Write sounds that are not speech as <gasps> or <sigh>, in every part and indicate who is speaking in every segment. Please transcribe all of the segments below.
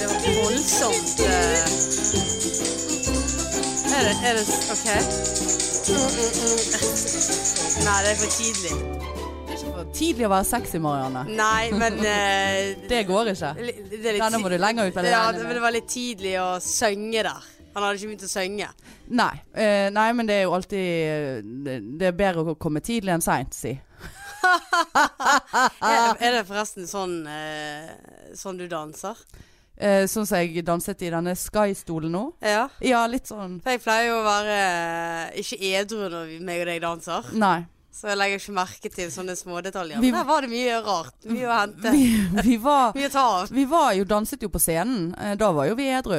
Speaker 1: det var voldsomt eh. Er det, er det OK? Mm, mm, mm. Nei, det er for tidlig.
Speaker 2: Det er ikke for tidlig å være sexy, Marianne.
Speaker 1: Nei, men eh,
Speaker 2: <laughs> Det går ikke.
Speaker 1: li- det er litt
Speaker 2: Ja, nå må du lenger ut av det.
Speaker 1: Ja,
Speaker 2: regnet
Speaker 1: det,
Speaker 2: med.
Speaker 1: men det var litt tidlig å synge der. Han hadde ikke begynt å
Speaker 2: <laughs>
Speaker 1: synge.
Speaker 2: Nei, eh, nei, men det er jo alltid Det det er bedre å komme tidlig enn seint, si.
Speaker 1: Er, er det forresten sånn, eh, sånn du danser?
Speaker 2: Eh, sånn som jeg danset i denne Sky-stolen nå.
Speaker 1: Ja.
Speaker 2: Ja, litt sånn
Speaker 1: For jeg pleier jo å være eh, ikke edru når vi- meg og deg danser.
Speaker 2: Nei.
Speaker 1: Så jeg legger ikke merke til sånne smådetaljer.
Speaker 2: Vi-
Speaker 1: Men der var det mye rart. Mye å hente.
Speaker 2: Vi, vi, var,
Speaker 1: Mye å ta av.
Speaker 2: vi var jo danset jo på scenen. Eh, da var jo vi edru.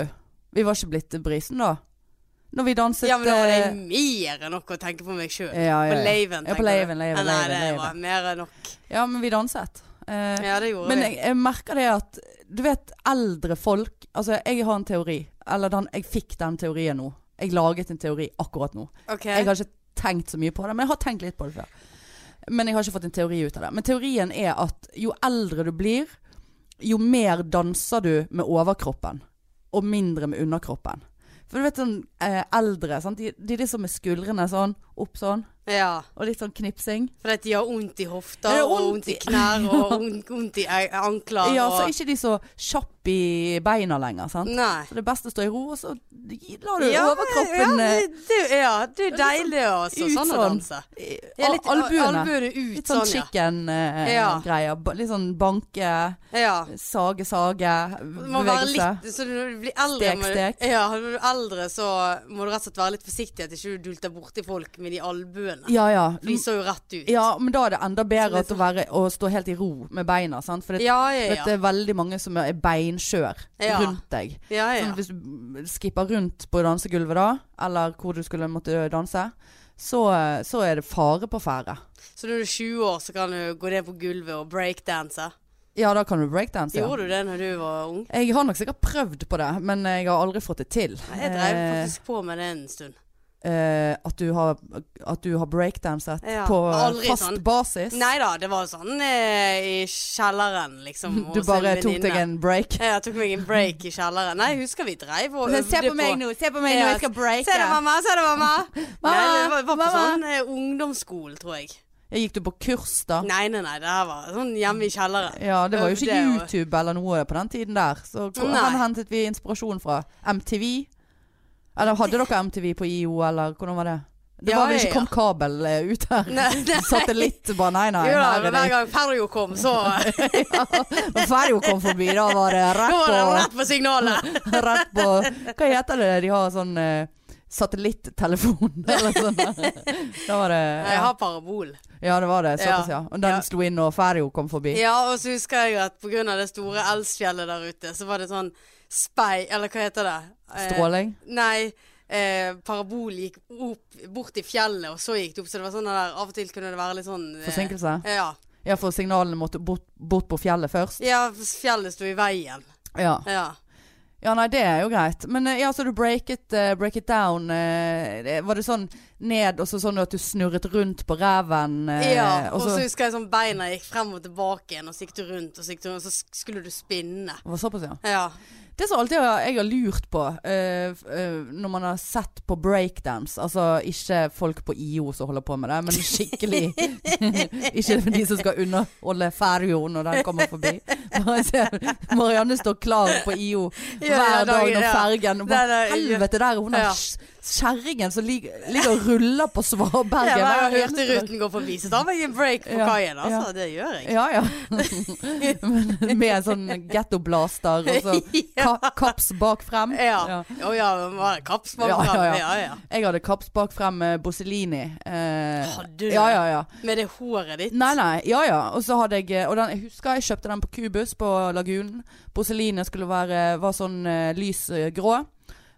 Speaker 2: Vi var ikke blitt brisen da. Når vi danset
Speaker 1: Ja, men da var det
Speaker 2: eh,
Speaker 1: mer enn nok å tenke på meg sjøl.
Speaker 2: ja, ja,
Speaker 1: På
Speaker 2: ja.
Speaker 1: laven,
Speaker 2: Ja,
Speaker 1: tenker
Speaker 2: på
Speaker 1: du.
Speaker 2: laven, laven,
Speaker 1: Ja, Nei,
Speaker 2: laven,
Speaker 1: det
Speaker 2: laven.
Speaker 1: var mer enn nok.
Speaker 2: ja, men vi danset. Eh,
Speaker 1: Ja, det gjorde
Speaker 2: Men
Speaker 1: vi.
Speaker 2: jeg, jeg merker det at Du vet, eldre folk Altså, jeg har en teori. Eller den, jeg fikk den teorien nå. Jeg laget en teori akkurat nå.
Speaker 1: Ok.
Speaker 2: Jeg har ikke tenkt så mye på det, men jeg har tenkt litt på det før. Men jeg har ikke fått en teori ut av det. Men teorien er at jo eldre du blir, jo mer danser du med overkroppen, og mindre med underkroppen. For du vet sånn eh, eldre, sant? De, de er liksom med skuldrene sånn, opp sånn,
Speaker 1: Ja.
Speaker 2: og litt sånn knipsing.
Speaker 1: Fordi at de har vondt i
Speaker 2: Det
Speaker 1: hofter,
Speaker 2: er
Speaker 1: og
Speaker 2: vondt
Speaker 1: vondt i
Speaker 2: i- <laughs>
Speaker 1: knær, og vondt- vondt i ei- ankler.
Speaker 2: Ja,
Speaker 1: og...
Speaker 2: så er ikke de så kjapp i beina lenger, sant?
Speaker 1: Nei.
Speaker 2: Så det er best å stå i ro, og så lar du
Speaker 1: Ja,
Speaker 2: overkroppen
Speaker 1: ja,
Speaker 2: eh,
Speaker 1: det, ja, det er deilig også,
Speaker 2: ut
Speaker 1: sånn å
Speaker 2: sånn.
Speaker 1: danse.
Speaker 2: al-
Speaker 1: Ja, litt
Speaker 2: albuene.
Speaker 1: Albuene ut,
Speaker 2: Litt sånn
Speaker 1: sånn,
Speaker 2: chicken-greier.
Speaker 1: Ja.
Speaker 2: Litt sånn banke,
Speaker 1: ja. ja.
Speaker 2: sage, sage,
Speaker 1: Det må være
Speaker 2: bevegelse.
Speaker 1: litt, så når du blir eldre,
Speaker 2: Stek,
Speaker 1: må du-
Speaker 2: stek.
Speaker 1: Ja, når du blir eldre så må du rett og slett være litt forsiktig at ikke du dulter borti folk med de albuene.
Speaker 2: Ja, ja.
Speaker 1: For de så jo rett ut.
Speaker 2: ja, men da er det enda bedre
Speaker 1: Så det
Speaker 2: at å, være, å stå helt i ro med beina. Sant? For det,
Speaker 1: ja, ja.
Speaker 2: vet, det er veldig mange som er beinskjør
Speaker 1: Ja.
Speaker 2: rundt deg.
Speaker 1: ja, ja.
Speaker 2: Sånn, hvis du skipper rundt på dansegulvet da, eller hvor du skulle måtte danse, så, eh, så er det fare på ferde.
Speaker 1: Så når du er 20 år, så kan du gå ned på gulvet og breakdanse.
Speaker 2: Ja, da kan du breakdance. Ja.
Speaker 1: Gjorde du det når du var ung?
Speaker 2: Jeg har nok sikkert prøvd på det, men jeg har aldri fått det til.
Speaker 1: Jeg drev faktisk på med det en stund.
Speaker 2: eh, at du har, at du har breakdanset
Speaker 1: Ja,
Speaker 2: på
Speaker 1: aldri
Speaker 2: fast
Speaker 1: sånn.
Speaker 2: basis.
Speaker 1: Nei da, det var sånn eh, i kjelleren, liksom.
Speaker 2: du
Speaker 1: hos
Speaker 2: bare
Speaker 1: en
Speaker 2: tok deg
Speaker 1: venninne.
Speaker 2: en
Speaker 1: <laughs>
Speaker 2: break.
Speaker 1: Ja, Jeg tok meg en break i kjelleren. Nei, jeg husker vi dreiv og øvde
Speaker 2: nå, se på
Speaker 1: meg nå, jeg skal
Speaker 2: breake.
Speaker 1: Se det, mamma! Se det, mamma!
Speaker 2: <laughs> Mamma,
Speaker 1: nei, det var, var på
Speaker 2: mamma.
Speaker 1: sånn eh, ungdomsskolen, tror jeg.
Speaker 2: Gikk du på kurs da?
Speaker 1: Nei, nei, nei, det her var sånn hjemme i kjelleren.
Speaker 2: Ja, det var jo
Speaker 1: Øvde
Speaker 2: ikke
Speaker 1: og-
Speaker 2: YouTube eller noe på den tiden der. Så hvor
Speaker 1: Nei.
Speaker 2: hvor hentet vi inspirasjon fra? MTV? Eller hadde dere MTV på IO, eller hvordan var det? Det
Speaker 1: Ja,
Speaker 2: var vel
Speaker 1: ja, ja.
Speaker 2: ikke kom kabel eh, ut her.
Speaker 1: Nei, <laughs> nei.
Speaker 2: Satellitt bare nei, nei.
Speaker 1: jo da,
Speaker 2: her
Speaker 1: men
Speaker 2: er
Speaker 1: hver
Speaker 2: det.
Speaker 1: gang Ferjo kom, så
Speaker 2: <laughs> Når Ferjo kom forbi, da var det
Speaker 1: Da var det
Speaker 2: rett
Speaker 1: rett på signalet.
Speaker 2: på, <laughs> rett på Hva heter det de har sånn eh, satellittelefon <laughs> eller sånn? Da var det
Speaker 1: Jeg
Speaker 2: ja.
Speaker 1: har parabol.
Speaker 2: ja, det var det.
Speaker 1: Ja.
Speaker 2: Såpass, ja. Og den
Speaker 1: Ja.
Speaker 2: slo inn når Ferjo kom forbi.
Speaker 1: Ja, og så husker jeg at pga. det store Elsfjellet der ute, så var det sånn spei... Eller hva heter det? Eh,
Speaker 2: Stråling.
Speaker 1: Nei. Eh, parabol gikk opp, bort i fjellet, og så gikk det opp. Så det var sånn der, av og til kunne det være litt sånn eh,
Speaker 2: Forsinkelse.
Speaker 1: Ja.
Speaker 2: Ja, for signalene måtte bort, bort på fjellet først.
Speaker 1: ja, fjellet sto i veien.
Speaker 2: Ja.
Speaker 1: Ja.
Speaker 2: ja, nei, det er jo greit. Men eh, ja, så du break it, eh, break it down. eh, det- var det sånn ned, og så sånn at du snurret rundt på ræven? eh,
Speaker 1: ja.
Speaker 2: og så
Speaker 1: husker jeg sånn beina gikk frem og tilbake igjen, og så gikk du rundt, og så, gikk du, rundt, og så sk- skulle du spinne.
Speaker 2: Det var såpass, ja.
Speaker 1: Ja.
Speaker 2: Det som alltid har- jeg har lurt på eh, f- eh, når man har sett på breakdance, altså ikke folk på IO som holder på med det,
Speaker 1: <laughs>
Speaker 2: men skikkelig Ikke de som skal underholde Ferjo når den kommer forbi. Bare se, Marianne står klar på IO
Speaker 1: Ja,
Speaker 2: hver
Speaker 1: ja,
Speaker 2: dag når
Speaker 1: ja.
Speaker 2: fergen og bare,
Speaker 1: Nei, nei,
Speaker 2: Helvete, der er hun der
Speaker 1: Ja.
Speaker 2: sk- skjæringen som lig- ligger og ruller på Svaberget.
Speaker 1: Ja, hver gang jeg
Speaker 2: eneste
Speaker 1: hørte
Speaker 2: dag.
Speaker 1: ruten gå forbi, så tar jeg en break på
Speaker 2: Ja,
Speaker 1: kaien, altså.
Speaker 2: ja.
Speaker 1: Det gjør jeg.
Speaker 2: Ja, <laughs> ja. Men Med en sånn gettoblaster og så
Speaker 1: <laughs>
Speaker 2: ka kaps bak frem.
Speaker 1: Ja. Å ja, det var kappsmann
Speaker 2: Ja, ja,
Speaker 1: frem.
Speaker 2: ja.
Speaker 1: Ja, ja.
Speaker 2: Jeg hadde kaps bak frem med Bossellini. Eh,
Speaker 1: Hadde du det?
Speaker 2: ja, ja, ja.
Speaker 1: Med det håret ditt.
Speaker 2: Nei, nei. Ja, ja. Og så hadde jeg eh, Og den, jeg husker jeg kjøpte den på Kubus på Lagunen. Bossellini skulle være var sånn eh, lys eh, grå.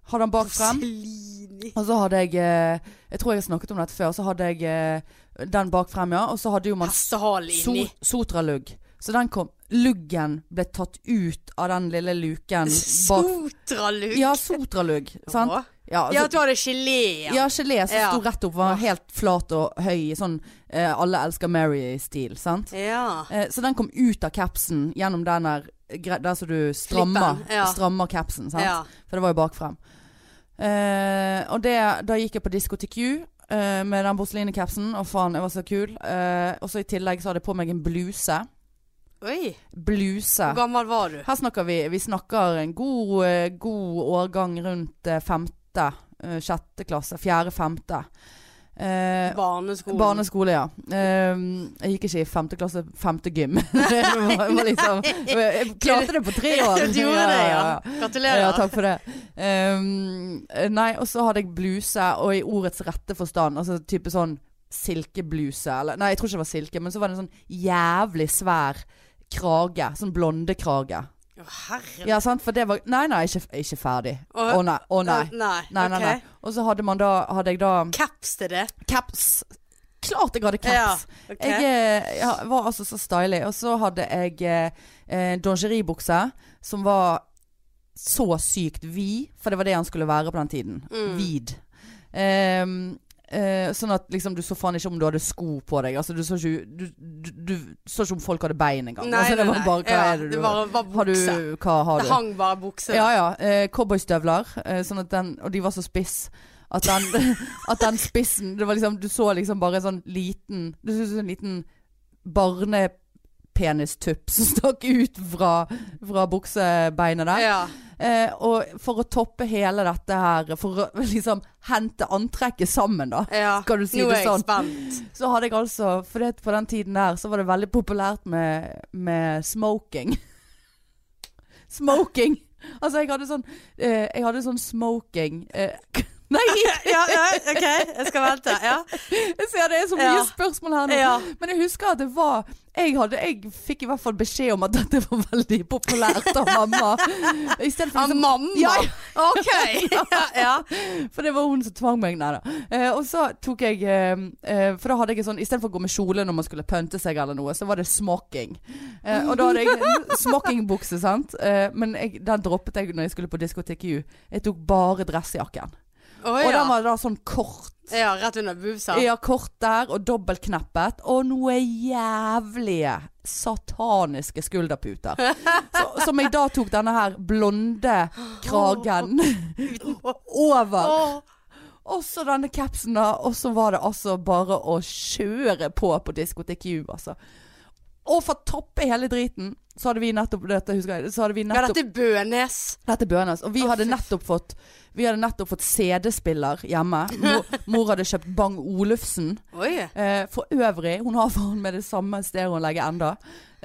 Speaker 2: Hadde den bak frem.
Speaker 1: Selini.
Speaker 2: Og så hadde jeg eh, Jeg tror jeg har snakket om dette før. Så hadde jeg eh, den bak frem, ja. Og så hadde jo man
Speaker 1: Hestehale
Speaker 2: so
Speaker 1: inni.
Speaker 2: sotralugg. Så den kom Luggen ble tatt ut av den lille luken bak
Speaker 1: Sotralugg.
Speaker 2: Ja, sotralugg. Sant?
Speaker 1: Å,
Speaker 2: Ja,
Speaker 1: Ja,
Speaker 2: altså,
Speaker 1: at du hadde gelé igjen.
Speaker 2: ja gelé som
Speaker 1: Ja.
Speaker 2: sto rett opp, var helt flat og høy i sånn eh, alle elsker Mary-stil, sant?
Speaker 1: Ja.
Speaker 2: Eh, så den kom ut av capsen gjennom den der, gre- der som du strammer,
Speaker 1: Klippen, ja.
Speaker 2: strammer capsen, sant?
Speaker 1: ja.
Speaker 2: For det var jo bakfrem. Eh, og det, da gikk jeg på Diskotek U eh, med den porselinekapsen, og faen, jeg var så kul. Eh, og så i tillegg så hadde jeg på meg en bluse.
Speaker 1: Oi.
Speaker 2: Bluse.
Speaker 1: Hvor gammel var du?
Speaker 2: Her snakker vi Vi snakker en god, eh, god årgang rundt eh, femte, eh, sjette klasse. Fjerde, femte. Eh,
Speaker 1: Barneskolen.
Speaker 2: Barneskole, ja. Ehm, jeg gikk ikke i femte klasse, femte gym. <laughs> det var, var liksom, jeg <laughs> klarte det på tre år.
Speaker 1: <laughs> du gjorde det, ja. Gratulerer.
Speaker 2: Ja, takk for det. Ehm, nei, og så hadde jeg bluse, og i ordets rette forstand, altså type sånn silkebluse, eller Nei, jeg tror ikke det var silke, men så var det en sånn jævlig svær krage. Sånn blondekrage.
Speaker 1: Å, herre.
Speaker 2: Ja, sant, for det var Nei, nei, ikke, ikke ferdig. Å
Speaker 1: Å,
Speaker 2: nei. Å nei.
Speaker 1: Nei,
Speaker 2: Nei, nei, nei. Og så hadde man da Hadde jeg da
Speaker 1: Caps til det.
Speaker 2: Caps. Klart jeg hadde caps.
Speaker 1: Ja, ok.
Speaker 2: Jeg, eh, ja, var altså så stylig. Og så hadde jeg eh, eh, dongeribukse som var så sykt vid, for det var det han skulle være på den tiden.
Speaker 1: Mm.
Speaker 2: Vid. Ehm, eh, sånn at liksom, du så faen ikke om du hadde sko på deg. Altså, du, så ikke, du, du, du så ikke om folk hadde bein engang.
Speaker 1: Nei,
Speaker 2: altså, det
Speaker 1: nei,
Speaker 2: var
Speaker 1: nei.
Speaker 2: bare hva
Speaker 1: Ja,
Speaker 2: er det du
Speaker 1: det var, var
Speaker 2: Har du
Speaker 1: bukse.
Speaker 2: Hva har
Speaker 1: Det
Speaker 2: du?
Speaker 1: hang bare bukse.
Speaker 2: Ja, ja. Eh, Cowboystøvler. Eh, sånn at den, og de var så spiss. At den, <laughs> at den spissen det var liksom, Du så liksom bare en sånn liten Du så ut som en liten barnepenistupp som stakk ut fra, fra buksebeinet der.
Speaker 1: Ja.
Speaker 2: Eh, og for å toppe hele dette her, for å <laughs> liksom hente antrekket sammen, da,
Speaker 1: ja.
Speaker 2: Skal du si
Speaker 1: Nå
Speaker 2: det
Speaker 1: er jeg
Speaker 2: sånn?
Speaker 1: spent. <laughs>
Speaker 2: så hadde jeg altså For det, at på den tiden der så var det veldig populært med, med smoking. <laughs> smoking. Altså, jeg hadde sånn eh, Jeg hadde sånn smoking eh, <laughs> Nei,
Speaker 1: Ja, ja, OK, jeg skal vente. Ja.
Speaker 2: jeg ser det er så mye
Speaker 1: Ja.
Speaker 2: spørsmål her nå.
Speaker 1: Ja.
Speaker 2: Men jeg husker at det var jeg, hadde, jeg fikk i hvert fall beskjed om at dette var veldig populært av mamma. I stedet for
Speaker 1: Ah,
Speaker 2: liksom
Speaker 1: mamma!
Speaker 2: Ja,
Speaker 1: OK! <laughs>
Speaker 2: <laughs>
Speaker 1: Ja, ja.
Speaker 2: For det var hun som tvang meg. Nei da. Eh, og så tok jeg eh, eh, For da hadde jeg en sånn Istedenfor å gå med kjole når man skulle pynte seg eller noe, så var det smoking. Eh, og da hadde
Speaker 1: <laughs>
Speaker 2: jeg smokingbukse, sant. Eh, men jeg, den droppet jeg når jeg skulle på diskotek U. Jeg tok bare dressjakken.
Speaker 1: Å,
Speaker 2: Og
Speaker 1: ja.
Speaker 2: den var da sånn kort.
Speaker 1: ja. Rett under bubsa.
Speaker 2: Ja, kort der og dobbeltkneppet. Og noe jævlige sataniske skulderputer. Så, som jeg da tok denne her blonde kragen <laughs> over.
Speaker 1: Å,
Speaker 2: Og så denne capsen da, og så var det altså bare å kjøre på på Diskotek U, altså. Og for å toppe hele driten, så hadde vi nettopp dette, husker jeg, så hadde vi
Speaker 1: ja,
Speaker 2: nettopp
Speaker 1: dette er Bønes.
Speaker 2: dette er Bønes. Og vi
Speaker 1: Å,
Speaker 2: hadde
Speaker 1: fy.
Speaker 2: nettopp fått Vi hadde nettopp fått CD-spiller hjemme.
Speaker 1: <laughs>
Speaker 2: Mor, mor hadde kjøpt Bang Olufsen.
Speaker 1: Oi.
Speaker 2: Eh, for øvrig, hun har faen med det samme stereoanlegget enda.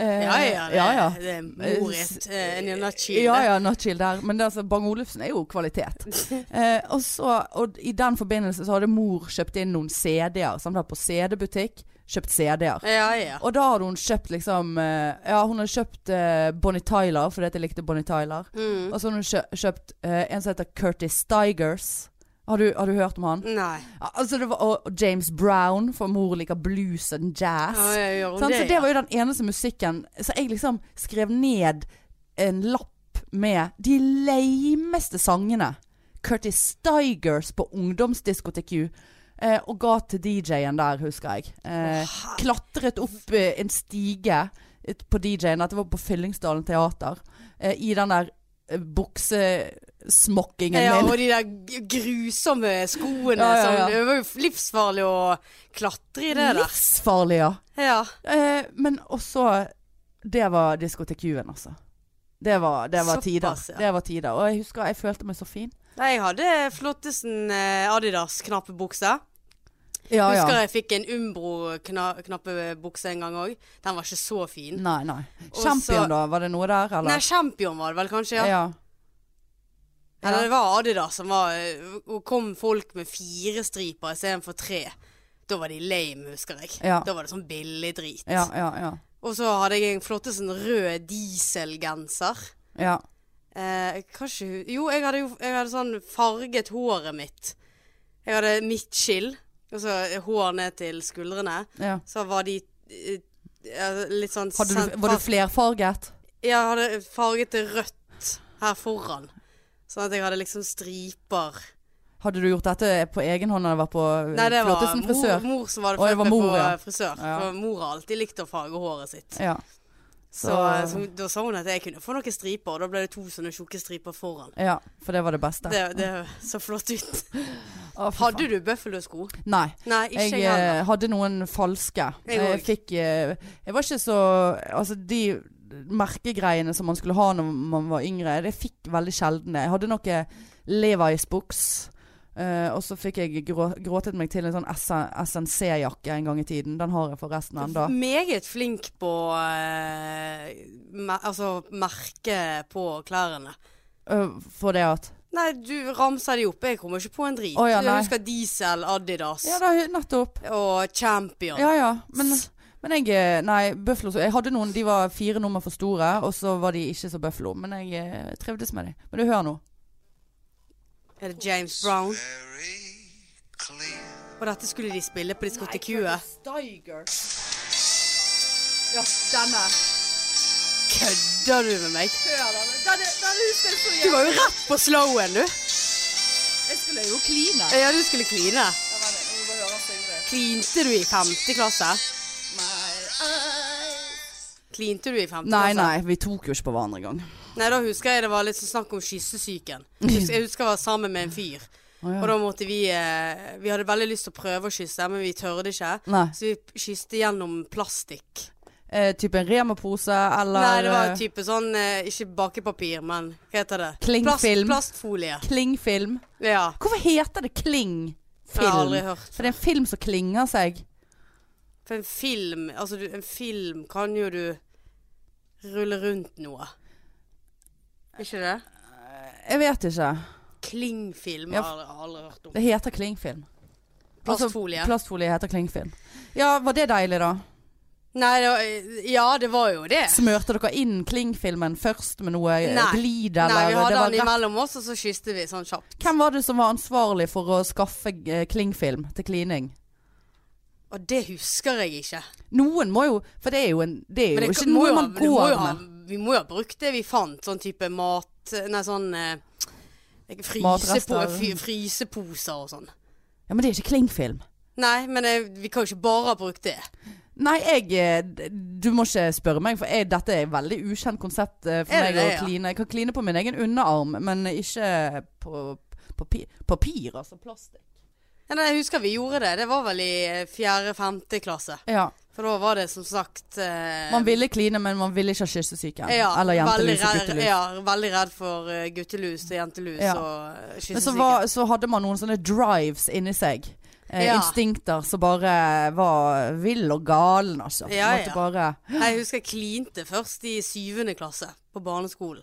Speaker 2: Eh,
Speaker 1: Ja ja, det,
Speaker 2: ja, ja.
Speaker 1: det er Morit. eh, En nøttkile.
Speaker 2: Ja ja, Nutchill der. Men det, er altså, Bang Olufsen er jo
Speaker 1: <laughs>
Speaker 2: kvalitet. Eh, og, så, og i den forbindelse så hadde mor kjøpt inn noen CD-er. Som da på CD-butikk kjøpt CD-er.
Speaker 1: ja. ja.
Speaker 2: Og da hadde hun kjøpt liksom eh, Ja, hun hadde kjøpt eh, Bonnie Tyler fordi at jeg likte Bonnie Tyler.
Speaker 1: Mm.
Speaker 2: Og så hadde hun kjø- kjøpt eh, en som heter Curtis Stigers. Har du, har du hørt om han?
Speaker 1: Nei.
Speaker 2: Ja, Altså det var, og og James Brown, for mor liker blues and jazz.
Speaker 1: Ja, jeg gjør
Speaker 2: Sant?
Speaker 1: det,
Speaker 2: Sånn, Så det var jo den eneste musikken Så jeg liksom skrev ned en lapp med de leimeste sangene. Curtis Stigers på ungdomsdiskotek U. Eh, og ga til DJ-en der, husker jeg. Eh, klatret opp eh, en stige ut på DJ-en. Dette var på Fyllingsdalen teater. Eh, I den der eh, buksesmokkingen
Speaker 1: ja,
Speaker 2: min.
Speaker 1: og de der g- grusomme skoene.
Speaker 2: Ja, ja, ja.
Speaker 1: Som, det var jo livsfarlig å klatre i det der.
Speaker 2: Livsfarlig, ja.
Speaker 1: Ja.
Speaker 2: Eh, men også Det var diskotek-U-en, altså. Det var, det
Speaker 1: Såpass,
Speaker 2: var tider.
Speaker 1: ja.
Speaker 2: Det var tider. Og jeg husker jeg følte meg så fin.
Speaker 1: Nei, jeg hadde flottesen eh, Adidas-knappebukse.
Speaker 2: Ja,
Speaker 1: Husker
Speaker 2: ja.
Speaker 1: jeg fikk en Umbro-knappebukse en gang òg. Den var ikke så fin.
Speaker 2: Nei, nei.
Speaker 1: Og
Speaker 2: Champion,
Speaker 1: så-
Speaker 2: da? Var det noe der, eller?
Speaker 1: Nei, Champion var det vel kanskje, ja.
Speaker 2: ja. ja.
Speaker 1: Eller det var Adidas som var eh, Og kom folk med fire striper istedenfor tre. Da var de lame, husker jeg.
Speaker 2: Ja.
Speaker 1: Da var det sånn billig drit.
Speaker 2: Ja, ja, ja.
Speaker 1: Og så hadde jeg en flottesen rød dieselgenser.
Speaker 2: ja.
Speaker 1: Eh, jeg kan ikke hu- Jo, jeg hadde jo jeg hadde sånn farget håret mitt. Jeg hadde midtskill, altså hår ned til skuldrene.
Speaker 2: ja.
Speaker 1: Så var de eh, eh, litt sånn
Speaker 2: Hadde du,
Speaker 1: sent-
Speaker 2: var du flerfarget?
Speaker 1: Jeg hadde farget det rødt her foran. Sånn at jeg hadde liksom striper
Speaker 2: Hadde du gjort dette på egen hånd når du var på
Speaker 1: Nei, det var
Speaker 2: Flåttesen frisør?
Speaker 1: mor, mor som var det
Speaker 2: Å, det var
Speaker 1: første
Speaker 2: mor,
Speaker 1: på eh,
Speaker 2: ja.
Speaker 1: frisør.
Speaker 2: Ja.
Speaker 1: For mor har alltid likt å farge håret sitt.
Speaker 2: Ja.
Speaker 1: Så, eh,
Speaker 2: Så-
Speaker 1: så hun- da sa hun at jeg kunne få noen striper, og da ble det to sånne tjukke striper foran.
Speaker 2: ja, for det var det beste.
Speaker 1: Det, det så flott ut.
Speaker 2: Å, fy faen.
Speaker 1: Hadde du bøffelsko?
Speaker 2: Nei.
Speaker 1: Nei, ikke
Speaker 2: Jeg
Speaker 1: jeg
Speaker 2: eh,
Speaker 1: heller.
Speaker 2: hadde noen falske.
Speaker 1: Jeg
Speaker 2: Jeg,
Speaker 1: òg.
Speaker 2: fikk eh, Jeg var ikke så Altså, de merkegreiene som man skulle ha når man var yngre, det fikk veldig sjelden det. Jeg hadde noe Levi's-buks. eh, og så fikk jeg grå, gråtet meg til en sånn SNC-jakke en gang i tiden. Den har jeg forresten ennå.
Speaker 1: Meget flink på eh, mer, altså merke på klærne.
Speaker 2: Eh, for det at
Speaker 1: Nei, du ramser de opp. Jeg kommer ikke på en drit.
Speaker 2: Å, ja, nei.
Speaker 1: jeg husker Diesel, Adidas
Speaker 2: Ja, da, nettopp.
Speaker 1: og Champion.
Speaker 2: Ja ja. Men, men jeg eh, Nei, Buffalo Jeg hadde noen, de var fire nummer for store, og så var de ikke så Buffalo. Men jeg eh, trivdes med de. Men du hører nå.
Speaker 1: Er det James Brown?
Speaker 3: Very clear.
Speaker 1: Og dette skulle de spille på diskotekuet.
Speaker 2: Steiger. Ja, denne.
Speaker 1: Kødder du med meg?
Speaker 2: Hør denne. Denne, denne husker jeg så
Speaker 1: Du var jo rett på slowen, du.
Speaker 2: Jeg skulle jo kline.
Speaker 1: Ja, du skulle kline.
Speaker 2: må bare høre han synge det.
Speaker 1: Klinte du i femte klasse? Klinte du i femte
Speaker 2: Nei,
Speaker 1: klasse?
Speaker 2: nei, vi tok jo ikke på hverandre
Speaker 1: <laughs>
Speaker 2: engang.
Speaker 1: Nei, da husker jeg det var litt sånn snakk om kyssesyken. Jeg husker jeg husker jeg var sammen med en fyr. Og da måtte vi eh, Vi hadde veldig lyst til å prøve å kysse, men vi tørde ikke.
Speaker 2: Nei.
Speaker 1: Så vi kysste gjennom plastikk.
Speaker 2: Eh, type en remapose eller
Speaker 1: Nei, det var
Speaker 2: eh,
Speaker 1: type sånn eh, Ikke bakepapir, men hva heter det?
Speaker 2: Klingfilm.
Speaker 1: Plast, plastfolie.
Speaker 2: klingfilm.
Speaker 1: Ja.
Speaker 2: Hvorfor heter det klingfilm?
Speaker 1: Jeg har aldri hørt.
Speaker 2: For det er en film som klinger seg.
Speaker 1: For en film Altså, du, en film kan jo du rulle rundt noe. Ikke det?
Speaker 2: Jeg vet ikke.
Speaker 1: Klingfilm
Speaker 2: Ja,
Speaker 1: har jeg aldri- aldri hørt om.
Speaker 2: Det heter klingfilm.
Speaker 1: Plastfolie.
Speaker 2: Altså, plastfolie heter klingfilm. Ja, var det deilig, da?
Speaker 1: Nei, det var, eh, ja, det var jo det.
Speaker 2: Smørte dere inn klingfilmen først med noe eh,
Speaker 1: Nei.
Speaker 2: glid,
Speaker 1: Nei,
Speaker 2: eller
Speaker 1: vi
Speaker 2: det
Speaker 1: hadde
Speaker 2: var
Speaker 1: den
Speaker 2: rett
Speaker 1: imellom oss, og så kysste vi sånn kjapt.
Speaker 2: Hvem var det som var ansvarlig for å skaffe eh, klingfilm til klining?
Speaker 1: Og det husker jeg ikke.
Speaker 2: Noen må jo For det er jo, en, det er
Speaker 1: Men
Speaker 2: jo
Speaker 1: det
Speaker 2: ikke
Speaker 1: må
Speaker 2: noe
Speaker 1: jo ha-
Speaker 2: man
Speaker 1: du må jo
Speaker 2: går
Speaker 1: ha-
Speaker 2: med.
Speaker 1: Vi må jo ha brukt det vi fant. Sånn type mat Nei, sånn eh, frysepo,
Speaker 2: Matrester.
Speaker 1: fry, Fryseposer og sånn.
Speaker 2: Ja, Men det er ikke klingfilm.
Speaker 1: Nei, men eh, vi kan jo ikke bare ha brukt det.
Speaker 2: Nei, jeg eh, d- Du må ikke spørre meg, for jeg, dette er et veldig ukjent konsept eh, for
Speaker 1: Er det
Speaker 2: meg å
Speaker 1: det, ja?
Speaker 2: kline. Jeg kan kline på min egen underarm, men ikke på papir, papir altså plastikk.
Speaker 1: Ja, nei, jeg husker vi gjorde det. Det var vel i fjerde-femte klasse.
Speaker 2: Ja.
Speaker 1: For da var det som sagt eh,
Speaker 2: Man ville kline, men man ville ikke ha kyssesyken.
Speaker 1: ja,
Speaker 2: eller
Speaker 1: veldig
Speaker 2: jentelus og
Speaker 1: redd-
Speaker 2: guttelus.
Speaker 1: Ja, veldig redd for eh, guttelus og jentelus
Speaker 2: Ja.
Speaker 1: og eh,
Speaker 2: Men så,
Speaker 1: kyssesyke.
Speaker 2: var, så hadde man noen sånne drives inni seg. Eh,
Speaker 1: Ja.
Speaker 2: Instinkter som bare var vill og galen, altså.
Speaker 1: Ja,
Speaker 2: Måtte
Speaker 1: ja.
Speaker 2: bare
Speaker 1: Nei, Jeg husker jeg klinte først i syvende klasse på barneskolen.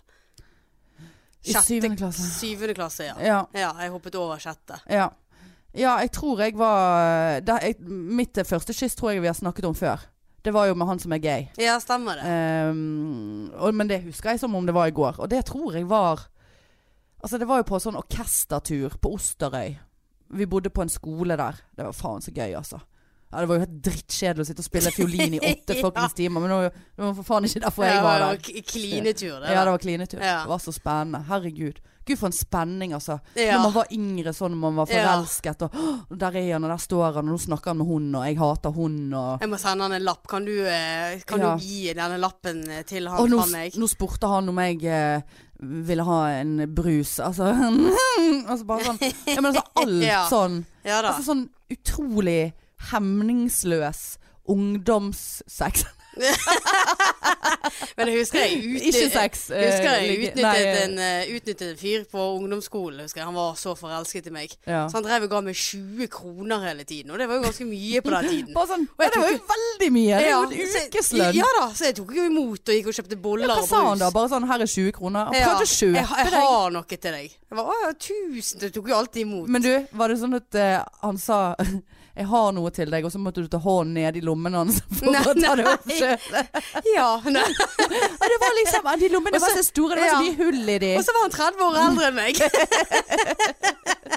Speaker 2: I
Speaker 1: Sjette-
Speaker 2: syvende klasse.
Speaker 1: Syvende klasse, ja.
Speaker 2: Ja.
Speaker 1: Ja, jeg hoppet over sjette.
Speaker 2: ja. Ja, jeg tror jeg var eh, da, jeg, Mitt første kyss tror jeg vi har snakket om før. Det var jo med han som er gay.
Speaker 1: Ja, stemmer det.
Speaker 2: Ehm, og, men det husker jeg som om det var i går. Og det tror jeg var Altså, det var jo på sånn orkestertur på Osterøy. Vi bodde på en skole der. Det var faen så gøy, altså. Ja, det var jo helt drittkjedelig å sitte og spille fiolin
Speaker 1: <laughs>
Speaker 2: i åtte
Speaker 1: Ja.
Speaker 2: fuckings timer, men det var jo- det var for faen ikke derfor jeg
Speaker 1: Ja,
Speaker 2: var
Speaker 1: det
Speaker 2: der.
Speaker 1: var k- Klinetur, det.
Speaker 2: Ja, det
Speaker 1: da.
Speaker 2: var klinetur.
Speaker 1: Ja.
Speaker 2: Det var så spennende. Herregud. Gud, for en spenning, altså.
Speaker 1: Ja.
Speaker 2: Når man var yngre sånn, når man var
Speaker 1: Ja.
Speaker 2: forelsket, og <gasps> «Åh, der er han, og der står han, og nå snakker han med hun, og jeg hater hun, og
Speaker 1: Jeg må sende han en lapp. Kan du, eh, kan
Speaker 2: Ja.
Speaker 1: du gi denne lappen eh, til han
Speaker 2: og nå,
Speaker 1: fra meg?
Speaker 2: nå spurte han om jeg eh, ville ha en brus, altså. <laughs> altså bare sånn. Ja, <laughs> men altså alt
Speaker 1: Ja.
Speaker 2: sånn.
Speaker 1: Ja da.
Speaker 2: <laughs> Altså sånn utrolig hemningsløs ungdomssex. <laughs>
Speaker 1: Men jeg husker jeg
Speaker 2: Ikke
Speaker 1: utnyttet,
Speaker 2: sex.
Speaker 1: jeg husker jeg
Speaker 2: ligge-
Speaker 1: utnyttet,
Speaker 2: nei,
Speaker 1: en, eh, utnyttet en fyr på ungdomsskolen. husker jeg. Han var så forelsket i meg.
Speaker 2: ja.
Speaker 1: Så han drev og ga meg 20 kroner hele tiden, og det var jo ganske mye på den
Speaker 2: <laughs>
Speaker 1: tiden.
Speaker 2: Bare sånn,
Speaker 1: Og
Speaker 2: ja,
Speaker 1: jeg
Speaker 2: det var jo veldig mye. Det er jo
Speaker 1: så
Speaker 2: en
Speaker 1: jeg-
Speaker 2: ukeslønn.
Speaker 1: Ja da, så jeg tok jo imot og gikk og kjøpte boller
Speaker 2: Ja,
Speaker 1: og
Speaker 2: hva
Speaker 1: brus.
Speaker 2: sa han da? Bare sånn 'her er 20 kroner'. Han prøvde å
Speaker 1: jeg,
Speaker 2: kjøpe
Speaker 1: jeg
Speaker 2: deg.
Speaker 1: har noe til deg. Jeg var, å, ja, tusen, du tok jo alltid imot.
Speaker 2: Men du, var det sånn at eh, han sa <laughs> 'jeg har noe til deg', og så måtte du ta hånden ned i lommen hans <laughs> for
Speaker 1: Nei,
Speaker 2: å ta det opp
Speaker 1: nei.
Speaker 2: sjøl?
Speaker 1: Ja, nei.
Speaker 2: <laughs> Ja, det var liksom, ja, de lommene var så store, det var så
Speaker 1: ja.
Speaker 2: mye hull i
Speaker 1: <laughs>
Speaker 2: de.
Speaker 1: Og så var han 30 år eldre enn meg.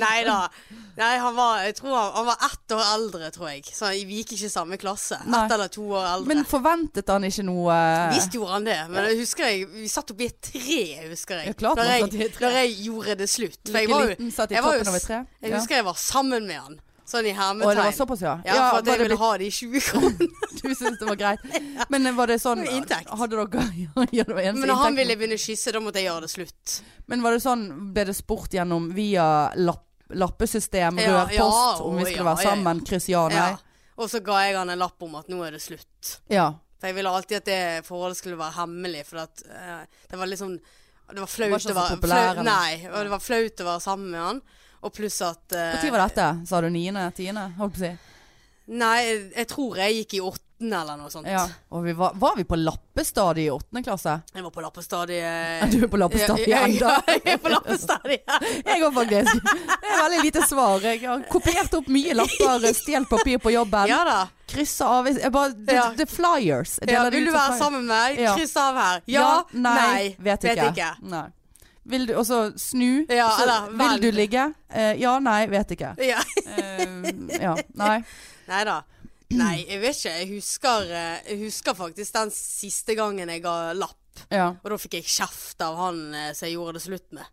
Speaker 1: Nei da. Nei, han var, jeg tror han, han var ett år eldre, tror jeg. Så vi gikk ikke i samme klasse.
Speaker 2: Nei.
Speaker 1: Ett eller to år eldre.
Speaker 2: Men forventet han ikke noe
Speaker 1: Visst gjorde han det, men jeg husker jeg, vi satt oppi et tre, husker
Speaker 2: Ja,
Speaker 1: jeg.
Speaker 2: klart
Speaker 1: da,
Speaker 2: man satt i
Speaker 1: jeg
Speaker 2: et tre.
Speaker 1: da jeg gjorde det slutt. For jeg
Speaker 2: Lykke
Speaker 1: var jo
Speaker 2: Liten satt i
Speaker 1: jeg var jo
Speaker 2: toppen av
Speaker 1: s-
Speaker 2: et tre?
Speaker 1: Jeg
Speaker 2: Ja.
Speaker 1: husker jeg var sammen med han, sånn i
Speaker 2: Å, det var
Speaker 1: hermetegn.
Speaker 2: såpass, ja.
Speaker 1: Ja, for at
Speaker 2: var
Speaker 1: jeg
Speaker 2: det
Speaker 1: ville ha de 20
Speaker 2: <laughs>
Speaker 1: kronene.
Speaker 2: litt- Du syntes det var greit.
Speaker 1: <laughs>
Speaker 2: Men var det sånn
Speaker 1: Det var inntekt.
Speaker 2: Hadde dere <laughs> ja, ja, det var eneste
Speaker 1: Men når han
Speaker 2: inntekten.
Speaker 1: ville begynne å kysse, da måtte jeg gjøre det slutt.
Speaker 2: Men var det sånn Ble det spurt gjennom via lapp, lappesystem,
Speaker 1: Ja,
Speaker 2: rørpost,
Speaker 1: ja,
Speaker 2: om vi
Speaker 1: å,
Speaker 2: skulle
Speaker 1: ja, ja,
Speaker 2: være
Speaker 1: ja.
Speaker 2: sammen? Kryss ja, nei?
Speaker 1: Ja. Og så ga jeg han en lapp om at nå er det slutt.
Speaker 2: Ja.
Speaker 1: For jeg ville alltid at det forholdet skulle være hemmelig, for at eh, det var liksom Det var
Speaker 2: Var
Speaker 1: flaut
Speaker 2: ikke
Speaker 1: å
Speaker 2: så
Speaker 1: være
Speaker 2: populær,
Speaker 1: flau-
Speaker 2: eller?
Speaker 1: Nei, og det var flaut å være sammen med han. Og pluss at eh,
Speaker 2: Når var dette? Sa du niende? Tiende? Holdt på å si.
Speaker 1: Nei, jeg- jeg tror jeg gikk i åttende eller noe sånt.
Speaker 2: Ja. Og vi var, var vi på lappestadiet i åttende klasse?
Speaker 1: <laughs> Jeg var på lappestadiet.
Speaker 2: <laughs> Du er på lappestadiet
Speaker 1: Ja, ja,
Speaker 2: ennå.
Speaker 1: ja, Jeg er på
Speaker 2: <laughs>
Speaker 1: lappestadiet.
Speaker 2: Jeg òg, faktisk. Det er veldig lite svar. Jeg har kopiert opp mye lapper, stjålet papir på jobben.
Speaker 1: Ja da.
Speaker 2: Kryssa av i- jeg bare, the,
Speaker 1: Ja.
Speaker 2: the flyers. Jeg
Speaker 1: Ja,
Speaker 2: deler det
Speaker 1: vil du
Speaker 2: ut som
Speaker 1: være
Speaker 2: flyers.
Speaker 1: sammen med meg?
Speaker 2: Ja.
Speaker 1: Kryss av her. Ja, nei,
Speaker 2: Vet ikke. Nei. Vil du også snu?
Speaker 1: Ja,
Speaker 2: så,
Speaker 1: eller
Speaker 2: vil
Speaker 1: vend.
Speaker 2: du ligge? Eh, ja, nei, vet ikke.
Speaker 1: Ja. <laughs>
Speaker 2: Eh, ja, nei.
Speaker 1: Nei da. Nei, jeg vet ikke. Jeg husker, eh, jeg husker faktisk den siste gangen jeg ga lapp.
Speaker 2: Ja.
Speaker 1: Og da fikk jeg kjeft av han eh, som jeg gjorde det slutt med.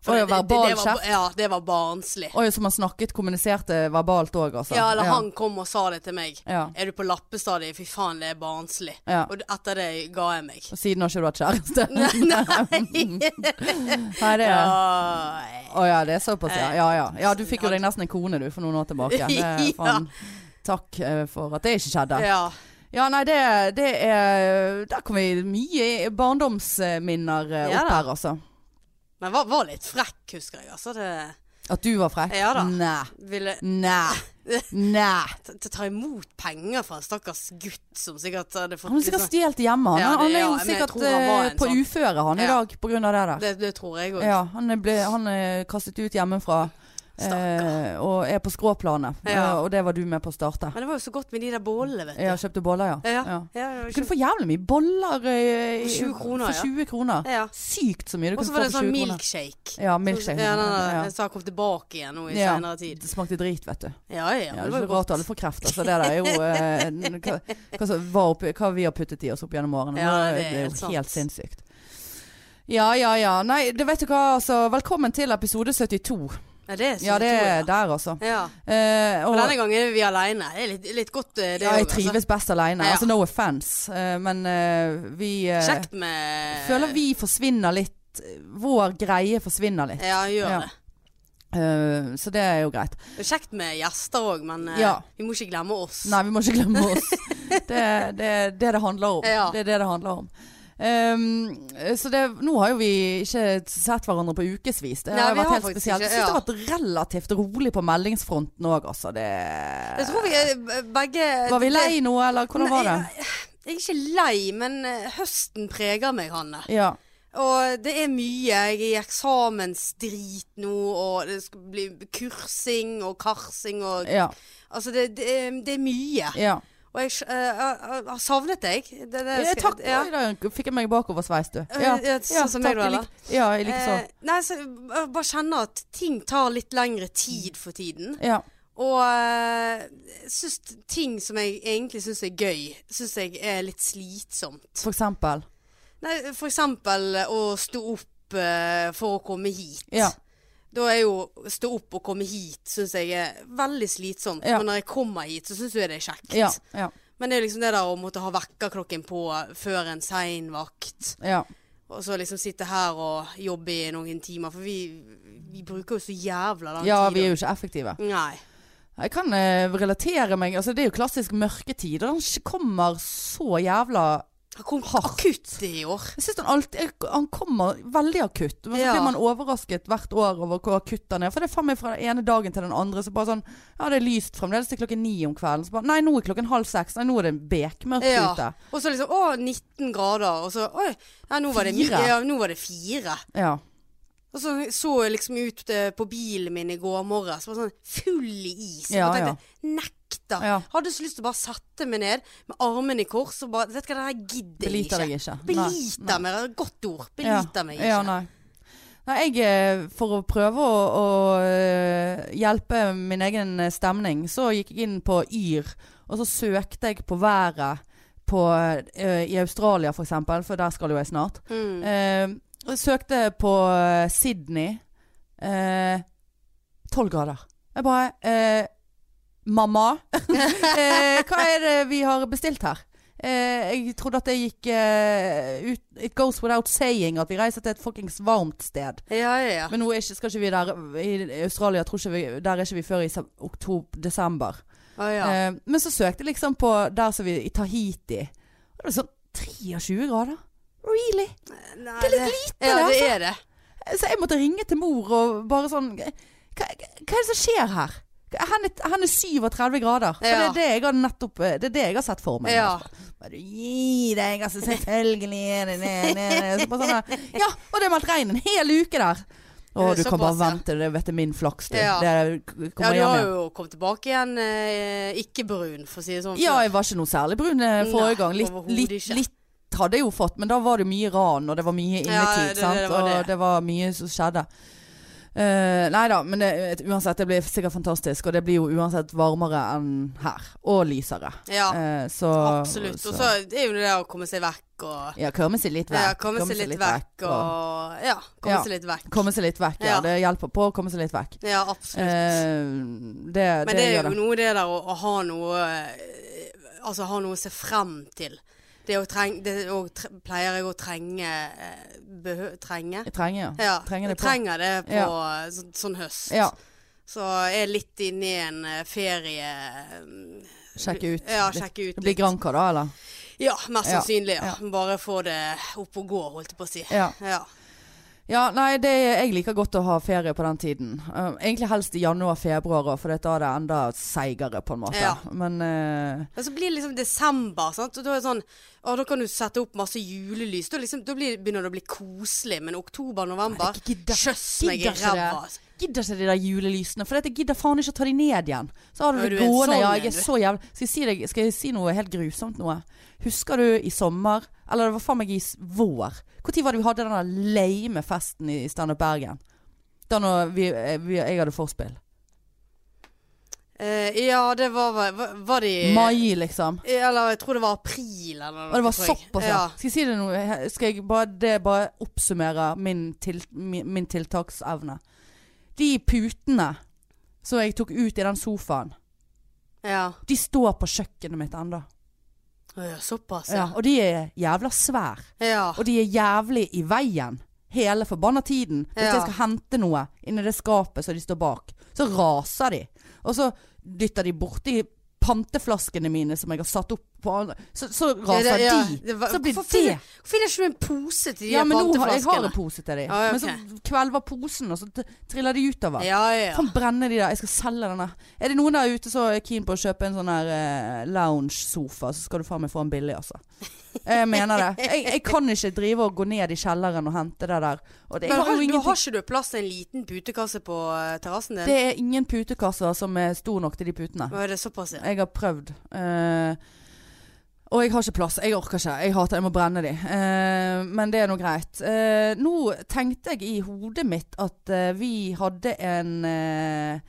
Speaker 2: Å, ja, verbal
Speaker 1: det, var,
Speaker 2: kjeft?
Speaker 1: ja, det var barnslig.
Speaker 2: Oi, som har snakket, kommuniserte verbalt òg, altså.
Speaker 1: Ja, eller han kom og sa det til meg.
Speaker 2: Ja.
Speaker 1: Er du på lappestadiet? Fy faen, det er barnslig.
Speaker 2: Ja.
Speaker 1: Og etter det ga jeg meg.
Speaker 2: Og siden har ikke du hatt kjæreste? <laughs> Nei, det er
Speaker 1: Åh,
Speaker 2: Å ja, det er såpass,
Speaker 1: Eh,
Speaker 2: ja. Ja, ja. ja du fikk jo deg nesten en kone du for noen år tilbake. Det,
Speaker 1: <laughs>
Speaker 2: er faen, takk eh, for at det ikke skjedde.
Speaker 1: ja.
Speaker 2: Ja, nei, det, det er Der kom vi mye i- barndomsminner eh,
Speaker 1: Ja
Speaker 2: opp
Speaker 1: da.
Speaker 2: her, altså.
Speaker 1: Men var, var litt frekk, husker jeg. Altså, det
Speaker 2: At du var frekk?
Speaker 1: Ja da.
Speaker 2: Nei.
Speaker 1: ville <laughs>
Speaker 2: Nei. Nei.
Speaker 1: ta, ta- ta imot penger fra en stakkars gutt som sikkert hadde fått
Speaker 2: Han har sikkert
Speaker 1: liksom-
Speaker 2: stjålet hjemme. Han,
Speaker 1: Ja, det-
Speaker 2: han er jo
Speaker 1: ja, men jeg
Speaker 2: sikkert
Speaker 1: tror han var en
Speaker 2: eh, på
Speaker 1: sånn.
Speaker 2: uføre han i
Speaker 1: Ja.
Speaker 2: dag på grunn av det der.
Speaker 1: det, det tror jeg òg.
Speaker 2: Ja, han er, ble, han er kastet ut hjemmefra.
Speaker 1: Stakkar.
Speaker 2: eh, og er på skråplanet.
Speaker 1: Ja.
Speaker 2: Eh, og det var du med på å starte.
Speaker 1: Men det var jo så godt med de der bollene, vet du.
Speaker 2: Ja, kjøpte boller, ja.
Speaker 1: ja.
Speaker 2: Ja.
Speaker 1: ja, det var
Speaker 2: Du kunne få jævlig mye boller eh,
Speaker 1: For 20 kroner,
Speaker 2: for 20 kroner.
Speaker 1: ikke- ja.
Speaker 2: Sykt så mye du
Speaker 1: Og så
Speaker 2: kunne
Speaker 1: var
Speaker 2: få
Speaker 1: det en
Speaker 2: for
Speaker 1: sånn
Speaker 2: 20 kroner.
Speaker 1: milkshake.
Speaker 2: Ja, milkshake.
Speaker 1: Ja, den
Speaker 2: Ja.
Speaker 1: der, den som har kommet tilbake igjen nå i
Speaker 2: Ja.
Speaker 1: senere tid.
Speaker 2: Det smakte drit, vet du.
Speaker 1: Ja, ja,
Speaker 2: Ja,
Speaker 1: men det
Speaker 2: det
Speaker 1: var
Speaker 2: er
Speaker 1: jo
Speaker 2: ikke rart
Speaker 1: godt.
Speaker 2: alle får kreft. Altså, det der er jo eh, en- hva, hva, som var oppi, hva vi har puttet i oss opp gjennom årene.
Speaker 1: Ja,
Speaker 2: Nå,
Speaker 1: det er
Speaker 2: det er
Speaker 1: helt
Speaker 2: jo
Speaker 1: sant.
Speaker 2: helt sinnssykt. Ja, ja, ja. Nei, det vet du hva, altså. Velkommen til episode 72.
Speaker 1: Ja, det er så
Speaker 2: Ja, det er
Speaker 1: utrolig, ja.
Speaker 2: der, altså.
Speaker 1: Ja.
Speaker 2: Eh, og
Speaker 1: Og denne gangen er vi aleine. Det er litt, litt godt, eh, det
Speaker 2: ja, jeg
Speaker 1: også, altså.
Speaker 2: trives best alene.
Speaker 1: Ja.
Speaker 2: Altså, no offence. Eh, men eh, vi eh,
Speaker 1: Kjekt med
Speaker 2: føler vi forsvinner litt. Vår greie forsvinner litt.
Speaker 1: Ja, gjør
Speaker 2: Ja.
Speaker 1: det.
Speaker 2: Eh, så det er jo greit.
Speaker 1: Det er kjekt med gjester òg, men eh,
Speaker 2: Ja.
Speaker 1: vi må ikke glemme oss.
Speaker 2: Nei, vi må ikke glemme
Speaker 1: <laughs>
Speaker 2: oss. Det er det er det, det handler om.
Speaker 1: Ja.
Speaker 2: Det er det det handler om. Ehm, så det, nå har jo vi ikke sett hverandre på ukevis. Det
Speaker 1: Nei,
Speaker 2: har
Speaker 1: vi
Speaker 2: vært
Speaker 1: har
Speaker 2: helt
Speaker 1: faktisk
Speaker 2: spesielt.
Speaker 1: ikke,
Speaker 2: Jeg syns
Speaker 1: ja.
Speaker 2: det har vært relativt rolig på meldingsfronten òg, altså. Det,
Speaker 1: Jeg tror vi eh, begge
Speaker 2: var vi lei nå, eller hvordan var det?
Speaker 1: Jeg er ikke lei, men eh, høsten preger meg, Hanne.
Speaker 2: Ja.
Speaker 1: Og det er mye. Jeg er i eksamensdrit nå, og det skal bli kursing og karsing og
Speaker 2: Ja.
Speaker 1: Altså, det, det, er- det er mye.
Speaker 2: ja.
Speaker 1: Og jeg, eh, jeg, jeg har savnet deg. Det, det
Speaker 2: Eh,
Speaker 1: skal-
Speaker 2: Takk.
Speaker 1: ja.
Speaker 2: Oi, da fikk jeg meg bakoversveis, du.
Speaker 1: Eh, ja, sånn som jeg
Speaker 2: takk.
Speaker 1: da,
Speaker 2: Jeg
Speaker 1: eller?
Speaker 2: lik, ja, jeg liker sånn.
Speaker 1: Eh, nei, så jeg bare kjenner at ting tar litt lengre tid for tiden.
Speaker 2: så. Ja.
Speaker 1: Og eh, jeg syns ting som jeg egentlig syns er gøy, syns jeg er litt slitsomt.
Speaker 2: For eksempel.
Speaker 1: Nei, for eksempel eh, å stå opp eh, for å komme hit.
Speaker 2: Ja.
Speaker 1: Da er jo å stå opp og komme hit syns jeg er veldig slitsomt.
Speaker 2: Ja.
Speaker 1: Men når jeg kommer hit, så syns jeg det er kjekt.
Speaker 2: Ja. Ja.
Speaker 1: Men det er liksom det der å måtte ha vekkerklokken på før en sein vakt.
Speaker 2: ja.
Speaker 1: Og så liksom sitte her og jobbe i noen timer. For vi, vi bruker jo så jævla lang
Speaker 2: ja
Speaker 1: tid.
Speaker 2: vi er jo ikke effektive.
Speaker 1: Nei.
Speaker 2: Jeg kan eh, relatere meg altså, Det er jo klassisk mørketid, og han sk- kommer så jævla
Speaker 1: Han kom
Speaker 2: Hardt.
Speaker 1: akutt i år.
Speaker 2: Jeg synes han, alltid, han kommer veldig akutt. Men så
Speaker 1: Ja.
Speaker 2: blir man overrasket hvert år over hvor akutt han er. For det er faen meg fra den ene dagen til den andre. Så bare sånn Ja, det er lyst fremdeles til klokken ni om kvelden. Så bare Nei, nå er klokken halv seks. Nei, nå er det bekmørkt
Speaker 1: Ja.
Speaker 2: ute.
Speaker 1: Og så liksom Å, 19 grader. Og så Oi, nei, nå var det,
Speaker 2: Fire.
Speaker 1: ja, nå var det fire.
Speaker 2: Ja.
Speaker 1: Og så så jeg liksom ut eh, på bilen min i går morges, så var det sånn full i is.
Speaker 2: Ja,
Speaker 1: og jeg tenkte, nekta.
Speaker 2: Ja.
Speaker 1: Hadde så lyst til å bare sette meg ned med armene i kors og bare Vet du hva, det her gidder jeg ikke.
Speaker 2: Beliter deg ikke. Nei.
Speaker 1: Beliter meg. det er et Godt ord. Beliter meg ikke.
Speaker 2: Ja, nei. Nei, jeg, eh, for å prøve å, å eh, hjelpe min egen eh, stemning, så gikk jeg inn på Yr, og så søkte jeg på været på, eh, i Australia for eksempel, for der skal jo jeg snart.
Speaker 1: Mm.
Speaker 2: Eh, og jeg søkte på eh, Sydney. eh, Tolv grader. Jeg bare eh, Mamma, <laughs> eh, hva er det vi har bestilt her? Eh, jeg trodde at det gikk eh, ut, It goes without saying at vi reiser til et fuckings varmt sted.
Speaker 1: Ja, ja, ja.
Speaker 2: Men nå er ikke, skal ikke vi der I Australia tror ikke vi, der er ikke vi før i sep- oktober, desember.
Speaker 1: Å, ja.
Speaker 2: Eh, men så søkte jeg liksom på der som vi I Tahiti. Og det var sånn 23 grader. Really?
Speaker 1: Nei,
Speaker 2: det er litt lite, altså.
Speaker 1: Ja,
Speaker 2: det,
Speaker 1: det er det.
Speaker 2: Så jeg måtte ringe til mor og bare sånn Hva, hva er det som skjer her? Han er, han er 37 grader. For det
Speaker 1: Ja.
Speaker 2: er det jeg har nettopp Det er det jeg har sett for meg. Altså,
Speaker 1: Ja.
Speaker 2: Bare, Gi deg, altså. Selvfølgelig er det det. det, det. Så bare sånn her, ja, og det har meldt regn en hel uke der. Å,
Speaker 1: Det er
Speaker 2: du kan bare
Speaker 1: såpass, ja.
Speaker 2: vente. Det vet jeg min flaks, du.
Speaker 1: Ja.
Speaker 2: Det
Speaker 1: Ja, du
Speaker 2: kommer hjem
Speaker 1: har
Speaker 2: igjen.
Speaker 1: jo kommet tilbake igjen eh, ikke brun, for å si det sånn.
Speaker 2: Ja, jeg var ikke noe særlig brun eh,
Speaker 1: Nei,
Speaker 2: forrige gang. Litt,
Speaker 1: overhodet
Speaker 2: litt,
Speaker 1: ikke.
Speaker 2: litt hadde jeg jo fått, men da var det mye ran, og det var mye innetid.
Speaker 1: Ja, det- det
Speaker 2: sant?
Speaker 1: var det.
Speaker 2: Og det var mye som skjedde. Eh, nei da, men det, uansett, det blir sikkert fantastisk. Og det blir jo uansett varmere enn her. Og lysere.
Speaker 1: Ja,
Speaker 2: Eh, så,
Speaker 1: absolutt. Og så er jo det der å komme seg vekk og
Speaker 2: Ja, komme seg litt vekk.
Speaker 1: Ja, komme seg litt vekk og Ja, komme
Speaker 2: Ja.
Speaker 1: seg litt vekk.
Speaker 2: Komme seg litt vekk, ja.
Speaker 1: Ja.
Speaker 2: Det hjelper på å komme seg litt vekk.
Speaker 1: Ja, absolutt.
Speaker 2: Eh,
Speaker 1: Men
Speaker 2: det,
Speaker 1: det er
Speaker 2: gjør
Speaker 1: jo
Speaker 2: det.
Speaker 1: noe det der å, å ha noe eh, Altså ha noe å se frem til. Det, å treng, det å tre, pleier jeg å trenge eh, behø, Trenge?
Speaker 2: Jeg trenger, ja.
Speaker 1: Ja,
Speaker 2: trenger
Speaker 1: jeg
Speaker 2: det på.
Speaker 1: trenger det på
Speaker 2: Ja.
Speaker 1: så, sånn høst.
Speaker 2: ja.
Speaker 1: Så jeg er litt inne i en eh, ferie... eh,
Speaker 2: Sjekke ut.
Speaker 1: Ja,
Speaker 2: litt.
Speaker 1: sjekke ut
Speaker 2: det blir Granca da, eller?
Speaker 1: Ja, mest
Speaker 2: Ja,
Speaker 1: sannsynlig. Ja.
Speaker 2: ja.
Speaker 1: Bare få det opp og gå, holdt jeg på å si.
Speaker 2: Ja.
Speaker 1: Ja.
Speaker 2: Ja, nei, det, jeg liker godt å ha ferie på den tiden. Eh, egentlig helst i januar-februar, for da er det enda seigere, på en måte.
Speaker 1: Ja.
Speaker 2: Men eh,
Speaker 1: Men så blir det liksom desember, sant? og da er det sånn Å, da kan du sette opp masse julelys. Da, liksom, da blir, begynner det å bli koselig. Men oktober-november
Speaker 2: Nei, jeg gidder-
Speaker 1: Kjøss meg i
Speaker 2: gidder ikke det.
Speaker 1: ræva. altså.
Speaker 2: gidder ikke de der julelysene, for jeg gidder faen ikke å ta de ned igjen. Så har du
Speaker 1: Ja,
Speaker 2: det
Speaker 1: du er en
Speaker 2: gående.
Speaker 1: sånn
Speaker 2: Ja,
Speaker 1: en,
Speaker 2: jeg er
Speaker 1: du.
Speaker 2: så jævlig skal jeg, si deg, skal jeg si noe helt grusomt noe? Husker du i sommer, eller det var faen meg i s- vår, når var det vi hadde den der lame festen i Standup Bergen? Da når vi, eh, vi, jeg hadde forspill.
Speaker 1: Eh, ja, det var vel- Var, var det i
Speaker 2: Mai, liksom.
Speaker 1: Eller jeg tror det var april eller noe.
Speaker 2: Og det var
Speaker 1: tror jeg.
Speaker 2: såpass, ja.
Speaker 1: ja.
Speaker 2: Skal jeg si det noe? He- Skal jeg bare, det bare oppsummere min, til, min, min tiltaksevne? De putene som jeg tok ut i den sofaen,
Speaker 1: ja.
Speaker 2: de står på kjøkkenet mitt ennå.
Speaker 1: Å ja, såpass,
Speaker 2: Ja,
Speaker 1: ja.
Speaker 2: og de er jævla svære.
Speaker 1: Ja.
Speaker 2: Og de er jævlig i veien hele forbanna tiden. Hvis
Speaker 1: Ja.
Speaker 2: jeg skal hente noe inni det skapet som de står bak, så raser de. Og så dytter de borti panteflaskene mine som jeg har satt opp på andre Så, så raser
Speaker 1: det- ja,
Speaker 2: de.
Speaker 1: det var-
Speaker 2: så blir
Speaker 1: hvorfor
Speaker 2: det
Speaker 1: finner- Hvorfor finner ikke du en pose til de
Speaker 2: Ja, men nå har, jeg har
Speaker 1: panteflaskene?
Speaker 2: en pose til de.
Speaker 1: Ja, ja,
Speaker 2: Men så kvelver posen, og så t- triller de utover.
Speaker 1: Ja, ja.
Speaker 2: Kan brenne de der. Jeg skal selge denne. Er det noen der ute som er keen på å kjøpe en sånn her eh, lounge-sofa, så skal du faen meg få den billig, altså. Jeg mener det. Jeg, jeg kan ikke drive og gå ned i kjelleren og hente det der. Og det,
Speaker 1: Men
Speaker 2: jeg har
Speaker 1: har,
Speaker 2: jo
Speaker 1: du, har
Speaker 2: ingenting
Speaker 1: ikke du plass til en liten putekasse på eh, terrassen din?
Speaker 2: Det er ingen putekasser som er stor nok til de putene.
Speaker 1: Å, er det såpass, ja.
Speaker 2: Jeg har prøvd. eh, og jeg har ikke plass. Jeg orker ikke. Jeg hater Jeg må brenne de. Eh, men det er nå greit. Eh, nå tenkte jeg i hodet mitt at eh, vi hadde en eh,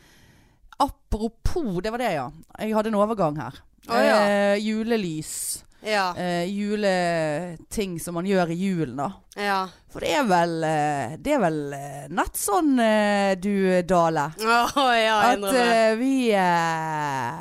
Speaker 2: Apropos Det var det, ja. Jeg hadde en overgang her.
Speaker 1: Å, ja.
Speaker 2: Eh, julelys.
Speaker 1: Ja.
Speaker 2: eh, juleting som man gjør i julen, da.
Speaker 1: ja.
Speaker 2: For det er vel, eh, det er vel eh, nett sånn, eh, du Dale,
Speaker 1: Å ja, jeg
Speaker 2: at
Speaker 1: innrømmer.
Speaker 2: eh, vi eh,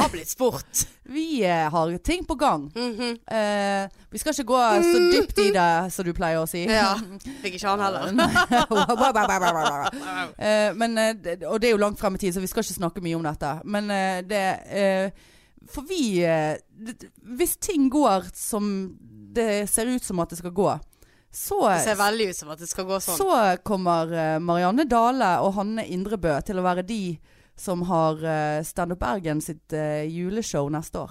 Speaker 1: Har blitt spurt.
Speaker 2: vi eh, har ting på gang.
Speaker 1: Mhm.
Speaker 2: Eh, vi skal ikke gå så dypt i det, som du pleier å si.
Speaker 1: Mm. Ja. Fikk ikke han heller.
Speaker 2: <laughs> Eh, men, eh, det- og det er jo langt frem i tid, så vi skal ikke snakke mye om dette. Men eh, det eh, For vi eh, det- Hvis ting går som det ser ut som at det skal gå,
Speaker 1: Det ser
Speaker 2: så
Speaker 1: veldig ut som at det skal gå sånn.
Speaker 2: så kommer eh, Marianne Dale og Hanne Indrebø til å være de som har eh, Stand Up Bergen sitt eh, juleshow neste år.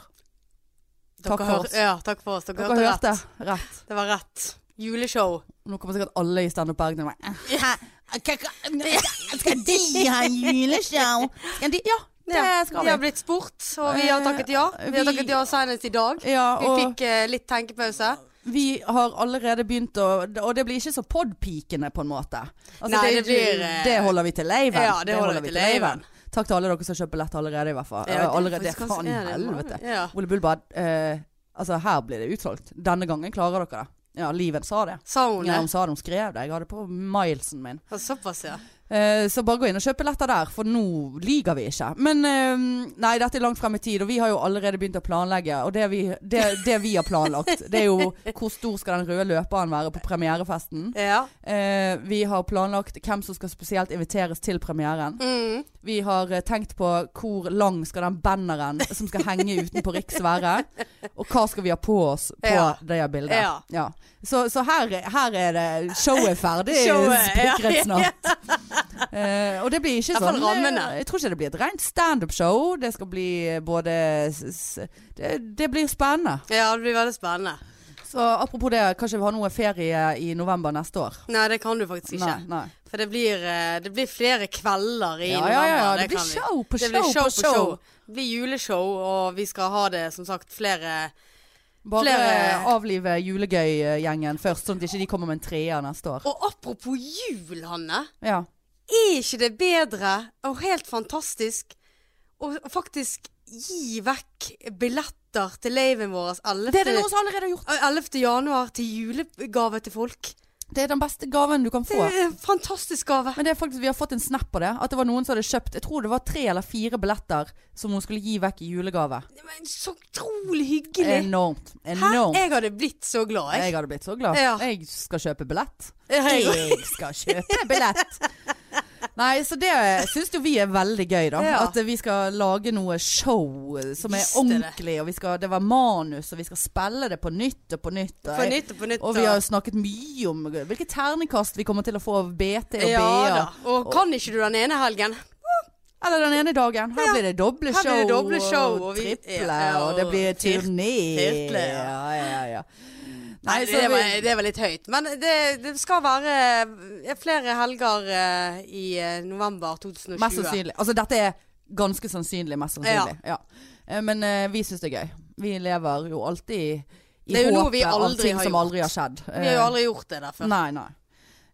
Speaker 1: Dere
Speaker 2: takk for
Speaker 1: hør-
Speaker 2: oss.
Speaker 1: Ja, takk for oss. Dere,
Speaker 2: Dere
Speaker 1: hørte
Speaker 2: hørte
Speaker 1: rett.
Speaker 2: rett.
Speaker 1: Det var rett. Juleshow.
Speaker 2: Nå kommer sikkert alle i Stand Up Bergen og bare "Eh,
Speaker 1: Ja.
Speaker 2: Skal de ha juleshow? Skal de Ja, det skal
Speaker 1: Vi har
Speaker 2: vi. Eh,
Speaker 1: blitt spurt, og vi har takket ja. Vi har
Speaker 2: Vi-
Speaker 1: takket ja senest i dag.
Speaker 2: Ja,
Speaker 1: Vi
Speaker 2: og
Speaker 1: fikk eh, litt tenkepause.
Speaker 2: vi har allerede begynt å Og det blir ikke så podpikende, på en måte. Altså,
Speaker 1: Nei,
Speaker 2: det,
Speaker 1: det blir, eh,
Speaker 2: det holder vi til leiven.
Speaker 1: Ja, det holder vi til leiven.
Speaker 2: Takk til alle dere som kjøper billett allerede, i hvert fall.
Speaker 1: Ja, det er
Speaker 2: allerede, det
Speaker 1: faktisk
Speaker 2: er
Speaker 1: ganske-
Speaker 2: faen
Speaker 1: ja, det er
Speaker 2: helvete.
Speaker 1: mange. Ja.
Speaker 2: Ole Bull bare eh, Altså, her blir det utsolgt. Denne gangen klarer dere det. Ja, Liven sa det.
Speaker 1: Sa hun
Speaker 2: Ja, hun
Speaker 1: det?
Speaker 2: sa det, hun skrev det. Jeg hadde på milesen min.
Speaker 1: Ja, Såpass, ja.
Speaker 2: Eh, så bare gå inn og kjøp billetter der, for nå lyver vi ikke. Men eh, nei, dette er langt frem i tid, og vi har jo allerede begynt å planlegge. Og det vi, det, det vi har planlagt, det er jo hvor stor skal den røde løperen være på premierefesten.
Speaker 1: Ja.
Speaker 2: Eh, vi har planlagt hvem som skal spesielt inviteres til premieren.
Speaker 1: Mm.
Speaker 2: Vi har eh, tenkt på hvor lang skal den banneren som skal henge utenpå Riks være. Og hva skal vi ha på oss på
Speaker 1: Ja.
Speaker 2: det bildet.
Speaker 1: Ja.
Speaker 2: Så, så her, her er det Showet er ferdig
Speaker 1: <laughs> Showet, <laughs>
Speaker 2: spikret
Speaker 1: ja.
Speaker 2: snart. Eh, og det blir ikke
Speaker 1: I hvert fall
Speaker 2: sånn
Speaker 1: rammene.
Speaker 2: Jeg tror ikke det blir et rent standup-show. Det skal bli eh, både s- s- det, det blir spennende.
Speaker 1: ja, det blir veldig spennende.
Speaker 2: Så apropos det, kanskje vi har noe ferie i november neste år.
Speaker 1: Nei, det kan du faktisk ikke.
Speaker 2: Nei, nei.
Speaker 1: For det blir, eh, det blir flere kvelder i
Speaker 2: Ja,
Speaker 1: november.
Speaker 2: ja, ja, ja.
Speaker 1: kan
Speaker 2: Det blir
Speaker 1: vi.
Speaker 2: show på
Speaker 1: Det blir
Speaker 2: show på show.
Speaker 1: Det blir juleshow, og vi skal ha det som sagt flere
Speaker 2: Bare
Speaker 1: Flere-
Speaker 2: avlive julegøy-gjengen først, sånn at ikke de kommer med en treer neste år.
Speaker 1: Og apropos jul, Hanne.
Speaker 2: Ja.
Speaker 1: Er ikke det bedre og helt fantastisk å faktisk gi vekk billetter til laven vår 11.
Speaker 2: Det er det noen som allerede har gjort.
Speaker 1: 11. januar til julegave til folk?
Speaker 2: Det er den beste gaven du kan
Speaker 1: Det
Speaker 2: få.
Speaker 1: er en fantastisk gave.
Speaker 2: Men det er faktisk, vi har fått en snap på det. At det var noen som hadde kjøpt Jeg tror det var tre eller fire billetter som hun skulle gi vekk i julegave.
Speaker 1: Men så utrolig hyggelig.
Speaker 2: Enormt.
Speaker 1: Hæ?
Speaker 2: Enormt.
Speaker 1: Jeg hadde blitt så glad, jeg.
Speaker 2: Jeg hadde blitt så glad.
Speaker 1: Ja.
Speaker 2: Jeg skal kjøpe billett.
Speaker 1: Jeg-
Speaker 2: Jeg skal kjøpe billett! Nei, så det syns jo vi er veldig gøy, da.
Speaker 1: Ja.
Speaker 2: At vi skal lage noe show som er
Speaker 1: Visst er det.
Speaker 2: ordentlig. Og vi skal, det var manus, og vi skal spille det på nytt og på nytt. og
Speaker 1: På
Speaker 2: jeg-
Speaker 1: nytt og på nytt.
Speaker 2: Og vi har snakket mye om hvilke terningkast vi kommer til å få av BT og
Speaker 1: ja,
Speaker 2: BA.
Speaker 1: da. Og kan ikke du den ene helgen?
Speaker 2: Eller den ene dagen. Her
Speaker 1: Ja.
Speaker 2: blir det doble
Speaker 1: Her
Speaker 2: show,
Speaker 1: blir det doble show,
Speaker 2: og
Speaker 1: og vi-
Speaker 2: triple,
Speaker 1: ja,
Speaker 2: og det blir
Speaker 1: og tir-
Speaker 2: turné.
Speaker 1: tirtle, ja.
Speaker 2: ja, ja, ja.
Speaker 1: Nei,
Speaker 2: Nei, så
Speaker 1: det,
Speaker 2: vi,
Speaker 1: var, det var litt høyt. Men det, det skal være eh, flere helger eh, i eh, november 2020.
Speaker 2: mest sannsynlig. Altså dette er ganske sannsynlig, mest sannsynlig. Ja. Eh, Men eh, vi syns det er gøy. Vi lever jo alltid i, i
Speaker 1: Det er jo noe vi
Speaker 2: håpet av
Speaker 1: aldri
Speaker 2: ting
Speaker 1: har
Speaker 2: som
Speaker 1: gjort.
Speaker 2: aldri har skjedd.
Speaker 1: Vi har jo aldri gjort det der før.
Speaker 2: eh, Nei, nei.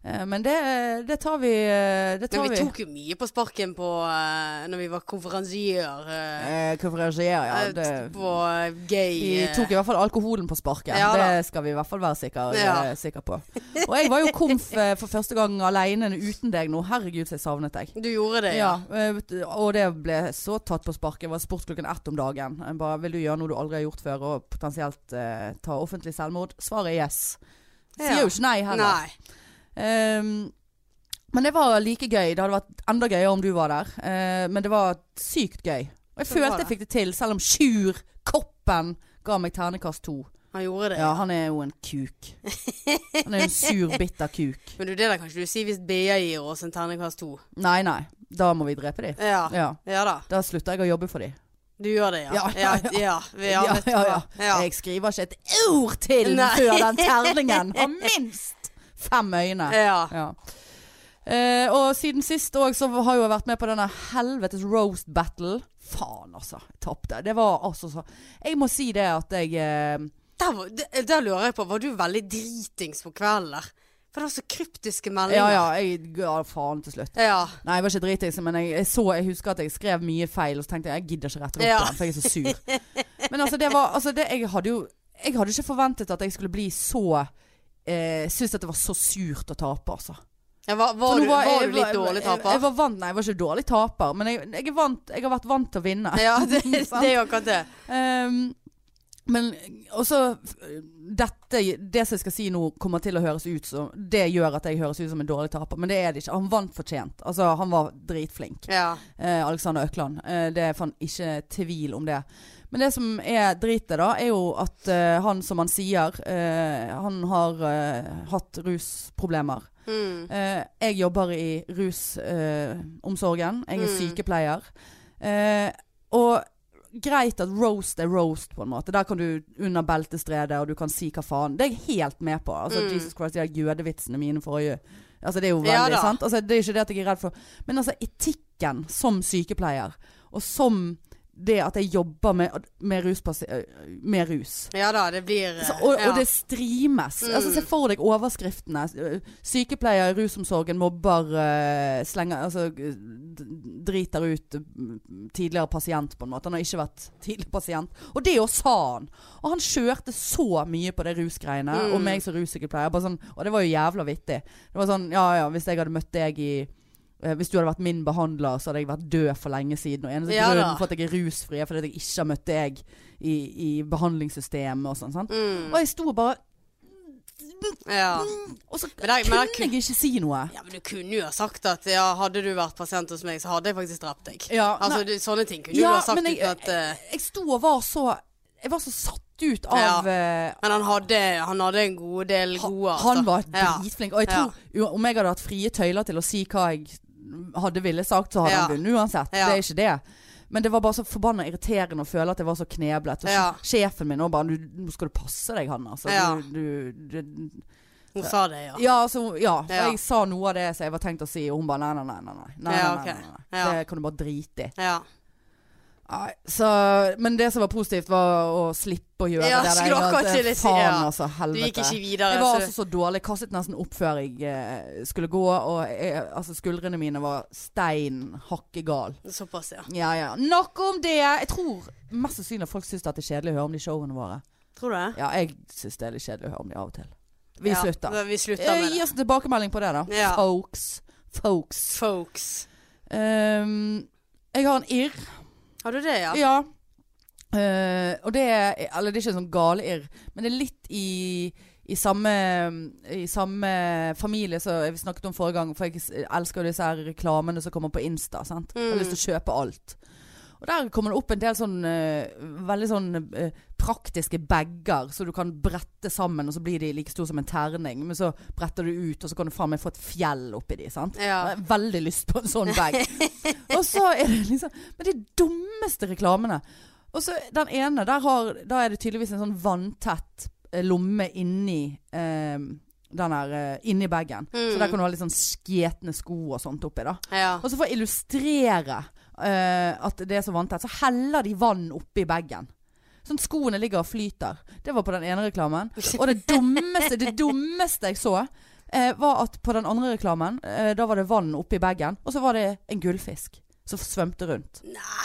Speaker 2: Eh, Men det, det tar vi eh, Det tar
Speaker 1: Men vi
Speaker 2: vi.
Speaker 1: tok jo mye på sparken på eh, Når vi var konferansier eh,
Speaker 2: Eh, Konferansier, ja.
Speaker 1: eh,
Speaker 2: Det,
Speaker 1: på eh, gay
Speaker 2: Vi
Speaker 1: eh,
Speaker 2: tok i hvert fall alkoholen på sparket.
Speaker 1: Ja da.
Speaker 2: det skal vi i hvert fall være sikre,
Speaker 1: Ja.
Speaker 2: eh, sikre på. Og jeg var jo komf eh, for første gang aleine uten deg nå. Herregud, så jeg savnet deg.
Speaker 1: Du gjorde det, ja.
Speaker 2: Ja, eh, vet du, og det ble så tatt på sparket. Det var spurt klokken ett om dagen. Jeg bare 'Vil du gjøre noe du aldri har gjort før, og potensielt eh, ta offentlig selvmord?' Svaret er yes. Sier
Speaker 1: Ja.
Speaker 2: jo ikke nei heller.
Speaker 1: Nei.
Speaker 2: Ehm, men det var like gøy. Det hadde vært enda gøyere om du var der. Eh, men det var sykt gøy. Og jeg
Speaker 1: Så bra,
Speaker 2: følte jeg
Speaker 1: da.
Speaker 2: fikk det til, selv om Sjur Koppen ga meg ternekast to.
Speaker 1: Han gjorde det.
Speaker 2: Ja, han er jo en kuk. Han er jo en sur, bitter kuk.
Speaker 1: Men du, det der kan ikke du si hvis BA gir oss en terningkast to.
Speaker 2: Nei, nei. Da må vi drepe de.
Speaker 1: <laughs> Ja.
Speaker 2: Ja.
Speaker 1: ja da.
Speaker 2: Da slutter jeg å jobbe for de.
Speaker 1: Du gjør det, ja.
Speaker 2: Ja, ja, ja.
Speaker 1: ja, vi- ja,
Speaker 2: ja,
Speaker 1: vet du
Speaker 2: ja, ja.
Speaker 1: hva. ja.
Speaker 2: Jeg skriver ikke et ord til
Speaker 1: Nei.
Speaker 2: før den terningen
Speaker 1: <laughs>
Speaker 2: har minst fem øyne.
Speaker 1: ja.
Speaker 2: Ja. Eh, og siden sist òg så har jo jeg vært med på denne helvetes roast battle. Faen, altså. Jeg tapte. Det var altså så Jeg må si det at jeg eh,
Speaker 1: Der, var- der, der lurer jeg på, var du veldig dritings på kvelden der? For det var så kryptiske
Speaker 2: Ja,
Speaker 1: meldinger.
Speaker 2: ja. Jeg ga faen til slutt.
Speaker 1: ja.
Speaker 2: Nei, jeg var ikke dritings, men jeg, jeg, så, jeg husker at jeg skrev mye feil, og så tenkte jeg jeg gidder ikke rette det opp
Speaker 1: Ja.
Speaker 2: igjen, for jeg er så sur. Men altså, det var altså, det, jeg, hadde jo, jeg hadde ikke forventet at jeg skulle bli så eh, Syns at det var så surt å tape, altså.
Speaker 1: Ja, var,
Speaker 2: For
Speaker 1: var,
Speaker 2: nå
Speaker 1: du, var,
Speaker 2: jeg-
Speaker 1: du litt
Speaker 2: jeg-
Speaker 1: dårlig
Speaker 2: Jeg, jeg
Speaker 1: taper?
Speaker 2: var vant, nei, jeg var ikke dårlig taper, men jeg, jeg, er vant, jeg har vært vant til å vinne.
Speaker 1: Ja,
Speaker 2: <laughs>
Speaker 1: det, det
Speaker 2: Sant?
Speaker 1: er jo akkurat det.
Speaker 2: Ehm, men også dette, Det som jeg skal si nå, kommer til å høres ut som Det gjør at jeg høres ut som en dårlig taper, men det er det ikke. Han vant fortjent. Altså, han var dritflink.
Speaker 1: Ja.
Speaker 2: Eh, Alexander Økland. Eh, det er fan ikke tvil om det. Men det som er dritet, da, er jo at eh, han, som han sier, eh, han har eh, hatt rusproblemer.
Speaker 1: Mm.
Speaker 2: Eh, jeg jobber i rusomsorgen. jeg er
Speaker 1: Mm.
Speaker 2: sykepleier. Eh, og greit at roast er roast, på en måte. Der kan du under beltestredet, og du kan si hva faen. Det er jeg helt med på. Altså,
Speaker 1: Mm.
Speaker 2: Jesus Christ, de der jødevitsene mine forrige Altså, det er jo
Speaker 1: Ja
Speaker 2: veldig
Speaker 1: da.
Speaker 2: sant. Altså, det er ikke det at jeg er redd for Men altså, etikken som sykepleier, og som det at jeg jobber med, med, ruspasi- øh, med rus.
Speaker 1: Ja da, det blir eh,
Speaker 2: Så, og,
Speaker 1: ja. Mm.
Speaker 2: og det streames. Altså, se for deg overskriftene. Øh, Sykepleier i rusomsorgen mobber øh, slenger Altså øh, d- driter ut øh, tidligere pasient, på en måte. Han har ikke vært tidligere pasient. Og det jo sa han. Og han kjørte så mye på det rusgreiene.
Speaker 1: Mm.
Speaker 2: Og meg som russykepleier. Bare sånn, og det var jo jævla vittig. Det var sånn Ja ja, hvis jeg hadde møtt deg i eh, hvis du hadde vært min behandler, så hadde jeg vært død for lenge siden. Og eneste
Speaker 1: Ja da.
Speaker 2: grunnen for at jeg er rusfri, er fordi at jeg ikke har møtt deg i, i behandlingssystemet og sånn. sant?
Speaker 1: mm,
Speaker 2: Og jeg sto og bare
Speaker 1: ja.
Speaker 2: Og så
Speaker 1: Men det- men
Speaker 2: kunne
Speaker 1: det kun-
Speaker 2: jeg ikke si noe.
Speaker 1: ja, men du kunne jo ha sagt at ja, hadde du vært pasient hos meg, så hadde jeg faktisk drept deg.
Speaker 2: Ja,
Speaker 1: altså,
Speaker 2: nei.
Speaker 1: du, sånne ting kunne
Speaker 2: Ja,
Speaker 1: du ha sagt
Speaker 2: men jeg-
Speaker 1: uten at eh,
Speaker 2: Jeg sto og var så Jeg var så satt ut av eh,
Speaker 1: Men han hadde, han hadde en god del
Speaker 2: ha-
Speaker 1: gode, altså.
Speaker 2: Han var
Speaker 1: Ja.
Speaker 2: dritflink. Og jeg tror jo, om jeg hadde hatt frie tøyler til å si hva jeg hadde ville sagt, så hadde
Speaker 1: Ja.
Speaker 2: han vunnet uansett.
Speaker 1: Ja.
Speaker 2: Det er ikke det. Men det var bare så forbanna irriterende å føle at jeg var så kneblet. Og
Speaker 1: Ja.
Speaker 2: Sjefen min òg bare du, 'Nå skal du passe deg, Hanna'. Altså,
Speaker 1: Ja.
Speaker 2: du, du, du,
Speaker 1: Hun sa det, ja.
Speaker 2: Ja, altså, ja. for
Speaker 1: Ja.
Speaker 2: jeg sa noe av det som jeg var tenkt å si, og hun bare nei, nei, nei. nei, nei, nei,
Speaker 1: Ja,
Speaker 2: nei,
Speaker 1: ok.
Speaker 2: nei, nei,
Speaker 1: Ja.
Speaker 2: Det kan du bare drite i.
Speaker 1: Ja.
Speaker 2: Nei, så, men det som var positivt, var å slippe å gjøre
Speaker 1: Ja,
Speaker 2: det. der.
Speaker 1: skulle akkurat
Speaker 2: Jeg-
Speaker 1: til å si,
Speaker 2: faen,
Speaker 1: ja.
Speaker 2: altså.
Speaker 1: Du
Speaker 2: Helvete.
Speaker 1: gikk ikke videre.
Speaker 2: jeg var
Speaker 1: så
Speaker 2: altså så dårlig. Jeg kastet nesten opp før jeg eh, skulle gå, og jeg, altså, skuldrene mine var stein hakke gal.
Speaker 1: du, såpass, ja.
Speaker 2: Ja, ja. Nok om det! Jeg tror mest sannsynlig at folk syns det er kjedelig å høre om de showene våre.
Speaker 1: Tror du det?
Speaker 2: Ja, jeg syns det er litt kjedelig å høre om de av og til. Vi
Speaker 1: Ja,
Speaker 2: slutter.
Speaker 1: da- Vi slutter
Speaker 2: Eh,
Speaker 1: med
Speaker 2: Gi
Speaker 1: det.
Speaker 2: oss en tilbakemelding på det, da.
Speaker 1: Ja.
Speaker 2: Folks. Folks.
Speaker 1: Folks.
Speaker 2: Ehm, jeg har en irr.
Speaker 1: Har du det, ja?
Speaker 2: Ja. Eh, og det er Eller det er ikke sånn gale irr, men det er litt i i samme, I samme familie som vi snakket om forrige gang, for jeg s- elsker jo disse her reklamene som kommer på Insta. Sant? Jeg har
Speaker 1: Mm.
Speaker 2: lyst til å kjøpe alt. Og der kommer det opp en del sånn eh, veldig sånn eh, praktiske bager som du kan brette sammen, og så blir de like store som en terning. Men så bretter du ut, og så kan du faen meg få et fjell oppi de. Sant?
Speaker 1: Ja.
Speaker 2: Jeg har veldig lyst på en
Speaker 1: <laughs>
Speaker 2: sånn bag. og så er det liksom Men de dummeste reklamene. Og så den ene, der har Da er det tydeligvis en sånn vanntett eh, lomme inni eh, den her eh, inni bagen. Så
Speaker 1: Mm.
Speaker 2: der kan du ha litt sånn skjetne sko og sånt oppi, da.
Speaker 1: ja.
Speaker 2: Og så for å illustrere eh, at det er så vanntett, så heller de vann oppi bagen. Sånn at skoene ligger og flyter. Det var på den ene reklamen. Og det dummeste, det dummeste jeg så, eh, var at på den andre reklamen, eh, da var det vann oppi bagen, og så var det en gullfisk som svømte rundt.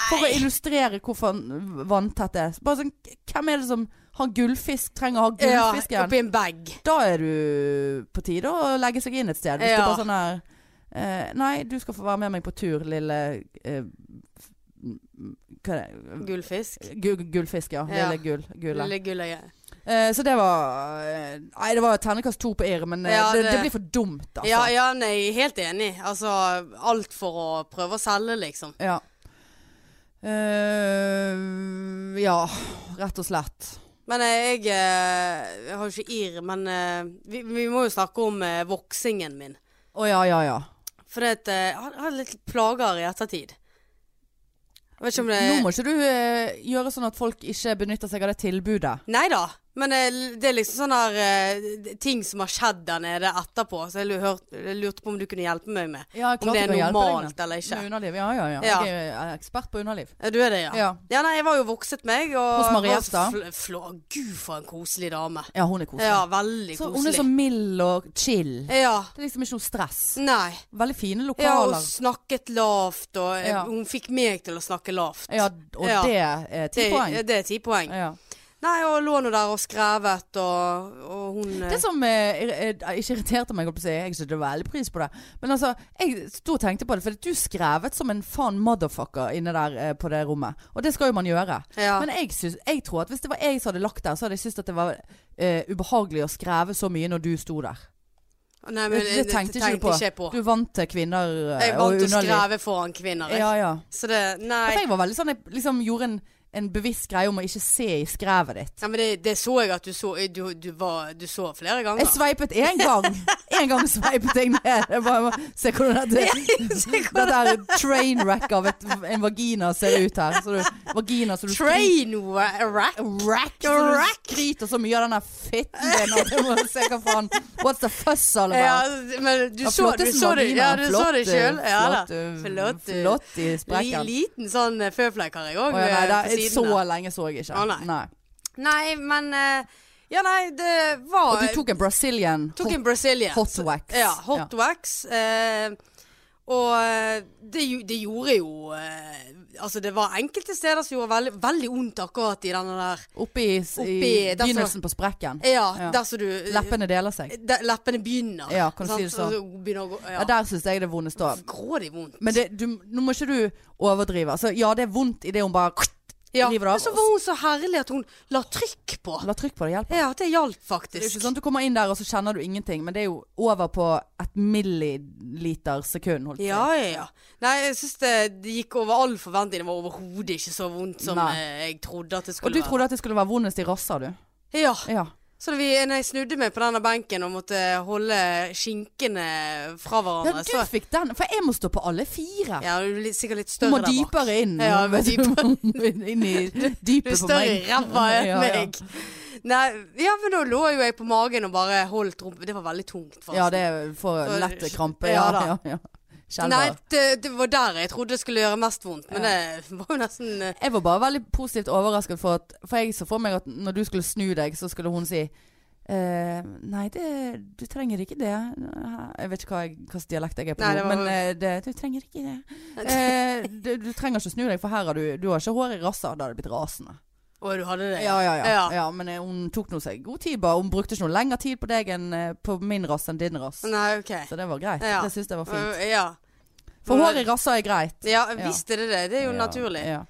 Speaker 2: For å illustrere hvorfor han- vanntett det er. Bare sånn, hvem er det som har gullfisk, trenger å ha
Speaker 1: Ja,
Speaker 2: gullfisken?
Speaker 1: oppi en bag.
Speaker 2: da er du på tide å legge seg inn et sted. Hvis
Speaker 1: Ja.
Speaker 2: du bare sånn her eh, Nei, du skal få være med meg på tur, lille eh, f- m- Hva er det?
Speaker 1: Gullfisk.
Speaker 2: Gu- gu- Gullfisk, ja.
Speaker 1: Ja.
Speaker 2: Lille gull. Gulle.
Speaker 1: Lille gulløye.
Speaker 2: Eh, så det var eh, Nei, det var ternekast to på irr, men eh,
Speaker 1: Ja,
Speaker 2: det,
Speaker 1: det-
Speaker 2: det, blir for dumt, altså.
Speaker 1: Ja, ja, nei, helt enig. Altså, alt for å prøve å selge, liksom.
Speaker 2: Ja. Eh, ja, rett og slett.
Speaker 1: Men eh, jeg, eh, jeg har jo ikke irr, men eh, vi, vi må jo snakke om eh, voksingen min.
Speaker 2: Å ja, ja, ja.
Speaker 1: For det at, eh, jeg har- jeg har litt plager i ettertid. Jeg vet ikke om det
Speaker 2: Nå må ikke du eh, gjøre sånn at folk ikke benytter seg av det tilbudet.
Speaker 1: Nei da. Men eh, det er liksom sånne her, eh, ting som har skjedd der nede etterpå, så jeg lu- hørt- jeg lurte på om du kunne hjelpe meg med.
Speaker 2: Ja, klart
Speaker 1: Om det
Speaker 2: jeg
Speaker 1: er
Speaker 2: kan hjelpe deg med.
Speaker 1: normalt eller ikke.
Speaker 2: Med underliv, ja, ja, ja.
Speaker 1: Ja.
Speaker 2: Jeg er ekspert på underliv.
Speaker 1: Eh, Du er det, ja.
Speaker 2: Ja.
Speaker 1: Ja, nei, jeg var jo vokset meg. Og
Speaker 2: Hos Mariette,
Speaker 1: var
Speaker 2: da?
Speaker 1: fl- fl- Gud, for en koselig dame.
Speaker 2: Ja, hun er koselig.
Speaker 1: Ja, veldig
Speaker 2: så, hun er
Speaker 1: koselig.
Speaker 2: så mild og chill.
Speaker 1: Ja.
Speaker 2: Det er liksom ikke noe stress.
Speaker 1: Nei.
Speaker 2: Veldig fine
Speaker 1: Ja, hun
Speaker 2: lokaler.
Speaker 1: snakket lavt, og eh,
Speaker 2: Ja.
Speaker 1: hun fikk meg til å snakke lavt.
Speaker 2: Ja, og
Speaker 1: Ja.
Speaker 2: det er ti
Speaker 1: Det-
Speaker 2: poeng.
Speaker 1: Det er ti poeng.
Speaker 2: Ja.
Speaker 1: Nei, og lå nå der og skrevet, og, og hun eh,
Speaker 2: Det som eh, irri- eh, ikke irriterte meg, holdt på å si, jeg setter veldig pris på det, men altså, jeg sto og tenkte på det, for du skrevet som en faen motherfucker inne der eh, på det rommet. Og det skal jo man gjøre.
Speaker 1: ja.
Speaker 2: Men jeg, syns- jeg tror at hvis det var jeg som hadde lagt der, så hadde jeg syntes at det var eh, ubehagelig å skreve så mye når du sto der.
Speaker 1: Nei, men eh,
Speaker 2: Det, det tenkte ikke du på.
Speaker 1: jeg på.
Speaker 2: Du er vant til kvinner eh,
Speaker 1: Jeg vant
Speaker 2: og
Speaker 1: til å
Speaker 2: underliv.
Speaker 1: skreve foran kvinner, jeg.
Speaker 2: Ja, ja.
Speaker 1: Så det
Speaker 2: For
Speaker 1: Nei.
Speaker 2: jeg var veldig sånn Jeg liksom gjorde en en bevisst greie om å ikke se i skrevet ditt.
Speaker 1: Ja, men det, det så jeg at du så Du, du, var, du så flere ganger.
Speaker 2: Jeg sveipet én
Speaker 1: <laughs>
Speaker 2: gang. Én gang sveipet jeg ned. Jeg bare, se hvordan dette, <laughs> dette er et trainwreck av et, en vagina ser ut her. Så du, vagina så du
Speaker 1: Train wa- rack.
Speaker 2: Rack, så du skryter så mye av denne fitten din at jeg må se hva faen What's the fuss all about?
Speaker 1: Ja, men du
Speaker 2: Ja,
Speaker 1: så, du
Speaker 2: flotte
Speaker 1: så det, ja, du så
Speaker 2: vaginaer,
Speaker 1: det
Speaker 2: flott,
Speaker 1: sjøl. Ja da.
Speaker 2: flott, eh,
Speaker 1: Flott, eh,
Speaker 2: Flott i
Speaker 1: Li,
Speaker 2: sprekken.
Speaker 1: liten sånn eh, føflekk har jeg
Speaker 2: Å,
Speaker 1: òg.
Speaker 2: ja, nei, da, så
Speaker 1: der.
Speaker 2: lenge så jeg ikke.
Speaker 1: Å, nei. Nei, men eh, Ja, nei, det var
Speaker 2: Og du tok en Brazilian
Speaker 1: tok
Speaker 2: hot,
Speaker 1: en Brazilian. altså.
Speaker 2: hot wax.
Speaker 1: Ja, hot wax. Eh, og eh, det, gjo- det gjorde jo eh, Altså, det var enkelte steder som gjorde veldig, veldig vondt akkurat i denne der
Speaker 2: Oppi,
Speaker 1: Oppi,
Speaker 2: i,
Speaker 1: altså- der så-
Speaker 2: begynnelsen på sprekken.
Speaker 1: Ja,
Speaker 2: Ja.
Speaker 1: der som du
Speaker 2: Leppene deler seg.
Speaker 1: de, Leppene begynner.
Speaker 2: Ja, kan du
Speaker 1: sant?
Speaker 2: si det sånn?
Speaker 1: Og så begynner å gå
Speaker 2: Ja,
Speaker 1: ja.
Speaker 2: der syns jeg det er vondest òg.
Speaker 1: Grådig vondt.
Speaker 2: Men det, du, nå må ikke du overdrive. Altså, ja, det er vondt idet hun bare
Speaker 1: Ja.
Speaker 2: river det
Speaker 1: Men
Speaker 2: av.
Speaker 1: så var hun så herlig at hun la trykk på.
Speaker 2: La trykk på det, hjelp.
Speaker 1: Ja, det hjalp
Speaker 2: Det er jo
Speaker 1: faktisk.
Speaker 2: ikke sånn at du kommer inn der og så kjenner du ingenting, men det er jo over på et milliliter sekund. Holdt jeg på
Speaker 1: Ja,
Speaker 2: å si.
Speaker 1: ja, ja. Nei, jeg syns det, det gikk over all forventning. Det var overhodet ikke så vondt som
Speaker 2: Nei.
Speaker 1: eh, jeg trodde at det
Speaker 2: Og
Speaker 1: skulle
Speaker 2: du trodde at det skulle være vondest i rassa, du.
Speaker 1: være. Ja.
Speaker 2: Ja.
Speaker 1: Så da vi, når jeg snudde meg på denne benken og måtte holde skinkene fra
Speaker 2: ja,
Speaker 1: hverandre,
Speaker 2: du fikk den, for jeg må stå på alle fire.
Speaker 1: så Ja, du er litt- sikkert litt
Speaker 2: Du
Speaker 1: større
Speaker 2: må
Speaker 1: der bak.
Speaker 2: dypere inn.
Speaker 1: Ja,
Speaker 2: vet
Speaker 1: jeg
Speaker 2: <laughs> du.
Speaker 1: må
Speaker 2: inn i
Speaker 1: <laughs> Du er
Speaker 2: dypet på
Speaker 1: større i
Speaker 2: meg.
Speaker 1: ræva enn
Speaker 2: <laughs> Ja, ja.
Speaker 1: meg. Nei, ja, men da lå jo jeg på magen og bare holdt rumpa Det var veldig tungt, forresten.
Speaker 2: Ja, det får
Speaker 1: Så-
Speaker 2: lett krampe.
Speaker 1: Ja,
Speaker 2: Ja, ja,
Speaker 1: da.
Speaker 2: ja. Skjelver.
Speaker 1: Nei, det, det var der jeg trodde det skulle gjøre mest vondt, men det var jo nesten eh,
Speaker 2: Jeg var bare veldig positivt overrasket for at For jeg så for meg at når du skulle snu deg, så skulle hun si eh, nei, det, du trenger ikke det. Jeg vet ikke hva jeg, hvilken dialekt jeg er på,
Speaker 1: Nei,
Speaker 2: nå,
Speaker 1: det var-
Speaker 2: men eh, det, du trenger ikke
Speaker 1: <laughs>
Speaker 2: det. Eh, du, du trenger ikke snu deg, for her har du, du har ikke hår i rassa. Da hadde det blitt rasende.
Speaker 1: Å, du hadde det?
Speaker 2: Ja, ja, ja. ja.
Speaker 1: Ja.
Speaker 2: men eh, hun tok nå seg god tid, bare. Hun brukte ikke noe lengre tid på deg enn eh, på min rass enn din rass.
Speaker 1: Nei, OK.
Speaker 2: Så det var greit.
Speaker 1: Ja.
Speaker 2: Det syns jeg var fint.
Speaker 1: Øh, Ja.
Speaker 2: For hår i rassa er greit.
Speaker 1: Ja, visste det det. Det er jo
Speaker 2: Ja,
Speaker 1: naturlig.
Speaker 2: Ja.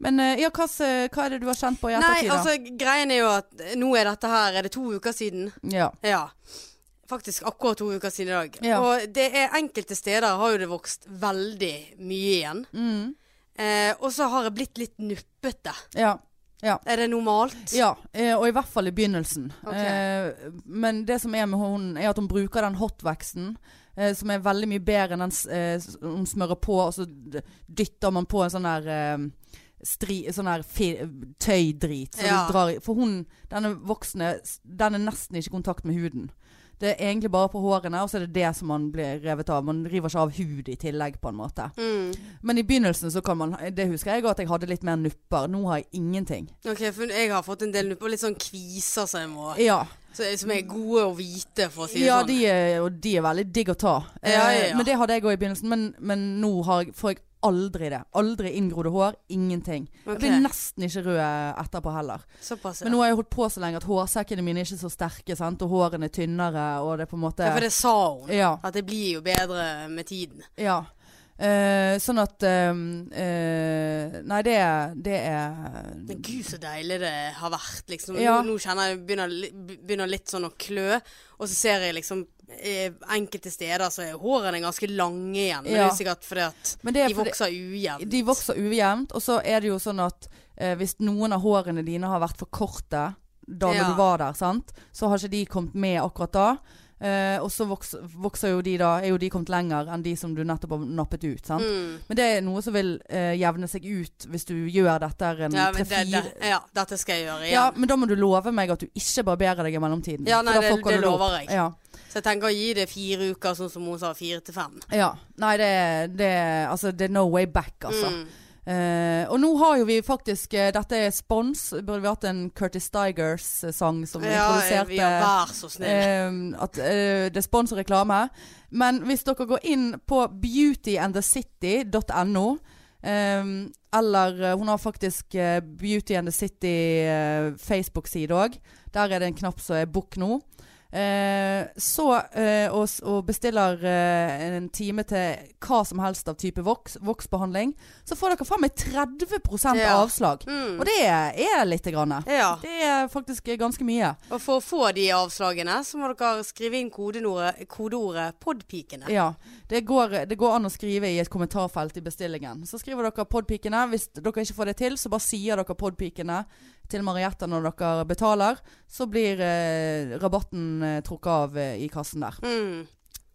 Speaker 2: Men eh, ja, hva, s- hva er det du har kjent på
Speaker 1: Nei,
Speaker 2: i ettertid? da?
Speaker 1: altså, greien er jo at nå er dette her Er det to uker siden?
Speaker 2: ja.
Speaker 1: Ja. Faktisk akkurat to uker siden i dag.
Speaker 2: Ja.
Speaker 1: Og det er enkelte steder har jo det vokst veldig mye igjen.
Speaker 2: Mm.
Speaker 1: Eh, og så har jeg blitt litt nuppete.
Speaker 2: ja.
Speaker 1: Er det normalt?
Speaker 2: Ja, eh, og i hvert fall i begynnelsen.
Speaker 1: Ok.
Speaker 2: Eh, men det som er med hun, er at hun bruker den hotvexen, eh, som er veldig mye bedre enn den s- eh, s- hun smører på, og så d- dytter man på en sånn der eh, stri, sånn der fi, tøydrit. Så
Speaker 1: Ja.
Speaker 2: du drar, i- for hun, denne voksne, s- den er nesten ikke i kontakt med huden. Det er egentlig bare på hårene, og så er det det som man blir revet av. Man river ikke av hud i tillegg, på en måte.
Speaker 1: Mm.
Speaker 2: Men i begynnelsen så kan man Det husker jeg at jeg hadde litt mer nupper. Nå har jeg ingenting.
Speaker 1: Ok, for jeg har fått en del nupper. Litt sånn kviser som jeg må
Speaker 2: Ja.
Speaker 1: så, Som er gode å vite, for å si det
Speaker 2: Ja,
Speaker 1: sånn.
Speaker 2: de er, og de er veldig digg å ta. Eh,
Speaker 1: Ja, ja, ja.
Speaker 2: Men det hadde jeg òg i begynnelsen. Men, men nå har jeg, får jeg aldri det. Aldri inngrodde hår. Ingenting.
Speaker 1: Ok.
Speaker 2: Jeg blir nesten ikke rød etterpå heller.
Speaker 1: Såpass, ja.
Speaker 2: Men nå har jeg holdt på så lenge at hårsekkene mine er ikke så sterke, sant? og hårene er tynnere, og det er på en måte
Speaker 1: ja, for det sa hun.
Speaker 2: Ja.
Speaker 1: At det blir jo bedre med tiden.
Speaker 2: ja. Eh, sånn at eh, eh, Nei, det, det er
Speaker 1: Men gud, så deilig det har vært, liksom.
Speaker 2: Ja.
Speaker 1: Nå, nå kjenner jeg begynner, li- begynner litt sånn å klø, og så ser jeg liksom eh, enkelte steder så er hårene ganske lange igjen. Men det
Speaker 2: Ja.
Speaker 1: er jo sikkert fordi at
Speaker 2: Men det er
Speaker 1: de
Speaker 2: fordi-
Speaker 1: vokser ujevnt.
Speaker 2: De vokser ujevnt, og så er det jo sånn at eh, hvis noen av hårene dine har vært for korte da når
Speaker 1: Ja.
Speaker 2: du var der, sant? så har ikke de kommet med akkurat da. Eh, og så vokser, vokser jo de da Er jo de kommet lenger enn de som du nettopp har nappet ut. Sant?
Speaker 1: Mm.
Speaker 2: Men det er noe som vil eh, jevne seg ut hvis du gjør dette her en
Speaker 1: Ja, men det,
Speaker 2: tre-fire
Speaker 1: det, ja, dette skal jeg gjøre
Speaker 2: ja,
Speaker 1: igjen.
Speaker 2: men da må du love meg at du ikke barberer deg i mellomtiden.
Speaker 1: Ja,
Speaker 2: for
Speaker 1: nei,
Speaker 2: da
Speaker 1: det-
Speaker 2: fucker
Speaker 1: det
Speaker 2: du opp.
Speaker 1: lover jeg.
Speaker 2: Ja.
Speaker 1: Så jeg tenker å gi det fire uker, sånn som hun sa, fire til fem.
Speaker 2: ja. Nei, det, det, altså, det er no way back, altså.
Speaker 1: Mm.
Speaker 2: Eh, og nå har jo vi faktisk eh, Dette er spons. Burde vi hatt en Curtis Stigers-sang som vi
Speaker 1: Ja, eh, vi har
Speaker 2: introduserte?
Speaker 1: vær så snill.
Speaker 2: eh, at eh, det er spons og reklame. Men hvis dere går inn på beautyandthecity.no eh, Eller eh, hun har faktisk eh, Beauty and the City eh, Facebook-side òg. Der er det en knapp som er book nå. Eh, så eh, og, s- og bestiller eh, en time til hva som helst av type voks, voksbehandling, så får dere faen meg 30
Speaker 1: Ja.
Speaker 2: avslag.
Speaker 1: Mm.
Speaker 2: Og det er lite grann.
Speaker 1: Ja.
Speaker 2: Det er faktisk ganske mye.
Speaker 1: Og for å få de avslagene, så må dere skrive inn kodeordet, kodeordet 'podpikene'.
Speaker 2: Ja. Det går, det går an å skrive i et kommentarfelt i bestillingen. Så skriver dere 'Podpikene'. Hvis dere ikke får det til, så bare sier dere 'Podpikene' til Marietta når dere betaler. Så blir eh, rabatten eh, trukket av eh, i kassen der.
Speaker 1: Mm.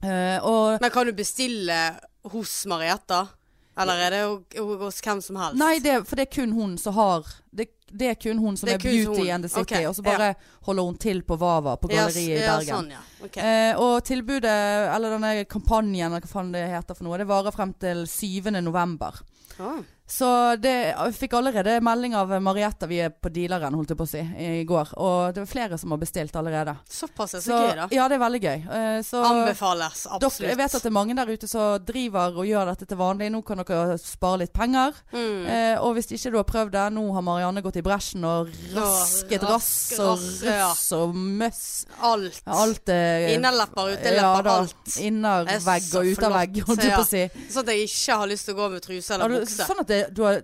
Speaker 2: Eh, og
Speaker 1: Men kan du bestille hos Marietta? Eller er det ho- ho- hos hvem som helst?
Speaker 2: Nei, det, for det er kun hun som har Det, det er kun hun som
Speaker 1: Det er
Speaker 2: er,
Speaker 1: kun
Speaker 2: beauty
Speaker 1: hun.
Speaker 2: and the city.
Speaker 1: Ok,
Speaker 2: Og så bare holder hun til på Vava, på
Speaker 1: Ja,
Speaker 2: galleriet
Speaker 1: s-
Speaker 2: i Bergen.
Speaker 1: Ja, sånn, ja. Ok.
Speaker 2: Eh, og tilbudet, eller denne kampanjen, eller hva faen det heter for noe, det varer frem til 7. november.
Speaker 1: Ah.
Speaker 2: Så det, jeg fikk allerede melding av Marietta, vi er på dealeren, holdt jeg på å si, i går. Og det var flere som har bestilt allerede.
Speaker 1: Såpass er så,
Speaker 2: Så,
Speaker 1: gøy, da.
Speaker 2: ja, det er veldig gøy. Eh, så
Speaker 1: Anbefales absolutt.
Speaker 2: dere, jeg vet at det er mange der ute som driver og gjør dette til vanlig. Nå kan dere spare litt penger.
Speaker 1: mm.
Speaker 2: Eh, og hvis ikke du har prøvd det, nå har Marianne gått i bresjen og rasket
Speaker 1: Ja,
Speaker 2: rass
Speaker 1: rask-
Speaker 2: og
Speaker 1: rass, ja.
Speaker 2: russ og møss.
Speaker 1: Alt.
Speaker 2: Ja, Alt eh,
Speaker 1: Innerlepper,
Speaker 2: ja,
Speaker 1: utelepper,
Speaker 2: da.
Speaker 1: alt. Det er
Speaker 2: Innervegg
Speaker 1: så
Speaker 2: og utervegg,
Speaker 1: flott,
Speaker 2: holdt jeg
Speaker 1: ja.
Speaker 2: på å si.
Speaker 1: Sånn at jeg ikke har lyst til å gå med truse
Speaker 2: Har
Speaker 1: eller
Speaker 2: du,
Speaker 1: bukse.
Speaker 2: sånn at det, du har,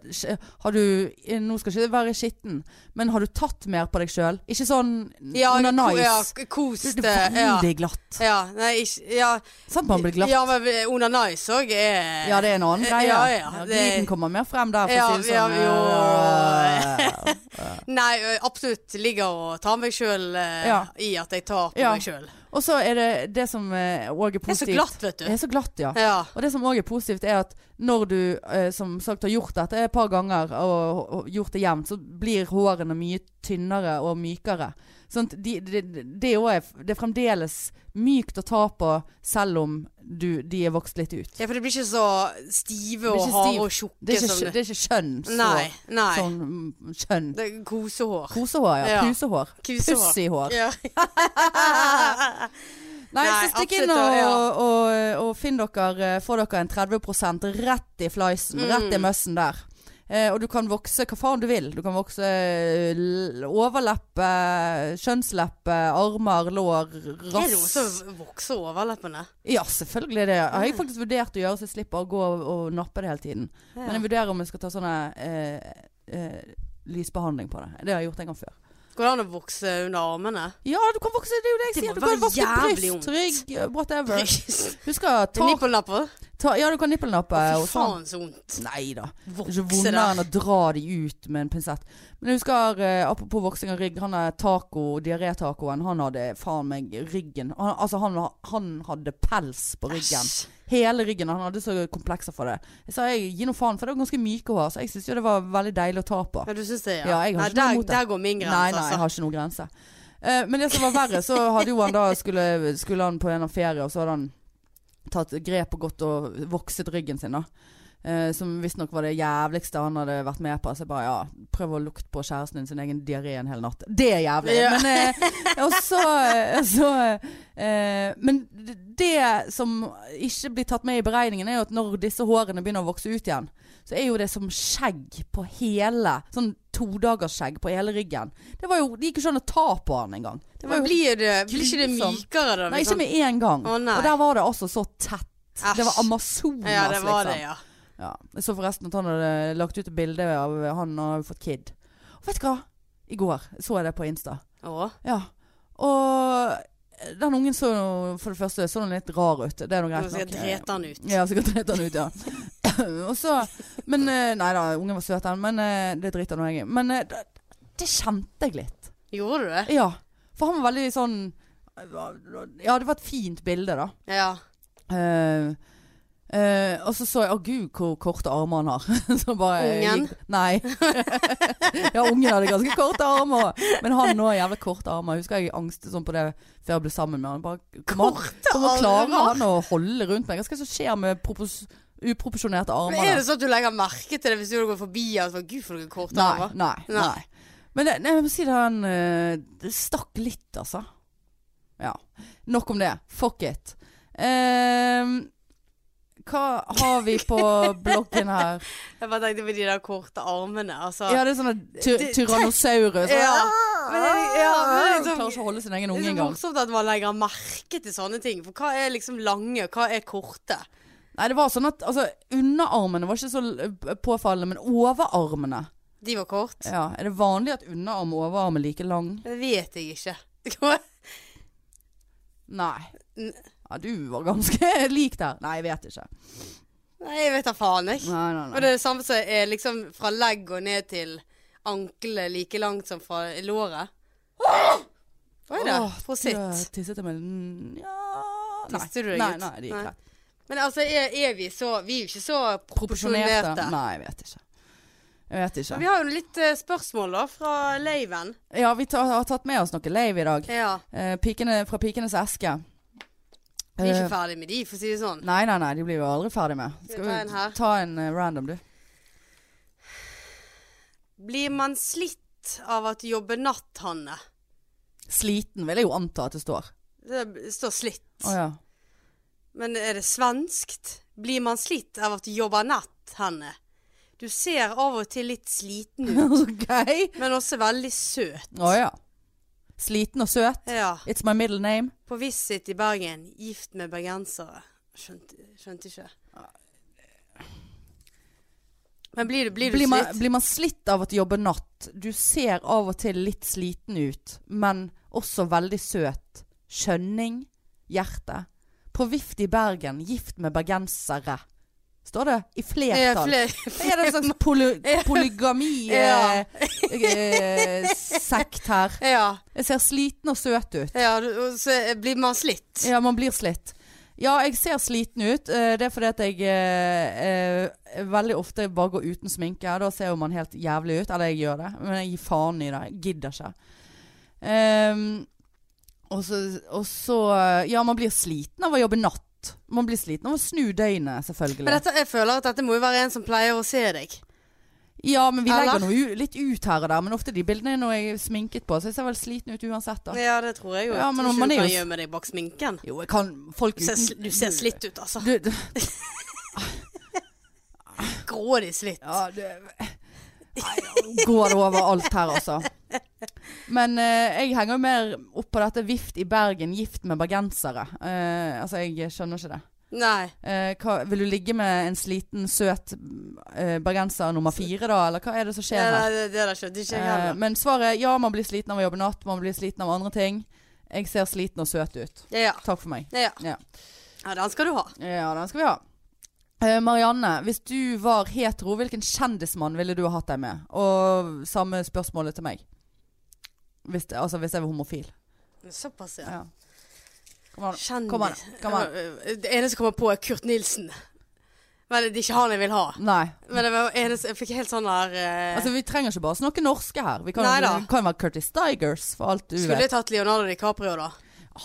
Speaker 2: har du eh, Nå skal ikke det være skitten, men har du tatt mer på deg sjøl? Ikke sånn
Speaker 1: Ja,
Speaker 2: under
Speaker 1: ko-
Speaker 2: nice.
Speaker 1: ja,
Speaker 2: Du
Speaker 1: kost
Speaker 2: er
Speaker 1: eh, ja.
Speaker 2: veldig glatt.
Speaker 1: ja. Nei, ikke Ja,
Speaker 2: Sant man blir glatt?
Speaker 1: ja men under nice òg er
Speaker 2: Ja, det er en annen
Speaker 1: Eh,
Speaker 2: greie.
Speaker 1: ja, ja, det-
Speaker 2: Gliden kommer mer frem der, for
Speaker 1: Ja,
Speaker 2: å si det
Speaker 1: ja,
Speaker 2: sånn.
Speaker 1: jo.
Speaker 2: Eh,
Speaker 1: Nei, ø, absolutt. Ligger og tar meg sjøl eh,
Speaker 2: Ja.
Speaker 1: i at jeg tar på
Speaker 2: Ja.
Speaker 1: meg sjøl.
Speaker 2: Og så er det det som eh, òg er
Speaker 1: Det er så
Speaker 2: positivt.
Speaker 1: glatt, vet du.
Speaker 2: Jeg er så glatt, ja.
Speaker 1: Ja.
Speaker 2: Og det som òg er positivt, er at når du eh, som sagt har gjort dette et par ganger, og, og gjort det jevnt, så blir hårene mye tynnere og mykere. Sånn, at de, de, de, det, er jo er, det er fremdeles mykt å ta på selv om du, de er vokst litt ut.
Speaker 1: ja, for det blir ikke så stive
Speaker 2: Det blir
Speaker 1: og
Speaker 2: ikke stiv.
Speaker 1: harde og tjukke
Speaker 2: Det er ikke,
Speaker 1: som
Speaker 2: det er ikke kjønn. Så,
Speaker 1: Nei. nei.
Speaker 2: Sånn mm, kjønn.
Speaker 1: Det er kosehår.
Speaker 2: Kosehår, ja.
Speaker 1: Ja.
Speaker 2: Pusehår.
Speaker 1: Kusehår.
Speaker 2: Pussyhår.
Speaker 1: Ja.
Speaker 2: <laughs> Nei,
Speaker 1: Nei,
Speaker 2: så stikk inn og,
Speaker 1: absolutt, ja.
Speaker 2: og, og, finn dere eh, Få dere en 30 rett i fleisen, rett i
Speaker 1: Mm.
Speaker 2: møssen der. Eh, og du kan vokse hva faen du vil. Du kan vokse eh, l- overleppe, kjønnsleppe, armer, lår,
Speaker 1: Er det noe som
Speaker 2: rass.
Speaker 1: vokser overleppene?
Speaker 2: Ja, selvfølgelig er det. Jeg
Speaker 1: Mm.
Speaker 2: har faktisk vurdert å gjøre så jeg slipper å gå og, og nappe det hele tiden. Men jeg vurderer om jeg skal ta sånne eh, eh, lysbehandling på det. Det har jeg gjort en gang før.
Speaker 1: Går det an å vokse under
Speaker 2: <laughs>
Speaker 1: armene?
Speaker 2: Ja, du kan vokse, det er jo det jeg
Speaker 1: Det må
Speaker 2: sier. Du
Speaker 1: være
Speaker 2: kan vokse
Speaker 1: jævlig
Speaker 2: bryst,
Speaker 1: vondt.
Speaker 2: rygg, whatever.
Speaker 1: Bryst.
Speaker 2: Du skal ta,
Speaker 1: Nippelnapper?
Speaker 2: ta Ja, du kan nippelnappe
Speaker 1: Fy
Speaker 2: og sånn.
Speaker 1: faen så vondt.
Speaker 2: Nei da. Det er ikke
Speaker 1: Vokse
Speaker 2: vondere
Speaker 1: der.
Speaker 2: enn å dra de ut med en pinsett. Men jeg husker, eh, apropos voksing av rygg, han er taco, diaré-tacoen, han hadde faen meg ryggen han, Altså, han, han hadde pels på ryggen.
Speaker 1: Æsj.
Speaker 2: Hele ryggen. Han hadde så komplekser for det. Jeg sa jeg gi nå faen, for det var ganske myke hår, så jeg syns jo det var veldig deilig å ta på.
Speaker 1: Ja, du syns det, ja?
Speaker 2: Ja, jeg har
Speaker 1: nei,
Speaker 2: ikke noe
Speaker 1: der,
Speaker 2: imot det.
Speaker 1: der går min grense, altså.
Speaker 2: Nei, nei, jeg har ikke noen grense. Eh, men det som var verre, så hadde jo han da skulle, skulle han på en av ferie, og så hadde han tatt grep og gått og vokset ryggen sin, da. Eh, som visstnok var det jævligste han hadde vært med på. Så jeg bare ja, prøv å lukte på kjæresten din sin egen diaré en hel natt. Det er jævlig.
Speaker 1: Ja.
Speaker 2: Men, eh, og så, så eh, Men det som ikke blir tatt med i beregningen, er jo at når disse hårene begynner å vokse ut igjen, så er jo det som skjegg på hele Sånn todagersskjegg på hele ryggen. Det, var jo, det gikk jo ikke an å ta på han engang. Det
Speaker 1: Men
Speaker 2: var jo
Speaker 1: blir, det, blir ikke det
Speaker 2: grusomt.
Speaker 1: mykere da? liksom?
Speaker 2: liksom. Nei, ikke med en gang.
Speaker 1: Å, nei.
Speaker 2: og der var det altså så tett. Det var Amazonas,
Speaker 1: Ja, det var
Speaker 2: liksom.
Speaker 1: det, ja.
Speaker 2: Ja. Jeg så forresten at han hadde lagt ut et bilde av han har jo fått kid. Og vet du hva? I går så jeg det på Insta.
Speaker 1: Å,
Speaker 2: Ja. Og den ungen så jo- for det første så den litt rar ut. Det er noe
Speaker 1: nå
Speaker 2: greit.
Speaker 1: skal jeg
Speaker 2: nok.
Speaker 1: drete han ut.
Speaker 2: Ja, så kan jeg drete han ut, ja. <coughs> og så Men eh, Nei da, ungen var søt, han. Men eh, det driter nå jeg i. Men eh, da- det kjente jeg litt.
Speaker 1: Gjorde du det?
Speaker 2: Ja. For han var veldig sånn Ja, det var et fint bilde, da.
Speaker 1: Ja.
Speaker 2: Eh, eh, og så så jeg Å gud, hvor korte armer han har. <laughs> så bare,
Speaker 1: Ungen?
Speaker 2: Gikk, nei. <laughs> ja, ungen hadde ganske korte armer. Men han nå har jævlig korte armer. Husker jeg angstet sånn på det før jeg ble sammen med han. Bare,
Speaker 1: Korte
Speaker 2: Kommer klarer
Speaker 1: armer?
Speaker 2: han å holde rundt meg? Hva skal jeg så skjer med propos uproporsjonerte
Speaker 1: Men
Speaker 2: armer?
Speaker 1: er
Speaker 2: da?
Speaker 1: det sånn at du legger merke til det hvis du går forbi og så bare, Gud, for noen korte
Speaker 2: Nei,
Speaker 1: armer.
Speaker 2: nei,
Speaker 1: Nei.
Speaker 2: nei. Men det, nei, jeg må si det, han eh, det stakk litt, altså. Ja. Nok om det. Fuck it. Ehm, hva har vi på bloggen
Speaker 1: <laughs>
Speaker 2: her?
Speaker 1: Jeg bare tenkte på de der korte armene. Altså
Speaker 2: Ja, det er sånne ty
Speaker 1: Det-
Speaker 2: tyrannosaurus.
Speaker 1: <laughs> Ja. Men jeg- ja, men liksom-
Speaker 2: Hun ah, klarer ikke å holde sin egen
Speaker 1: Det er
Speaker 2: unge
Speaker 1: så
Speaker 2: engang.
Speaker 1: morsomt at man legger merke til sånne ting. For hva er liksom lange, hva er korte?
Speaker 2: Nei, det var sånn at altså, underarmene var ikke så eh, påfallende, men overarmene
Speaker 1: De var kort.
Speaker 2: Ja, Er det vanlig at underarm og overarm er like lang?
Speaker 1: Det vet jeg ikke. <laughs>
Speaker 2: Nei.
Speaker 1: N-
Speaker 2: Ja, du var ganske <laughs> lik der. Nei, jeg vet ikke.
Speaker 1: Nei, jeg vet da faen, jeg.
Speaker 2: Nei, nei,
Speaker 1: Og det er det samme som er liksom fra legg og ned til ankelet like langt som fra låret. Hva er det?
Speaker 2: Åh,
Speaker 1: Prosit.
Speaker 2: død, Tisset jeg med den Ja nei.
Speaker 1: Tisset du deg
Speaker 2: nei,
Speaker 1: ut?
Speaker 2: nei, det gikk
Speaker 1: Nei.
Speaker 2: greit.
Speaker 1: Men altså, er, er vi så Vi er jo ikke så
Speaker 2: Proporsjonerte?
Speaker 1: proporsjonerte.
Speaker 2: Nei, jeg vet ikke. Jeg vet
Speaker 1: Men
Speaker 2: ikke.
Speaker 1: Vi har jo litt eh, spørsmål, da, fra Leiven.
Speaker 2: Ja, vi tar, har tatt med oss noe leiv i dag.
Speaker 1: Ja.
Speaker 2: Eh, pikene, fra Pikenes eske.
Speaker 1: Vi er
Speaker 2: Eh,
Speaker 1: ikke ferdig med de, for å si det sånn.
Speaker 2: Nei, nei, nei, de blir vi aldri ferdig med.
Speaker 1: Skal vi ta en her?
Speaker 2: ta en eh, random, du?
Speaker 1: Blir man slitt av at jobbe natt, Hanne?
Speaker 2: Sliten vil jeg jo anta at det står.
Speaker 1: Det står slitt.
Speaker 2: Å
Speaker 1: <laughs>
Speaker 2: ja.
Speaker 1: Men er det svenskt? Blir man slitt av at du jobber natt, Hanne? Du ser av og til litt sliten ut,
Speaker 2: <laughs> ok.
Speaker 1: men også veldig søt.
Speaker 2: Å ja. Sliten og søt.
Speaker 1: Ja.
Speaker 2: It's my middle name.
Speaker 1: På Visit i Bergen, gift med bergensere. Skjønte, skjønte ikke. Men blir du, blir du
Speaker 2: Blir man,
Speaker 1: slitt?
Speaker 2: blir man slitt av at du jobber natt? Du ser av og til litt sliten ut, men også veldig søt. Skjønning. Hjerte. På Vift i Bergen, gift med bergensere. Står det i
Speaker 1: Eh,
Speaker 2: flertall?
Speaker 1: fle-
Speaker 2: Er det en slags poly
Speaker 1: <laughs> Ja.
Speaker 2: polygami-sekt her?
Speaker 1: <laughs> ja,
Speaker 2: Jeg ser sliten og søt ut.
Speaker 1: ja, du- og så eh, blir man slitt.
Speaker 2: Ja, man blir slitt. Ja, jeg ser sliten ut. eh, Det er fordi at jeg eh, eh, veldig ofte bare går uten sminke. Da ser jo man helt jævlig ut. Eller jeg gjør det, men jeg gir faen i det. Jeg gidder ikke. Ehm, og, så, og så eh, Ja, man blir sliten av å jobbe natt. Man blir sliten av å snu døgnet, selvfølgelig.
Speaker 1: Men dette, jeg føler at dette må jo være en som pleier å se deg.
Speaker 2: ja, men vi legger
Speaker 1: Eller?
Speaker 2: noe u- litt ut her og der. Men ofte de bildene er noe jeg er sminket på, så jeg ser vel sliten ut uansett, da.
Speaker 1: Ja, det tror jeg jo.
Speaker 2: Ja,
Speaker 1: jeg
Speaker 2: men
Speaker 1: tror ikke
Speaker 2: man
Speaker 1: du
Speaker 2: er
Speaker 1: kan
Speaker 2: jo-
Speaker 1: gjemme deg bak sminken.
Speaker 2: Jo, jeg kan Folk
Speaker 1: Du ser, sl-
Speaker 2: uten
Speaker 1: du ser slitt ut, <laughs> altså.
Speaker 2: Du, du,
Speaker 1: Grådig slitt.
Speaker 2: Ja, det Nei, nå Går det over alt her, altså. Men eh, jeg henger jo mer opp på dette 'Vift i Bergen, gift med bergensere'. Eh, altså, jeg skjønner ikke det.
Speaker 1: Nei.
Speaker 2: Eh, hva, vil du ligge med en sliten, søt eh, bergenser nummer fire, da? Eller hva er det som
Speaker 1: Ja,
Speaker 2: skjer her?
Speaker 1: nei, det, det der skjønte ikke jeg
Speaker 2: Eh,
Speaker 1: heller.
Speaker 2: men svaret er ja, man blir sliten av å jobbe natt. Man blir sliten av andre ting. Jeg ser sliten og søt ut.
Speaker 1: Ja,
Speaker 2: Takk for meg.
Speaker 1: ja. Eh,
Speaker 2: Ja.
Speaker 1: ja. ja den skal du ha.
Speaker 2: Ja, den skal vi ha. Eh, Marianne, hvis du var hetero, hvilken kjendismann ville du ha hatt deg med? Og samme spørsmålet til meg. Hvis, det- altså hvis jeg var homofil.
Speaker 1: Såpass, ja.
Speaker 2: Ja. Kom an.
Speaker 1: Kjendis.
Speaker 2: Kom an. Kom an.
Speaker 1: Det eneste som kommer på, er Kurt Nilsen. Men det er ikke han jeg vil ha.
Speaker 2: Nei.
Speaker 1: Men det var eneste, jeg fikk helt sånn her eh,
Speaker 2: Altså, vi trenger ikke bare snakke norske her. Vi kan,
Speaker 1: Neida.
Speaker 2: vi kan være Curtis Digers, for alt du
Speaker 1: Skulle
Speaker 2: vet.
Speaker 1: jeg tatt Leonardo DiCaprio, da?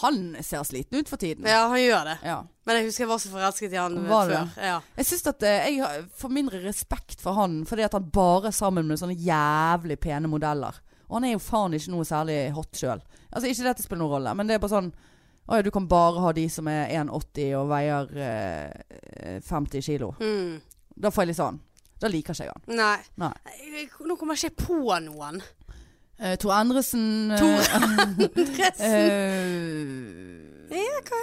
Speaker 2: Han ser sliten ut for tiden.
Speaker 1: Ja, han gjør det.
Speaker 2: Ja.
Speaker 1: Men jeg husker jeg var så forelsket i han eh,
Speaker 2: Var du
Speaker 1: før. Ja.
Speaker 2: Jeg syns at eh, jeg har- får mindre respekt for han fordi at han bare er sammen med sånne jævlig pene modeller. Og han er jo faen ikke noe særlig hot sjøl. Altså, ikke det at det spiller noen rolle, men det er bare sånn Å ja, du kan bare ha de som er 1,80 og veier eh, 50 kilo.
Speaker 1: Mm.
Speaker 2: Da får jeg litt sånn. Da liker ikke jeg han.
Speaker 1: Nei.
Speaker 2: Nei.
Speaker 1: Jeg- Nå kommer jeg ikke på noen.
Speaker 2: <laughs> Eh, Tor Endresen eh,
Speaker 1: Andresen.
Speaker 2: eh,
Speaker 1: Ja, hva?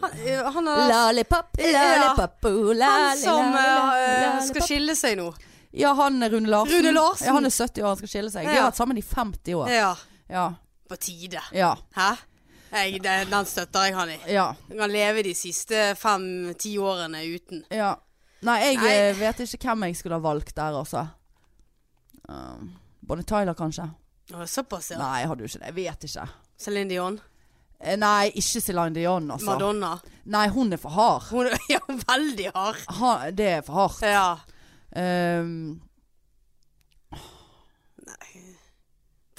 Speaker 1: Han, eh, han er
Speaker 2: Lollipop, lollipop, oh,
Speaker 1: han som eh,
Speaker 2: lollipop.
Speaker 1: skal skille seg nå.
Speaker 2: Ja, han er Rune Larsen.
Speaker 1: Rune Larsen.
Speaker 2: Ja, han er 70 år, han skal skille seg. De
Speaker 1: Ja.
Speaker 2: har vært sammen i 50 år.
Speaker 1: Ja.
Speaker 2: Ja.
Speaker 1: På tide.
Speaker 2: Ja.
Speaker 1: Hæ? Jeg, den, den støtter jeg han i.
Speaker 2: ja.
Speaker 1: Han kan leve de siste fem-ti årene uten.
Speaker 2: ja. Nei, jeg
Speaker 1: Nei.
Speaker 2: eh, vet ikke hvem jeg skulle ha valgt der, altså. Um, Bonnie Tyler, kanskje?
Speaker 1: Å, Såpass, ja.
Speaker 2: Nei, jeg hadde jo ikke det. Jeg vet ikke.
Speaker 1: Céline Dion.
Speaker 2: Eh, Nei, ikke Céline Dion, altså.
Speaker 1: Madonna.
Speaker 2: Nei, hun er for hard.
Speaker 1: Hun er <laughs> ja, veldig hard.
Speaker 2: Ha, det er for hardt.
Speaker 1: Ja.
Speaker 2: Um,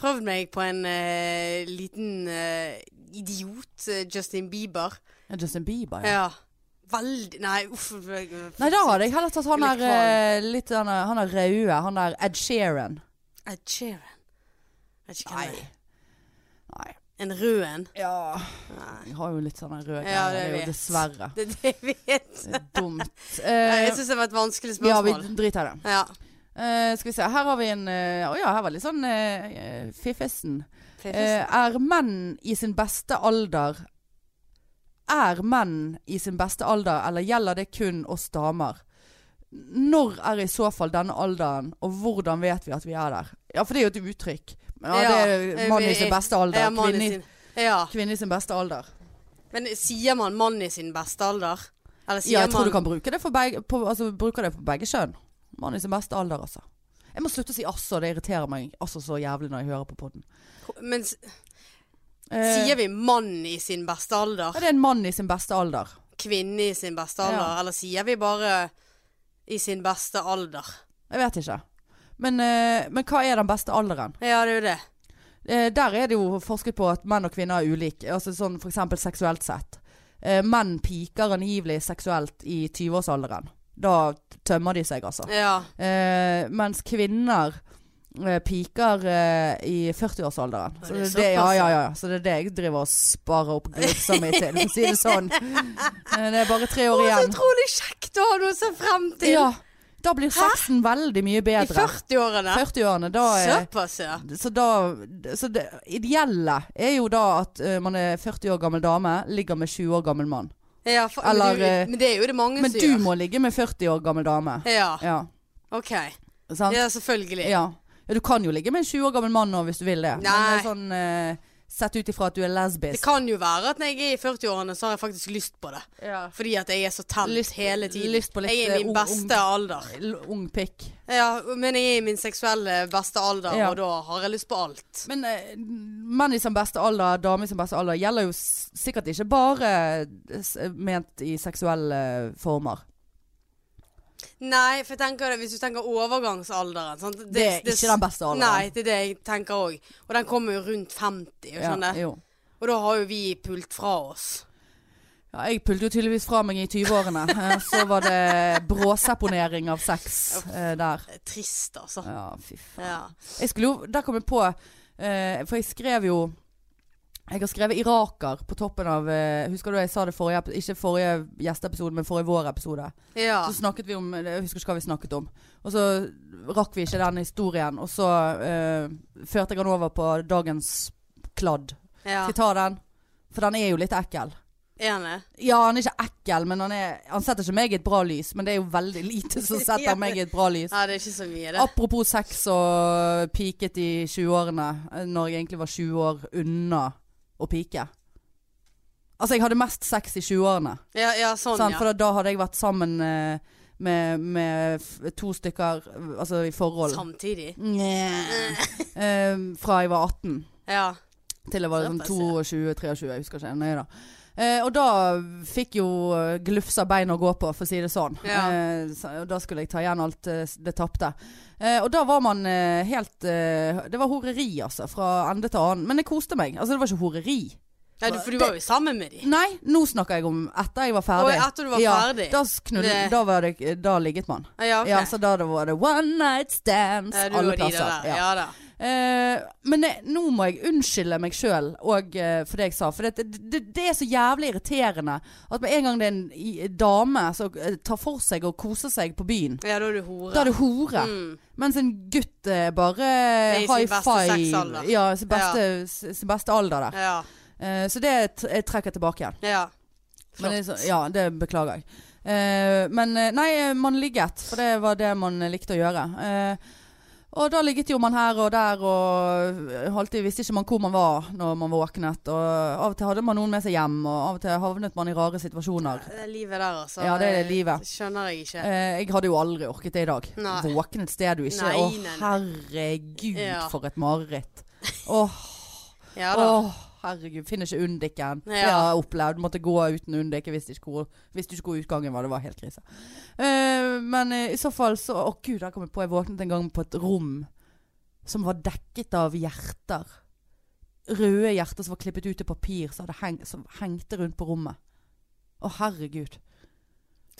Speaker 1: Prøvd meg på en eh, liten eh, idiot, eh, Justin Bieber.
Speaker 2: Justin Bieber, ja.
Speaker 1: Ja. Veldig Nei, uff.
Speaker 2: Nei, da hadde jeg heller tatt han
Speaker 1: Litt
Speaker 2: der eh, litt han der- han der røde. Han der Ed Sheeran.
Speaker 1: Ed Sheeran. Vet ikke hvem
Speaker 2: Nei.
Speaker 1: det er.
Speaker 2: Nei.
Speaker 1: En rød en.
Speaker 2: Ja.
Speaker 1: Nei. <laughs>
Speaker 2: Jeg har jo litt sånn rød
Speaker 1: Ja,
Speaker 2: ja, det
Speaker 1: det
Speaker 2: er jo
Speaker 1: vet.
Speaker 2: dessverre
Speaker 1: Det, det jeg vet
Speaker 2: Det er dumt.
Speaker 1: Nei,
Speaker 2: Eh,
Speaker 1: Jeg syns det var et vanskelig
Speaker 2: ja, vi
Speaker 1: spørsmål.
Speaker 2: driter i det.
Speaker 1: Ja.
Speaker 2: Eh, skal vi se, her har vi en eh, Å ja, her var litt sånn uh, eh, fiffesen. Eh, er menn i sin beste alder Er menn i sin beste alder, eller gjelder det kun oss damer? Når er i så fall denne alderen, og hvordan vet vi at vi er der? Ja, for det er jo et uttrykk. Ja, det
Speaker 1: eh,
Speaker 2: er mann i
Speaker 1: vi-
Speaker 2: sin beste alder.
Speaker 1: Ja, mann i
Speaker 2: Kvinne,
Speaker 1: sin- ja.
Speaker 2: i- kvinne i sin beste alder.
Speaker 1: Men sier man mann i sin beste alder? Eller sier
Speaker 2: Ja, jeg tror
Speaker 1: man
Speaker 2: du kan bruke det, for begge, på, altså, bruker det på begge kjønn. Mann i sin beste alder, altså. Jeg må slutte å si 'asså', det irriterer meg altså så jævlig når jeg hører på podden.
Speaker 1: Men s-
Speaker 2: Eh,
Speaker 1: sier vi mann i sin beste alder?
Speaker 2: ja, det er en mann i sin beste alder.
Speaker 1: Kvinne i sin beste alder?
Speaker 2: Ja.
Speaker 1: Eller sier vi bare i sin beste alder?
Speaker 2: Jeg vet ikke. Men, eh, men hva er den beste alderen?
Speaker 1: Ja, det er jo det.
Speaker 2: Eh, der er det jo forsket på at menn og kvinner er ulike. Altså sånn for eksempel seksuelt sett. Eh, menn piker angivelig seksuelt i 20-årsalderen. Da tømmer de seg, altså.
Speaker 1: Ja.
Speaker 2: Eh, mens kvinner eh, piker eh, i 40-årsalderen.
Speaker 1: Er
Speaker 2: Så,
Speaker 1: det
Speaker 2: det, det, ja,
Speaker 1: såpass,
Speaker 2: ja,
Speaker 1: ja?
Speaker 2: ja. så det er det jeg driver og sparer opp glufsa mi til, for å si det sånn.
Speaker 1: <laughs>
Speaker 2: Eh, det er bare tre år
Speaker 1: Så
Speaker 2: igjen.
Speaker 1: utrolig kjekt å ha noe å se frem til!
Speaker 2: Ja, da blir sexen veldig mye
Speaker 1: I
Speaker 2: bedre.
Speaker 1: 40-årene.
Speaker 2: 40-årene, da er
Speaker 1: Såpass, ja.
Speaker 2: så, da, så det ideelle er jo da at eh, man er 40 år gammel dame, ligger med 20 år gammel mann.
Speaker 1: ja for,
Speaker 2: Eller,
Speaker 1: men,
Speaker 2: eh,
Speaker 1: du, men det er jo det mange
Speaker 2: Men
Speaker 1: som
Speaker 2: du
Speaker 1: gjør.
Speaker 2: må ligge med 40 år gammel dame.
Speaker 1: Ja,
Speaker 2: Ja,
Speaker 1: OK.
Speaker 2: sant?
Speaker 1: Ja, selvfølgelig.
Speaker 2: Ja. ja, du kan jo ligge med en 20 år gammel mann nå hvis du vil det. Men
Speaker 1: Nei.
Speaker 2: det er sånn eh, sett ut ifra at du er
Speaker 1: Det
Speaker 2: lesbisk.
Speaker 1: kan jo være at når jeg er i 40-årene, så har jeg faktisk lyst på det.
Speaker 2: Ja.
Speaker 1: Fordi at jeg er så tent
Speaker 2: Lyst-
Speaker 1: hele tiden.
Speaker 2: lyst på litt,
Speaker 1: jeg er i
Speaker 2: eh,
Speaker 1: min
Speaker 2: ung-
Speaker 1: beste alder.
Speaker 2: L- Ung pikk.
Speaker 1: Ja, men jeg er i min seksuelle beste alder,
Speaker 2: Ja.
Speaker 1: og da har jeg lyst på alt.
Speaker 2: Men eh, menn i sin beste alder, damer i sin beste alder, gjelder jo s- sikkert ikke bare eh, s ment i seksuelle eh, former.
Speaker 1: Nei, for jeg tenker det, hvis du tenker overgangsalderen sant?
Speaker 2: Det, er ikke den beste alderen.
Speaker 1: Nei, det er det jeg tenker òg. Og den kommer jo rundt 50,
Speaker 2: Ja,
Speaker 1: skjønner jeg.
Speaker 2: jo.
Speaker 1: Og da har jo vi pult fra oss.
Speaker 2: Ja, jeg pulte jo tydeligvis fra meg i 20-årene. eh, Så var det bråseponering av sex eh, der.
Speaker 1: Eh, Trist, altså.
Speaker 2: Ja, fy faen.
Speaker 1: Ja.
Speaker 2: Jeg skulle jo, der kom jeg på, eh, for jeg skrev jo jeg har skrevet iraker på toppen av eh, Husker du jeg sa det forrige ep- Ikke forrige gjesteepisode, men forrige vår-episode.
Speaker 1: ja.
Speaker 2: Så snakket vi om eh, Jeg husker ikke hva vi snakket om. Og så rakk vi ikke den historien. Og så eh, førte jeg den over på dagens kladd.
Speaker 1: ja.
Speaker 2: Skal jeg ta den? For den er jo litt ekkel.
Speaker 1: Enig.
Speaker 2: Ja, han er ikke ekkel, men han, er, han setter ikke meg i et bra lys. Men det er jo veldig
Speaker 1: <laughs>
Speaker 2: lite som
Speaker 1: Ja.
Speaker 2: setter meg i et bra lys.
Speaker 1: Ja, det er ikke så mye, det.
Speaker 2: Apropos sex og piket i 20-årene, eh, når jeg egentlig var 20 år unna å pike. Altså, jeg hadde mest sex i 20-årene.
Speaker 1: Ja, ja sånn,
Speaker 2: sant?
Speaker 1: ja.
Speaker 2: For da, da hadde jeg vært sammen eh, med, med f- to stykker eh, altså i forhold.
Speaker 1: Samtidig. <laughs>
Speaker 2: Nye. Eh, fra jeg var 18
Speaker 1: Ja.
Speaker 2: til jeg var sånn
Speaker 1: Såpass, ja.
Speaker 2: 22-23, jeg husker ikke nøye da. Eh, og da fikk jo eh, glufsa bein å gå på, for å si det sånn.
Speaker 1: Ja.
Speaker 2: Eh, så, og da skulle jeg ta igjen alt eh, det tapte. Eh, og da var man eh, helt eh, Det var horeri, altså. Fra ende til annen. Men jeg koste meg. Altså, det var ikke horeri.
Speaker 1: ja du, for du var jo sammen med de.
Speaker 2: Nei, nå snakker jeg om etter jeg var ferdig.
Speaker 1: Og etter du var ferdig.
Speaker 2: Da, s- knudde,
Speaker 1: Det-
Speaker 2: da, var det, da ligget man.
Speaker 1: Ja, ok.
Speaker 2: Ja, så da det var det one night stands
Speaker 1: Ja, du
Speaker 2: alle
Speaker 1: og de der,
Speaker 2: plasser.
Speaker 1: der. Ja da.
Speaker 2: Eh, men jeg, nå må jeg unnskylde meg sjøl og eh, for det jeg sa. For det, det, det er så jævlig irriterende at med en gang det er en i- dame som eh, tar for seg og koser seg på byen,
Speaker 1: Ja, da er du hore.
Speaker 2: da er det hore.
Speaker 1: Mm.
Speaker 2: Mens en gutt eh, bare
Speaker 1: i sin
Speaker 2: high
Speaker 1: beste
Speaker 2: five.
Speaker 1: sexalder.
Speaker 2: Ja, sin beste, s- sin beste alder der.
Speaker 1: Ja.
Speaker 2: Eh, så det t jeg trekker tilbake igjen.
Speaker 1: ja.
Speaker 2: Men det, er så- ja, det beklager jeg. Eh, men eh, nei, man ligget, for det var det man likte å gjøre. Eh, og da ligget jo man her og der, og alltid visste ikke man hvor man var når man våknet. Og av og til hadde man noen med seg hjem, og av og til havnet man i rare situasjoner.
Speaker 1: Det er livet der, altså.
Speaker 2: Ja, det er livet.
Speaker 1: Skjønner jeg ikke.
Speaker 2: Eh, jeg hadde jo aldri orket det i dag.
Speaker 1: Nei.
Speaker 2: Våkne et sted du ikke
Speaker 1: Nei,
Speaker 2: Å,
Speaker 1: nei, nei.
Speaker 2: herregud,
Speaker 1: Ja.
Speaker 2: for et mareritt. Åh,
Speaker 1: Ja da.
Speaker 2: åh, herregud. Finner ikke undiken.
Speaker 1: Ja.
Speaker 2: Det har jeg opplevd. Måtte gå uten undik. Jeg visste ikke hvor, visste ikke hvor utgangen var. Det var helt krise. Eh, men eh, i så fall så Å, gud, der kom jeg på. Jeg våknet en gang på et rom som var dekket av hjerter. Røde hjerter som var klippet ut i papir, som, hadde heng, som hengte rundt på rommet. Å, herregud.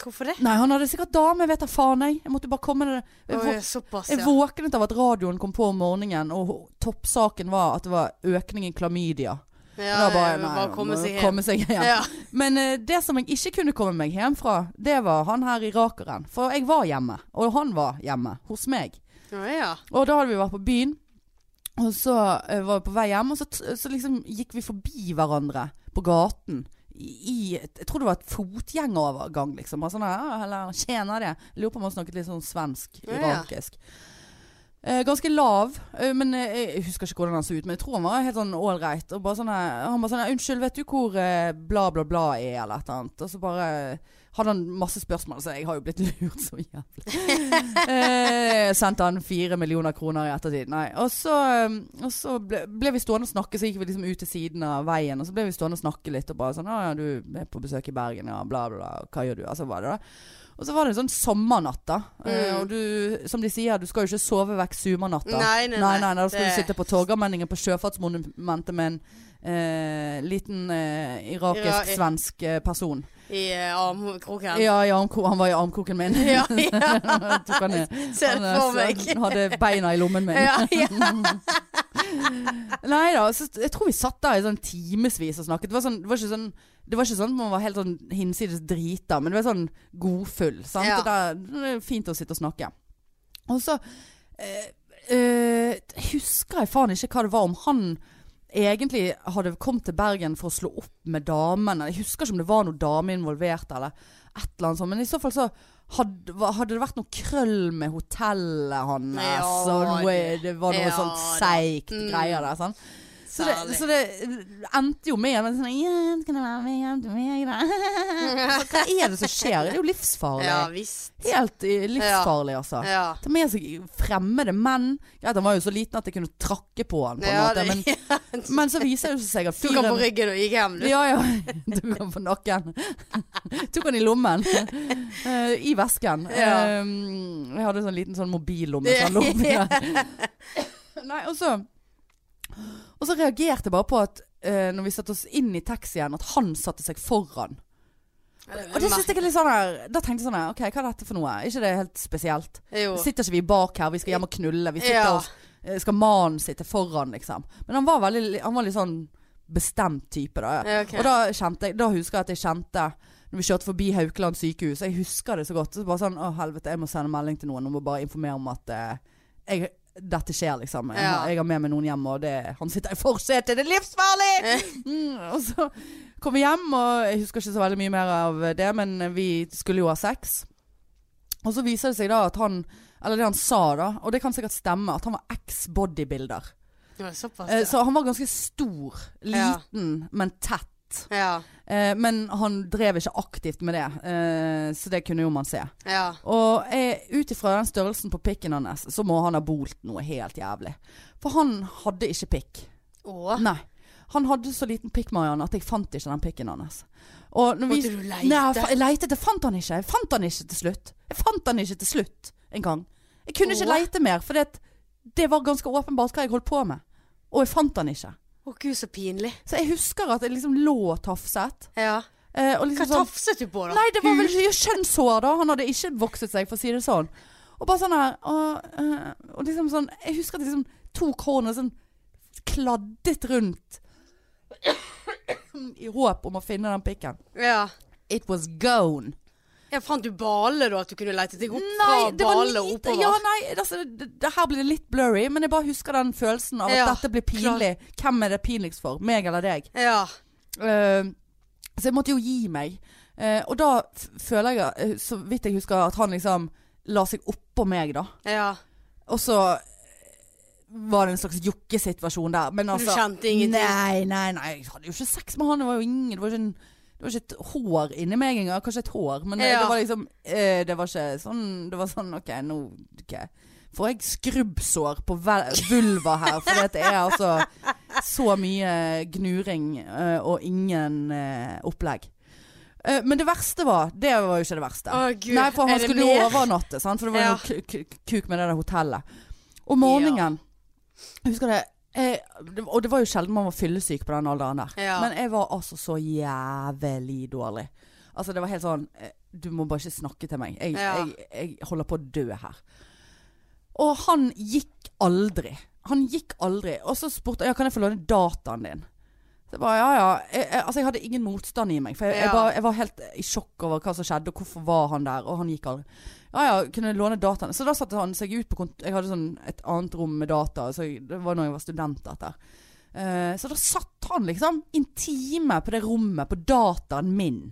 Speaker 1: Hvorfor det?
Speaker 2: Nei, han hadde sikkert dame, vet da faen jeg. Jeg måtte bare komme med det. Jeg,
Speaker 1: Å,
Speaker 2: vå-
Speaker 1: ja, såpass,
Speaker 2: jeg
Speaker 1: ja.
Speaker 2: våknet av at radioen kom på om morgenen, og ho- toppsaken var at det var økning i klamydia.
Speaker 1: ja
Speaker 2: da bare,
Speaker 1: jeg vil
Speaker 2: nei,
Speaker 1: bare komme
Speaker 2: må
Speaker 1: seg hjem.
Speaker 2: komme seg hjem.
Speaker 1: Ja.
Speaker 2: Men eh, det som jeg ikke kunne komme meg hjem fra, det var han her irakeren. For jeg var hjemme, og han var hjemme hos meg.
Speaker 1: Å, ja.
Speaker 2: Og da hadde vi vært på byen. Og så eh, var vi på vei hjem, og så, t- så liksom gikk vi forbi hverandre på gaten. I, i, jeg tror det var et fotgjengerovergang, liksom. Bare sånn «Ja, Eller tjener det? Jeg Lurer på om han snakket litt sånn svensk,
Speaker 1: Ja, ja.
Speaker 2: irakisk. Eh, ganske lav, eh, men eh, jeg husker ikke hvordan han så ut. Men jeg tror han var helt sånn ålreit. Og bare sånn eh, Han bare sånn eh, 'Unnskyld, vet du hvor eh, bla, bla, bla er?' eller et eller annet. Og så bare hadde han masse spørsmål, så jeg har jo blitt <laughs> lurt så jævlig. eh, sendte han fire millioner kroner i ettertid. Nei. Og så, eh, og så ble, ble vi stående og snakke, så gikk vi liksom ut til siden av veien. Og så ble vi stående og snakke litt, og bare sånn 'Å ja, du er på besøk i Bergen, ja, bla, bla, bla. Hva gjør du?' Altså, var det da. Og så var det en sånn sommernatt, da. Eh,
Speaker 1: Mm.
Speaker 2: Og du, som de sier, du skal jo ikke sove vekk sumarnatta.
Speaker 1: Nei, nei,
Speaker 2: nei, nei, nei, Da skal
Speaker 1: det-
Speaker 2: du sitte på Torgallmenningen på Sjøfartsmonumentet med en eh, liten eh, irakisk-svensk eh, person.
Speaker 1: I eh, armkroken.
Speaker 2: Ja, i armko, han var i armkroken
Speaker 1: <laughs>
Speaker 2: min.
Speaker 1: ja, ja.
Speaker 2: <laughs> Tok han ned.
Speaker 1: Ser det for meg.
Speaker 2: Han hadde beina i lommen min.
Speaker 1: <laughs> Ja, ja.
Speaker 2: <laughs> Nei da, så jeg tror vi satt der i sånn timevis og snakket. Det var, sånn, det var ikke sånn det var ikke sånn at man var helt sånn hinsides drita, men det var sånn godfull. Sant?
Speaker 1: Ja.
Speaker 2: Og der- Det er fint å sitte og snakke. Og så eh, eh, husker jeg faen ikke hva det var om han egentlig hadde kommet til Bergen for å slå opp med damene. Jeg husker ikke om det var noen dame involvert eller et eller annet sånt. Men i så fall så hadde, hva- hadde det vært noe krøll med hotellet hans.
Speaker 1: Ja,
Speaker 2: og noe,
Speaker 1: det-
Speaker 2: det var noe
Speaker 1: ja
Speaker 2: sånt
Speaker 1: da.
Speaker 2: seigt
Speaker 1: Mm.
Speaker 2: greier der. Sant? <laughs> Så det,
Speaker 1: Særlig.
Speaker 2: så det endte jo med men sånn, ja, kan du være med hjem til
Speaker 1: <laughs>
Speaker 2: meg da? Så Hva er det som skjer? Det er jo livsfarlig.
Speaker 1: ja visst.
Speaker 2: Helt eh, livsfarlig, altså.
Speaker 1: Ja.
Speaker 2: Ta med seg fremmede menn. Greit, han var jo så liten at jeg kunne trakke på han, på en
Speaker 1: Ja,
Speaker 2: måte.
Speaker 1: <laughs>
Speaker 2: Men,
Speaker 1: det,
Speaker 2: men så viser det seg at
Speaker 1: du kan på
Speaker 2: fyren
Speaker 1: ryggen og gikk hjem, du.
Speaker 2: ja, ja. Du kan på nakken. Tok han i lommen. Eh, I vesken.
Speaker 1: Ja.
Speaker 2: Eh, jeg hadde sånn liten sånn mobillomme som lå
Speaker 1: <laughs>
Speaker 2: oppi der. Nei, og så Og så reagerte jeg bare på at eh, når vi satte oss inn i taxien, at han satte seg foran. Og det synes jeg er litt sånn her Da tenkte jeg sånn her OK, hva er dette for noe? Er ikke det helt spesielt?
Speaker 1: Jo.
Speaker 2: Sitter ikke vi bak her, vi skal hjem og knulle. Vi sitter
Speaker 1: Ja.
Speaker 2: og, eh, skal mannen sitte foran, liksom. Men han var, veldig, han var litt sånn bestemt type, da.
Speaker 1: Ja, ok.
Speaker 2: Og da, kjente jeg, da husker jeg at jeg kjente når vi kjørte forbi Haukeland sykehus, jeg husker det så godt. Så bare sånn Å, helvete, jeg må sende melding til noen og må bare informere om at eh, jeg, dette skjer, liksom. Jeg,
Speaker 1: Ja.
Speaker 2: har, jeg har med meg noen hjem, og det, han sitter i forsetet. Det er livsfarlig!
Speaker 1: Eh.
Speaker 2: Mm, og så kom vi hjem, og jeg husker ikke så veldig mye mer av det, men vi skulle jo ha sex. Og så viser det seg da at han Eller det han sa da, og det kan sikkert stemme, at han var eks-bodybuilder.
Speaker 1: Ja, Såpass,
Speaker 2: Eh,
Speaker 1: ja.
Speaker 2: så han var ganske stor. Liten, men tett.
Speaker 1: Ja.
Speaker 2: Eh, men han drev ikke aktivt med det, eh, så det kunne jo man se.
Speaker 1: Ja.
Speaker 2: Og eh, ut ifra den størrelsen på pikken hans, så må han ha bolt noe helt jævlig. For han hadde ikke pikk.
Speaker 1: Å.
Speaker 2: Nei. Han hadde så liten pikk, Marianne, at jeg fant ikke den pikken hans. Og når
Speaker 1: Måtte du leite?
Speaker 2: Nei, jeg fa- jeg letet, jeg fant han ikke. Jeg fant han ikke til slutt. Jeg fant han ikke til slutt en gang. Jeg kunne ikke
Speaker 1: Åh.
Speaker 2: leite mer, for det, det var ganske åpenbart hva jeg holdt på med. Og jeg fant han ikke.
Speaker 1: Å gud, så pinlig.
Speaker 2: Så jeg husker at jeg liksom lå og tafset.
Speaker 1: Ja.
Speaker 2: eh, Og
Speaker 1: Hva
Speaker 2: liksom sånn
Speaker 1: tafset du på, da?
Speaker 2: Nei, det var vel ikke kjønnshår da. Han hadde ikke vokset seg, for å si det sånn. Og bare sånn her Og, øh, og liksom sånn Jeg husker at jeg liksom tok hårene og sånn kladdet rundt i håp om å finne den pikken.
Speaker 1: Ja.
Speaker 2: It was gone.
Speaker 1: ja. Fant du bale, da? At du kunne lete deg opp fra
Speaker 2: Nei, det var
Speaker 1: bale og
Speaker 2: lite
Speaker 1: oppover?
Speaker 2: Ja, nei, altså, det, det her blir det litt blurry, men jeg bare husker den følelsen av at
Speaker 1: Ja,
Speaker 2: dette blir pinlig. Hvem er det pinligst for? Meg eller deg?
Speaker 1: Ja.
Speaker 2: Eh, så jeg måtte jo gi meg. Eh, og da f føler jeg, eh, så vidt jeg husker, at han liksom la seg oppå meg, da.
Speaker 1: ja.
Speaker 2: Og så var det en slags jokkesituasjon der. Men altså
Speaker 1: kjente ingenting?
Speaker 2: Nei, nei, nei. Jeg hadde jo ikke sex med han. Det var jo ingen Det var ikke, en, det var ikke et hår inni meg engang. Kanskje et hår, men det,
Speaker 1: Ja.
Speaker 2: det var liksom eh, Det var ikke sånn Det var sånn OK, nå ok. Får jeg skrubbsår på vel- vulva her? For det er altså så mye gnuring eh, og ingen eh, opplegg. Eh, men det verste var Det var jo ikke det verste.
Speaker 1: Å, Gud.
Speaker 2: Nei, for
Speaker 1: Er
Speaker 2: han
Speaker 1: det
Speaker 2: skulle
Speaker 1: mer?
Speaker 2: jo overnatte, sant? for det var
Speaker 1: Ja.
Speaker 2: jo ku- ku- kuk med det der hotellet. Om morgenen Jeg husker det. Jeg, det- og det var jo sjelden man var fyllesyk på den alderen der.
Speaker 1: Ja.
Speaker 2: Men jeg var altså så jævlig dårlig. Altså det var helt sånn eh, Du må bare ikke snakke til meg. Jeg,
Speaker 1: Ja.
Speaker 2: jeg, jeg holder på å dø her. Og han gikk aldri. Han gikk aldri. Og så spurte jeg ja, kan jeg få låne dataen din. Det var, ja, ja. Jeg, jeg, altså, jeg hadde ingen motstand i meg. For jeg, jeg,
Speaker 1: Ja.
Speaker 2: var, jeg var helt i sjokk over hva som skjedde, og hvorfor var han der. Og han gikk aldri. Ja, ja, kunne jeg låne dataene. Så da satte han seg ut på kont Jeg hadde sånn et annet rom med data. Så jeg, det var når jeg var student, dette. Eh, så da satt han liksom en time på det rommet, på dataen min.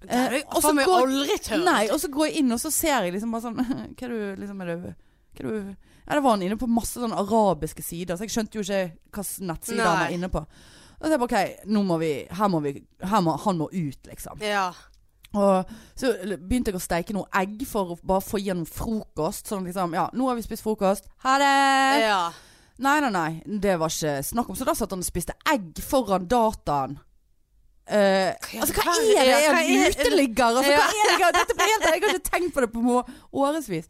Speaker 1: Det har jeg
Speaker 2: Eh, og så
Speaker 1: faen meg
Speaker 2: går-
Speaker 1: aldri tørt.
Speaker 2: Nei, og så går jeg inn, og så ser jeg liksom bare sånn <laughs> Hva er du liksom er det, hva er du Ja, det var han inne på masse sånne arabiske sider, så jeg skjønte jo ikke hva slags nettsider han
Speaker 1: Nei.
Speaker 2: var inne på. Og så jeg bare OK, nå må vi Her må vi her må, Han må ut, liksom.
Speaker 1: Ja.
Speaker 2: Og så begynte jeg å steike noe egg for å bare få gjennom frokost. Sånn liksom Ja, nå har vi spist frokost. Ha det!
Speaker 1: ja.
Speaker 2: Nei, nei, nei. Det var ikke snakk om. Så da satt han og spiste egg foran dataen. Eh,
Speaker 1: Hva i
Speaker 2: altså, hva
Speaker 1: all
Speaker 2: er
Speaker 1: verden?
Speaker 2: det? Er
Speaker 1: Ja, hva
Speaker 2: han
Speaker 1: er-
Speaker 2: uteligger? Altså,
Speaker 1: Ja.
Speaker 2: hva er det? Jeg- Dette ble helt, jeg har ikke tenkt på det på må- årevis.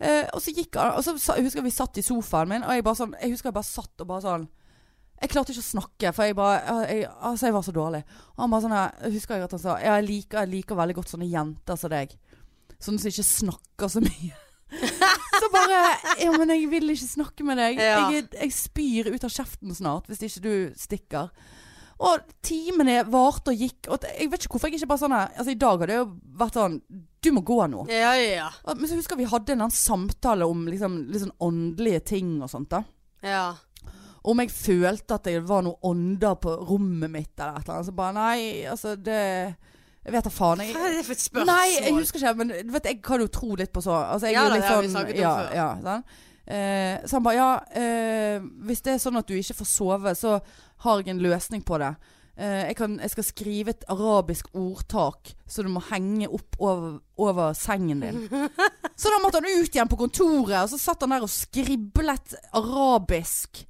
Speaker 2: Eh, og så gikk han, og så sa, jeg husker vi satt i sofaen min, og jeg bare sånn, jeg husker jeg bare satt og bare sånn, jeg klarte ikke å snakke, for jeg bare, jeg, altså jeg var så dårlig. Og han bare sånn, her, jeg husker jeg at han sa, ja, jeg liker, jeg liker veldig godt sånne jenter som deg. Sånne som ikke snakker
Speaker 1: <laughs>
Speaker 2: så mye. så bare, ja, men jeg vil ikke snakke med deg.
Speaker 1: Ja.
Speaker 2: Jeg, er- jeg spyr ut av kjeften snart, hvis ikke du stikker. Og timene varte og gikk. Og jeg vet ikke hvorfor jeg ikke bare sånn her Altså, i dag hadde jeg jo vært sånn Du må gå nå.
Speaker 1: Ja, ja.
Speaker 2: Og- Men så husker jeg vi hadde en eller annen samtale om liksom, litt sånn åndelige ting og sånt. da
Speaker 1: ja.
Speaker 2: Om jeg følte at det var noe ånder på rommet mitt eller et eller annet. Så bare nei, altså det Jeg vet da faen. Jeg,
Speaker 1: Hva er det for et spørsmål?
Speaker 2: Nei, jeg husker ikke, men du vet, jeg kan jo tro litt på så altså, jeg
Speaker 1: Ja da,
Speaker 2: er jo litt
Speaker 1: det har vi
Speaker 2: sånn-
Speaker 1: snakket om
Speaker 2: ja,
Speaker 1: før.
Speaker 2: Ja, sånn. Eh, så han bare ja, eh, hvis det er sånn at du ikke får sove, så har jeg en løsning på det. Eh, jeg, kan, jeg skal skrive et arabisk ordtak så du må henge opp over, over sengen din. Så da måtte han ut igjen på kontoret, og så satt han der og skriblet arabisk.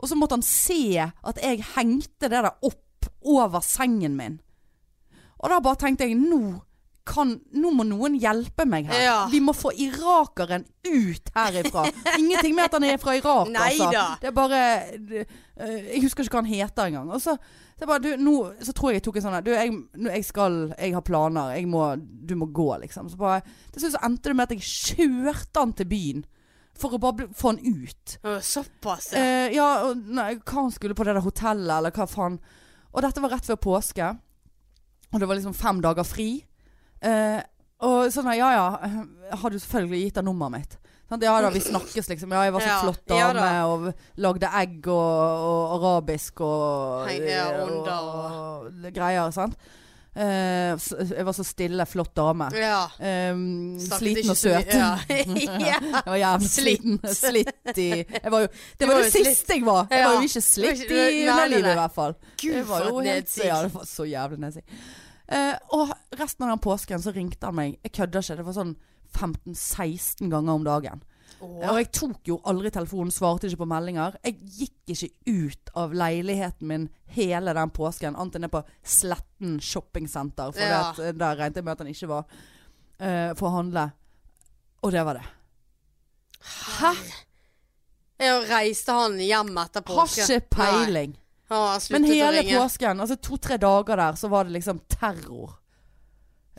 Speaker 2: Og så måtte han se at jeg hengte det der opp over sengen min. Og da bare tenkte jeg, nå, kan, nå må noen hjelpe meg her.
Speaker 1: Ja.
Speaker 2: Vi må få irakeren ut herifra. Ingenting med at han er fra Irak, altså.
Speaker 1: Neida.
Speaker 2: Det er bare, det, eh, jeg husker ikke hva han heter engang. Og så, så, jeg bare, du, nå, så tror jeg jeg tok en sånn, her, du, jeg, nå, jeg skal, jeg har planer, jeg må, du må gå, liksom. Så bare, til slutt så endte det med at jeg kjørte han til byen. For å bare bli- få han ut.
Speaker 1: Å, Såpass, ja.
Speaker 2: Eh, ja, og nei, hva han skulle på det der hotellet, eller hva faen. Og dette var rett før påske. Og det var liksom fem dager fri. Eh, og sånn, ja ja, jeg hadde jo selvfølgelig gitt deg nummeret mitt. Sant? ja da, vi snakkes liksom. Ja, jeg var så
Speaker 1: Ja,
Speaker 2: flott
Speaker 1: ja
Speaker 2: dame, og lagde egg og, og arabisk og, eh,
Speaker 1: Hei, ja, ånder
Speaker 2: og greier, sant. Eh, s- jeg var så stille, flott dame.
Speaker 1: ja.
Speaker 2: Eh,
Speaker 1: Snakket
Speaker 2: sliten
Speaker 1: ikke
Speaker 2: og
Speaker 1: så mye.
Speaker 2: søt.
Speaker 1: Ja. <laughs> ja.
Speaker 2: Jeg var jævlig
Speaker 1: Slitt.
Speaker 2: sliten. Slitt i jeg var jo, Det var
Speaker 1: var
Speaker 2: jo
Speaker 1: jo
Speaker 2: sist jeg var. Jeg
Speaker 1: Ja.
Speaker 2: var jo ikke slitt
Speaker 1: Du var
Speaker 2: i
Speaker 1: ikke- nei, nei,
Speaker 2: underlivet,
Speaker 1: nei.
Speaker 2: i hvert fall.
Speaker 1: Gud,
Speaker 2: Det var
Speaker 1: for
Speaker 2: jo
Speaker 1: et
Speaker 2: helt
Speaker 1: nedsig.
Speaker 2: Ja, det var så jævlig nedsig. Eh, og resten av den påsken så ringte han meg. Jeg kødder ikke. Det var sånn 15-16 ganger om dagen.
Speaker 1: Å,
Speaker 2: Og jeg tok jo aldri telefonen, svarte ikke på meldinger. Jeg gikk ikke ut av leiligheten min hele den påsken, annet enn det på Sletten shoppingsenter, for
Speaker 1: Ja.
Speaker 2: at, eh, der regnet jeg med at han ikke var eh, for å handle. Og det var det. Hæ?
Speaker 1: Ja, reiste han hjem etter
Speaker 2: Har
Speaker 1: påske?
Speaker 2: ikke peiling.
Speaker 1: Nei. Å, han
Speaker 2: Men
Speaker 1: sluttet å
Speaker 2: hele
Speaker 1: ringe.
Speaker 2: påsken, altså to-tre dager der, så var det liksom terror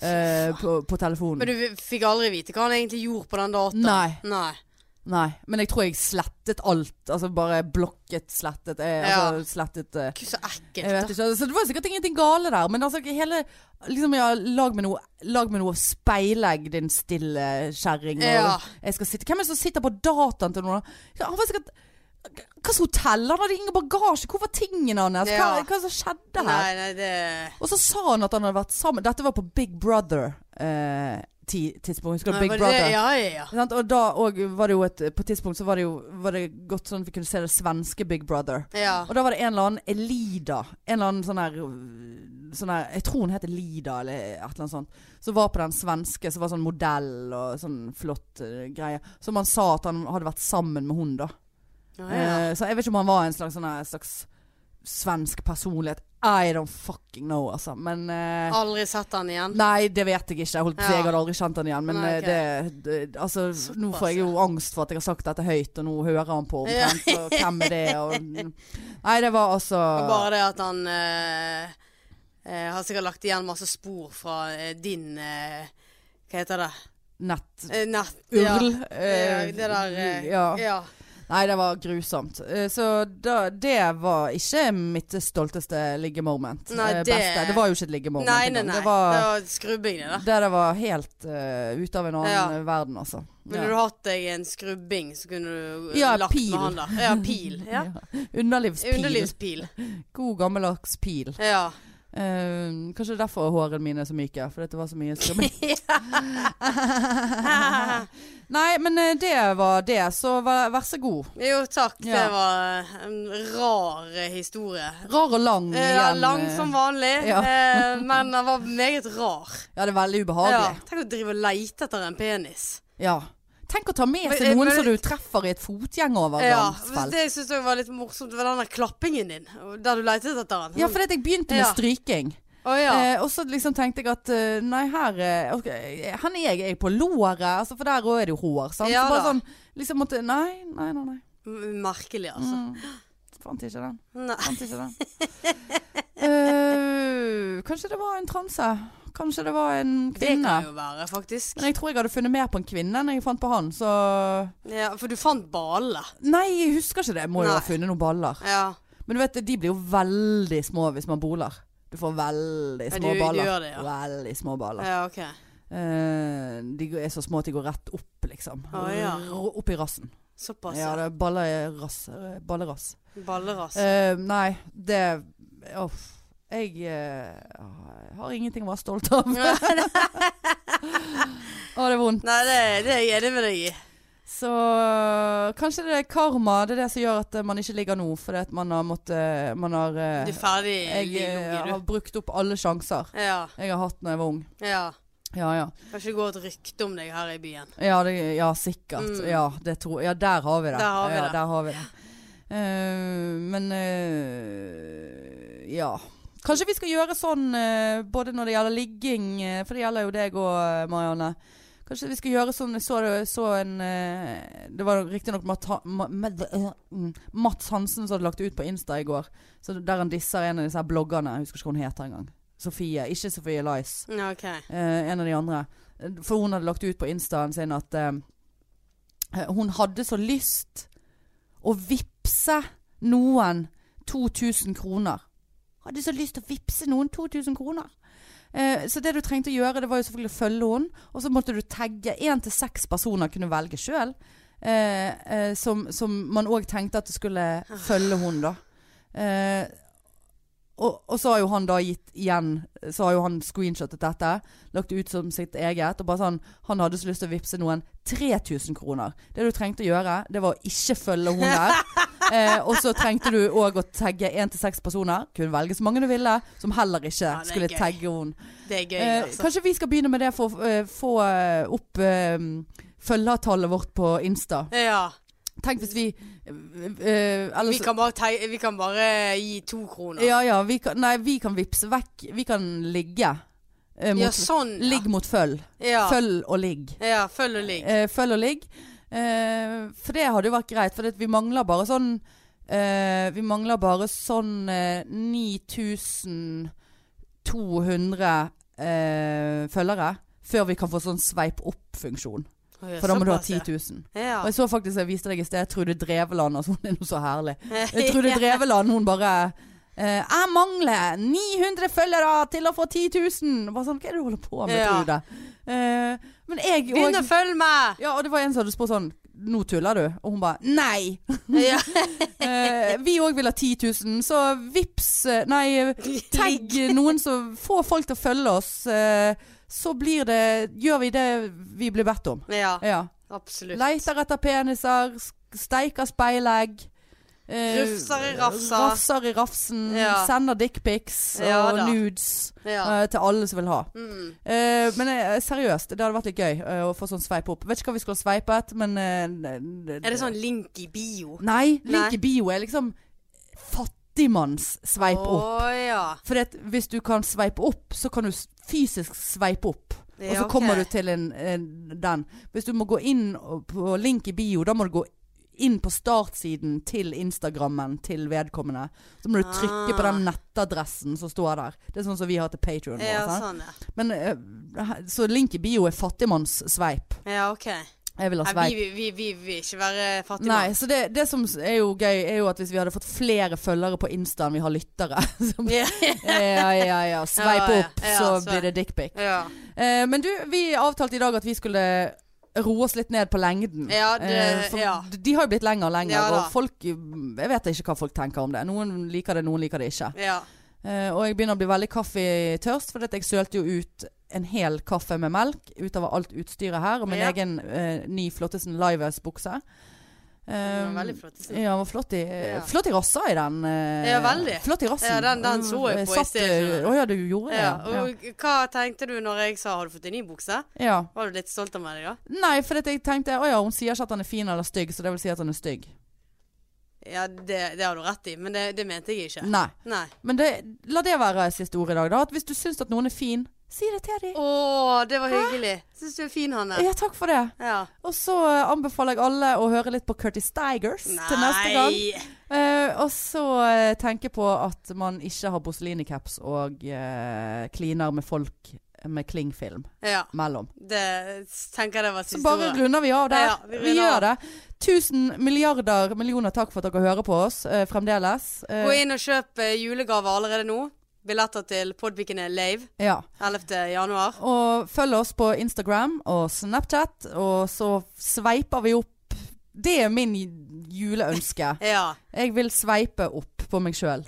Speaker 2: eh, på, på telefonen.
Speaker 1: Men du fikk aldri vite hva han egentlig gjorde på den dataen?
Speaker 2: Nei.
Speaker 1: Nei.
Speaker 2: Nei, men jeg tror jeg slettet alt. Altså bare blokket, slettet. Eh,
Speaker 1: Ja.
Speaker 2: altså slettet eh,
Speaker 1: Gud, så ekkelt.
Speaker 2: Jeg vet ikke, altså, det var sikkert ingenting gale der, men altså hele liksom, ja, lag, med noe, lag med noe speilegg, din stille kjerring. og
Speaker 1: Ja.
Speaker 2: jeg skal sitte- Hvem er det som sitter på dataen til noen? Ja, Han var sikkert Hva slags hotell? Han hadde ingen bagasje! Hvor var tingene hans?
Speaker 1: Ja.
Speaker 2: Hva, hva som skjedde her?
Speaker 1: Nei, nei, det
Speaker 2: Og så sa han at han hadde vært sammen Dette var på Big Brother eh, ti- tidspunkt. Husker du
Speaker 1: Var
Speaker 2: Big
Speaker 1: det det?
Speaker 2: Brother?
Speaker 1: Ja, ja, ja.
Speaker 2: Sant? Og da og var det jo et På et tidspunkt så var det jo var det godt sånn at vi kunne se det svenske Big Brother.
Speaker 1: ja.
Speaker 2: Og da var det en eller annen Elida. En eller annen sånn her, øh, sånn her Jeg tror hun het Elida eller et eller annet sånt. Som var på den svenske, som var sånn modell og sånn flott øh, greie. Som han sa at han hadde vært sammen med hun, da.
Speaker 1: Å, ja.
Speaker 2: Eh, så jeg vet ikke om han var en slags, sånn her, slags svensk personlighet. I don't fucking know, altså. Men eh,
Speaker 1: Aldri sett han igjen?
Speaker 2: Nei, det vet jeg ikke. Jeg, holdt, på å si,
Speaker 1: Ja.
Speaker 2: jeg hadde aldri kjent han igjen. Men
Speaker 1: Nei, ok.
Speaker 2: eh, det, det Altså, nå
Speaker 1: Såpass,
Speaker 2: får jeg jo angst for at jeg har sagt dette høyt, og nå hører han på
Speaker 1: Ja.
Speaker 2: omtrent. Og hvem er det?
Speaker 1: <laughs>
Speaker 2: Og, nei, det var altså
Speaker 1: Og Bare det at han eh, eh, har sikkert lagt igjen masse spor fra eh, din eh, Hva heter det?
Speaker 2: nett...
Speaker 1: Eh, nett.
Speaker 2: Url.
Speaker 1: Ja.
Speaker 2: eh,
Speaker 1: Eh, det der eh,
Speaker 2: ja.
Speaker 1: ja.
Speaker 2: Nei, det var grusomt. Eh, Så da, det var ikke mitt stolteste liggemoment.
Speaker 1: Nei,
Speaker 2: eh,
Speaker 1: det-
Speaker 2: Beste. det var jo ikke et liggemoment
Speaker 1: Nei, nei, nei.
Speaker 2: Det var
Speaker 1: skrubbing, det der.
Speaker 2: det der var helt eh, ute av en annen
Speaker 1: Ja.
Speaker 2: eh, verden, altså.
Speaker 1: Ville du hatt deg en skrubbing, så kunne du eh,
Speaker 2: Ja,
Speaker 1: lagt
Speaker 2: pil.
Speaker 1: med han der. Ja,
Speaker 2: <laughs>
Speaker 1: pil. Ja.
Speaker 2: Underlivspil.
Speaker 1: Underlivspil.
Speaker 2: God gammeldags pil.
Speaker 1: Ja. <laughs>
Speaker 2: Eh, kanskje derfor hårene mine er så myke, fordi det var så mye skrubbing.
Speaker 1: <laughs>
Speaker 2: <laughs> Nei, men eh, det var det, så vær, vær så god.
Speaker 1: Jo, takk. Det
Speaker 2: Ja.
Speaker 1: var eh, en rar eh, historie.
Speaker 2: Rar og lang
Speaker 1: Eh,
Speaker 2: igjen.
Speaker 1: lang
Speaker 2: eh.
Speaker 1: som vanlig,
Speaker 2: Ja.
Speaker 1: eh, men den var meget rar.
Speaker 2: Ja, det er veldig
Speaker 1: Ja.
Speaker 2: ubehagelig.
Speaker 1: Tenk å drive og leite etter en penis.
Speaker 2: Ja. Tenk å ta med
Speaker 1: Men- eh,
Speaker 2: seg noen
Speaker 1: men-
Speaker 2: som du treffer i et
Speaker 1: Ja,
Speaker 2: fotgjengovergangsfelt.
Speaker 1: Det syns jeg var litt morsomt, det var den der klappingen din. Der du letet etter den.
Speaker 2: Ja, fordi at jeg begynte med
Speaker 1: Ja.
Speaker 2: stryking.
Speaker 1: Å ja.
Speaker 2: Eh, og så liksom tenkte jeg at eh, nei, her eh, ok, Han er jeg, jeg er på låret, altså, for der òg er det jo hår. Sant?
Speaker 1: Ja
Speaker 2: så bare
Speaker 1: da.
Speaker 2: sånn liksom måtte Nei, nei, nei. nei.
Speaker 1: M- Merkelig, altså.
Speaker 2: Mm. Fant ikke den.
Speaker 1: Nei.
Speaker 2: Fant ikke den. Eh, kanskje det var en transe. Kanskje det var en
Speaker 1: Det
Speaker 2: kvinne.
Speaker 1: kan jo være, faktisk.
Speaker 2: Men jeg tror jeg hadde funnet mer på en kvinne enn jeg fant på han, så
Speaker 1: Ja, for du fant ballene.
Speaker 2: Nei, jeg husker ikke det. Må jo
Speaker 1: Nei.
Speaker 2: ha funnet noen baller.
Speaker 1: Ja.
Speaker 2: Men du vet, de blir jo veldig små hvis man boler. Du får veldig
Speaker 1: Ja,
Speaker 2: små
Speaker 1: du- du
Speaker 2: baller.
Speaker 1: gjør det, ja.
Speaker 2: Veldig små baller.
Speaker 1: ja, OK.
Speaker 2: Eh, de går- er så små at de går rett opp, liksom.
Speaker 1: Å, ja.
Speaker 2: R- Opp i rassen.
Speaker 1: Såpass. Ja,
Speaker 2: Ja, det er baller i rass. eh, Ballerass.
Speaker 1: Ballerass.
Speaker 2: Eh, nei, det Uff. Jeg eh, har ingenting å være stolt av. Å, det er
Speaker 1: <laughs>
Speaker 2: vondt.
Speaker 1: Nei, det, det er jeg enig med deg i.
Speaker 2: Så kanskje det er karma. Det er det som gjør at eh, man ikke ligger nå, fordi at man har måttet Man har eh,
Speaker 1: Du er ferdig
Speaker 2: Jeg eh,
Speaker 1: ligge,
Speaker 2: har brukt opp alle sjanser
Speaker 1: du. Ja.
Speaker 2: jeg har hatt når jeg var ung.
Speaker 1: ja.
Speaker 2: Ja, ja.
Speaker 1: Kan ikke gå et rykte om deg her i byen.
Speaker 2: Ja, det, ja sikkert.
Speaker 1: Mm.
Speaker 2: Ja, det tror, ja, der har vi det.
Speaker 1: Der har vi
Speaker 2: ja,
Speaker 1: det.
Speaker 2: Der har vi det. Eh, men eh, ja. Kanskje vi skal gjøre sånn eh, både når det gjelder ligging, eh, for det gjelder jo deg òg, Marianne. Kanskje vi skal gjøre sånn Jeg så, så en eh, Det var riktignok mm, Mats Hansen som hadde lagt det ut på Insta i går. Så Der han disser en av disse her bloggerne. Jeg husker ikke hva hun heter engang. Sofie. Ikke Sofie Lice.
Speaker 1: Ja, OK.
Speaker 2: Eh, en av de andre. For hun hadde lagt ut på instaen sin at eh, hun hadde så lyst å vippse noen 2000 kroner. Hadde så lyst til å vippse noen 2000 kroner. Eh, så det du trengte å gjøre, det var jo selvfølgelig å følge henne. Og så måtte du tagge én til seks personer kunne velge sjøl. Eh, eh, som, som man òg tenkte at du skulle følge henne, da. Eh, og, og så har jo han da gitt igjen Så har jo han screenshotet dette Lagt ut som sitt eget Og bare sånn Han hadde så lyst til å vipse noen 3000 kroner Det du trengte å gjøre Det var å ikke følge hun
Speaker 1: <laughs>
Speaker 2: der eh, Og så trengte du også å tagge 1-6 personer Kunne velge så mange du ville Som heller ikke
Speaker 1: det er
Speaker 2: skulle
Speaker 1: gøy.
Speaker 2: tagge hun
Speaker 1: Det er gøy,
Speaker 2: eh,
Speaker 1: altså.
Speaker 2: Kanskje vi skal begynne med det For å eh, få eh, opp eh, Følgertallet vårt på Insta
Speaker 1: Ja.
Speaker 2: Tenk hvis vi eh, eh, ellers-
Speaker 1: Vi kan bare, tei- vi kan bare gi to kroner.
Speaker 2: Ja, ja, vi kan, nei, vi kan vipse vekk Vi kan ligge eh, mot,
Speaker 1: Ja, sånn. ja.
Speaker 2: Ligg mot følg
Speaker 1: Ja.
Speaker 2: Følg og ligg
Speaker 1: Ja, følg og ligg.
Speaker 2: eh, Følg og ligg eh, For det hadde jo vært greit For det, vi mangler bare sånn eh, Vi mangler bare sånn eh, 9200 eh, følgere Før vi kan få sånn sveip opp-funksjon For da må du ha 10 000
Speaker 1: Ja.
Speaker 2: og jeg så faktisk, jeg viste deg i sted, Trude Dreveland, altså <laughs> hun er noe så herlig.
Speaker 1: Ja. <laughs>
Speaker 2: Trude Dreveland, hun bare eh, Jeg mangler 900 følgere til å få 10 000! Bare sånn, hva er det du holder på med,
Speaker 1: Ja.
Speaker 2: Trude? Eh, men jeg
Speaker 1: Begynn å
Speaker 2: og,
Speaker 1: følge
Speaker 2: <laughs>
Speaker 1: meg!
Speaker 2: ja, og det var en som hadde spurt sånn Nå tuller du? Og hun bare Nei!
Speaker 1: Ja.
Speaker 2: Eh, vi òg vil ha 10 000, så vips eh, Nei, tagg
Speaker 1: <laughs>
Speaker 2: noen som får folk til å følge oss. eh, så blir det Gjør vi det vi blir bedt om.
Speaker 1: Ja,
Speaker 2: Ja.
Speaker 1: absolutt.
Speaker 2: Leiter etter peniser, s- steiker speilegg. eh,
Speaker 1: Rufser i rafsa.
Speaker 2: Rafser i rafsen.
Speaker 1: Ja.
Speaker 2: Sender dickpics
Speaker 1: Ja
Speaker 2: og
Speaker 1: da.
Speaker 2: nudes
Speaker 1: Ja.
Speaker 2: eh, til alle som vil ha.
Speaker 1: Mm.
Speaker 2: Eh, men eh, seriøst, det hadde vært litt gøy eh, å få sånn sveip opp. Vet ikke hva vi skulle ha sveipet, men eh,
Speaker 1: Er det sånn link i bio?
Speaker 2: Nei. Link
Speaker 1: Nei.
Speaker 2: i bio er liksom fattigmannssveip
Speaker 1: Å
Speaker 2: opp.
Speaker 1: ja.
Speaker 2: For at hvis du kan sveipe opp, så kan du s- fysisk sveipe opp.
Speaker 1: Ja,
Speaker 2: Og så
Speaker 1: ok.
Speaker 2: kommer du til en, en, den. Hvis du må gå inn og- på link i bio, da må du gå inn på startsiden til Instagrammen til vedkommende. Så må du trykke på
Speaker 1: Ah.
Speaker 2: den nettadressen som står der. Det er sånn som vi har til Patrion.
Speaker 1: Ja,
Speaker 2: vår, sant?
Speaker 1: sånn, ja.
Speaker 2: Men, eh, så link i bio er fattigmannssveip.
Speaker 1: Ja, OK.
Speaker 2: Jeg vil ha
Speaker 1: Nei,
Speaker 2: sveip.
Speaker 1: vi, vi, vi vi vil ikke være fattige.
Speaker 2: Nei, så det, det som er jo gøy, er jo at hvis vi hadde fått flere følgere på Insta enn vi har lyttere <laughs> så,
Speaker 1: Ja,
Speaker 2: Ja, ja, ja. Sveip
Speaker 1: Ja, ja.
Speaker 2: opp,
Speaker 1: Ja,
Speaker 2: så
Speaker 1: sveip.
Speaker 2: blir det dickpic.
Speaker 1: ja.
Speaker 2: Eh, men du, vi avtalte i dag at vi skulle roe oss litt ned på lengden.
Speaker 1: Ja, det-
Speaker 2: Eh, for
Speaker 1: ja.
Speaker 2: d- De har jo blitt lengre og lengre,
Speaker 1: Ja, da.
Speaker 2: og folk Jeg vet ikke hva folk tenker om det. Noen liker det, noen liker det ikke.
Speaker 1: ja.
Speaker 2: Eh, og jeg begynner å bli veldig kaffetørst, for jeg sølte jo ut en hel kaffe med melk utover alt utstyret her, og min
Speaker 1: Ja.
Speaker 2: egen eh, ny Flottesen Lives-bukse.
Speaker 1: Den
Speaker 2: Um,
Speaker 1: var veldig flott.
Speaker 2: ja, den var flott i,
Speaker 1: Ja.
Speaker 2: flott i rassa i den. eh,
Speaker 1: Ja, veldig.
Speaker 2: Flott i rassen.
Speaker 1: Ja, den- den så jeg på i
Speaker 2: Satt,
Speaker 1: sted,
Speaker 2: eh,
Speaker 1: skjønner du.
Speaker 2: Å ja, du gjorde
Speaker 1: Ja,
Speaker 2: det. Ja.
Speaker 1: og hva tenkte du når jeg sa 'har du fått en ny bukse'?
Speaker 2: ja.
Speaker 1: Var du litt stolt av meg da?
Speaker 2: Nei, for at jeg tenkte å ja, hun sier ikke at han er fin eller stygg, så det vil si at han er stygg.
Speaker 1: Ja, det, det har du rett i, men det, det mente jeg ikke.
Speaker 2: Nei.
Speaker 1: Nei.
Speaker 2: Men det, la det være siste ord i dag, da. At hvis du syns at noen er fin, si det til dem.
Speaker 1: Å, det var hyggelig. Syns du er fin, Hanne.
Speaker 2: Ja, takk for det.
Speaker 1: Ja.
Speaker 2: Og så eh, anbefaler jeg alle å høre litt på Curtis Stigers til neste gang. Eh, og så eh, tenke på at man ikke har Boselini-caps og eh, kliner med folk med klingfilm
Speaker 1: Ja.
Speaker 2: mellom.
Speaker 1: Det tenker jeg det var
Speaker 2: Så
Speaker 1: siste
Speaker 2: bare
Speaker 1: ordet.
Speaker 2: runder vi av der.
Speaker 1: Ja, ja, vi
Speaker 2: vi,
Speaker 1: runder av.
Speaker 2: gjør det. Tusen milliarder millioner takk for at dere hører på oss eh, fremdeles. Eh,
Speaker 1: Gå inn og kjøp eh, julegaver allerede nå. Billetter til Podpikene Lave
Speaker 2: ja.
Speaker 1: 11. januar.
Speaker 2: Og følg oss på Instagram og Snapchat, og så sveiper vi opp. Det er min juleønske.
Speaker 1: Ja.
Speaker 2: Jeg vil sveipe opp på meg sjøl.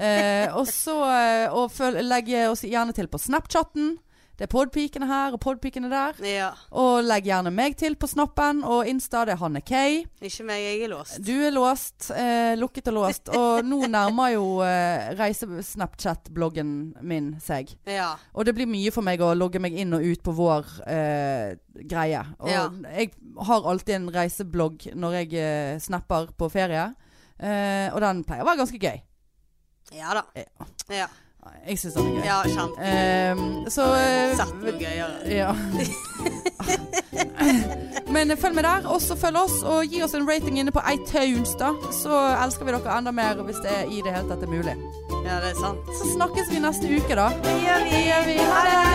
Speaker 2: Eh, og så eh, og føl, legge oss gjerne til på Snapchatten. Det er podpikene her og podpikene der.
Speaker 1: ja.
Speaker 2: Og legg gjerne meg til på snappen og Insta. Det er Hanne K.
Speaker 1: Ikke meg, jeg er låst.
Speaker 2: Du er låst. Eh, lukket og låst. Og nå nærmer jo eh, reise-Snapchat-bloggen min seg.
Speaker 1: Ja.
Speaker 2: Og det blir mye for meg å logge meg inn og ut på vår eh, greie. Og
Speaker 1: Ja.
Speaker 2: jeg har alltid en reiseblogg når jeg eh, snapper på ferie. Eh, og den pleier å være ganske gøy.
Speaker 1: Ja da. Ja,
Speaker 2: Jeg syns den er gøy.
Speaker 1: ja kjempe.
Speaker 2: Ehm, så eh,
Speaker 1: Sett noe gøyere. <laughs>
Speaker 2: Ja. Men eh, følg med der, og så følg oss, og gi oss en rating inne på iTunes, da. Så elsker vi dere enda mer, hvis det er i det hele tatt er mulig.
Speaker 1: Ja, det er sant.
Speaker 2: Så snakkes vi neste uke, da.
Speaker 1: Det gjør vi.
Speaker 2: Ha det!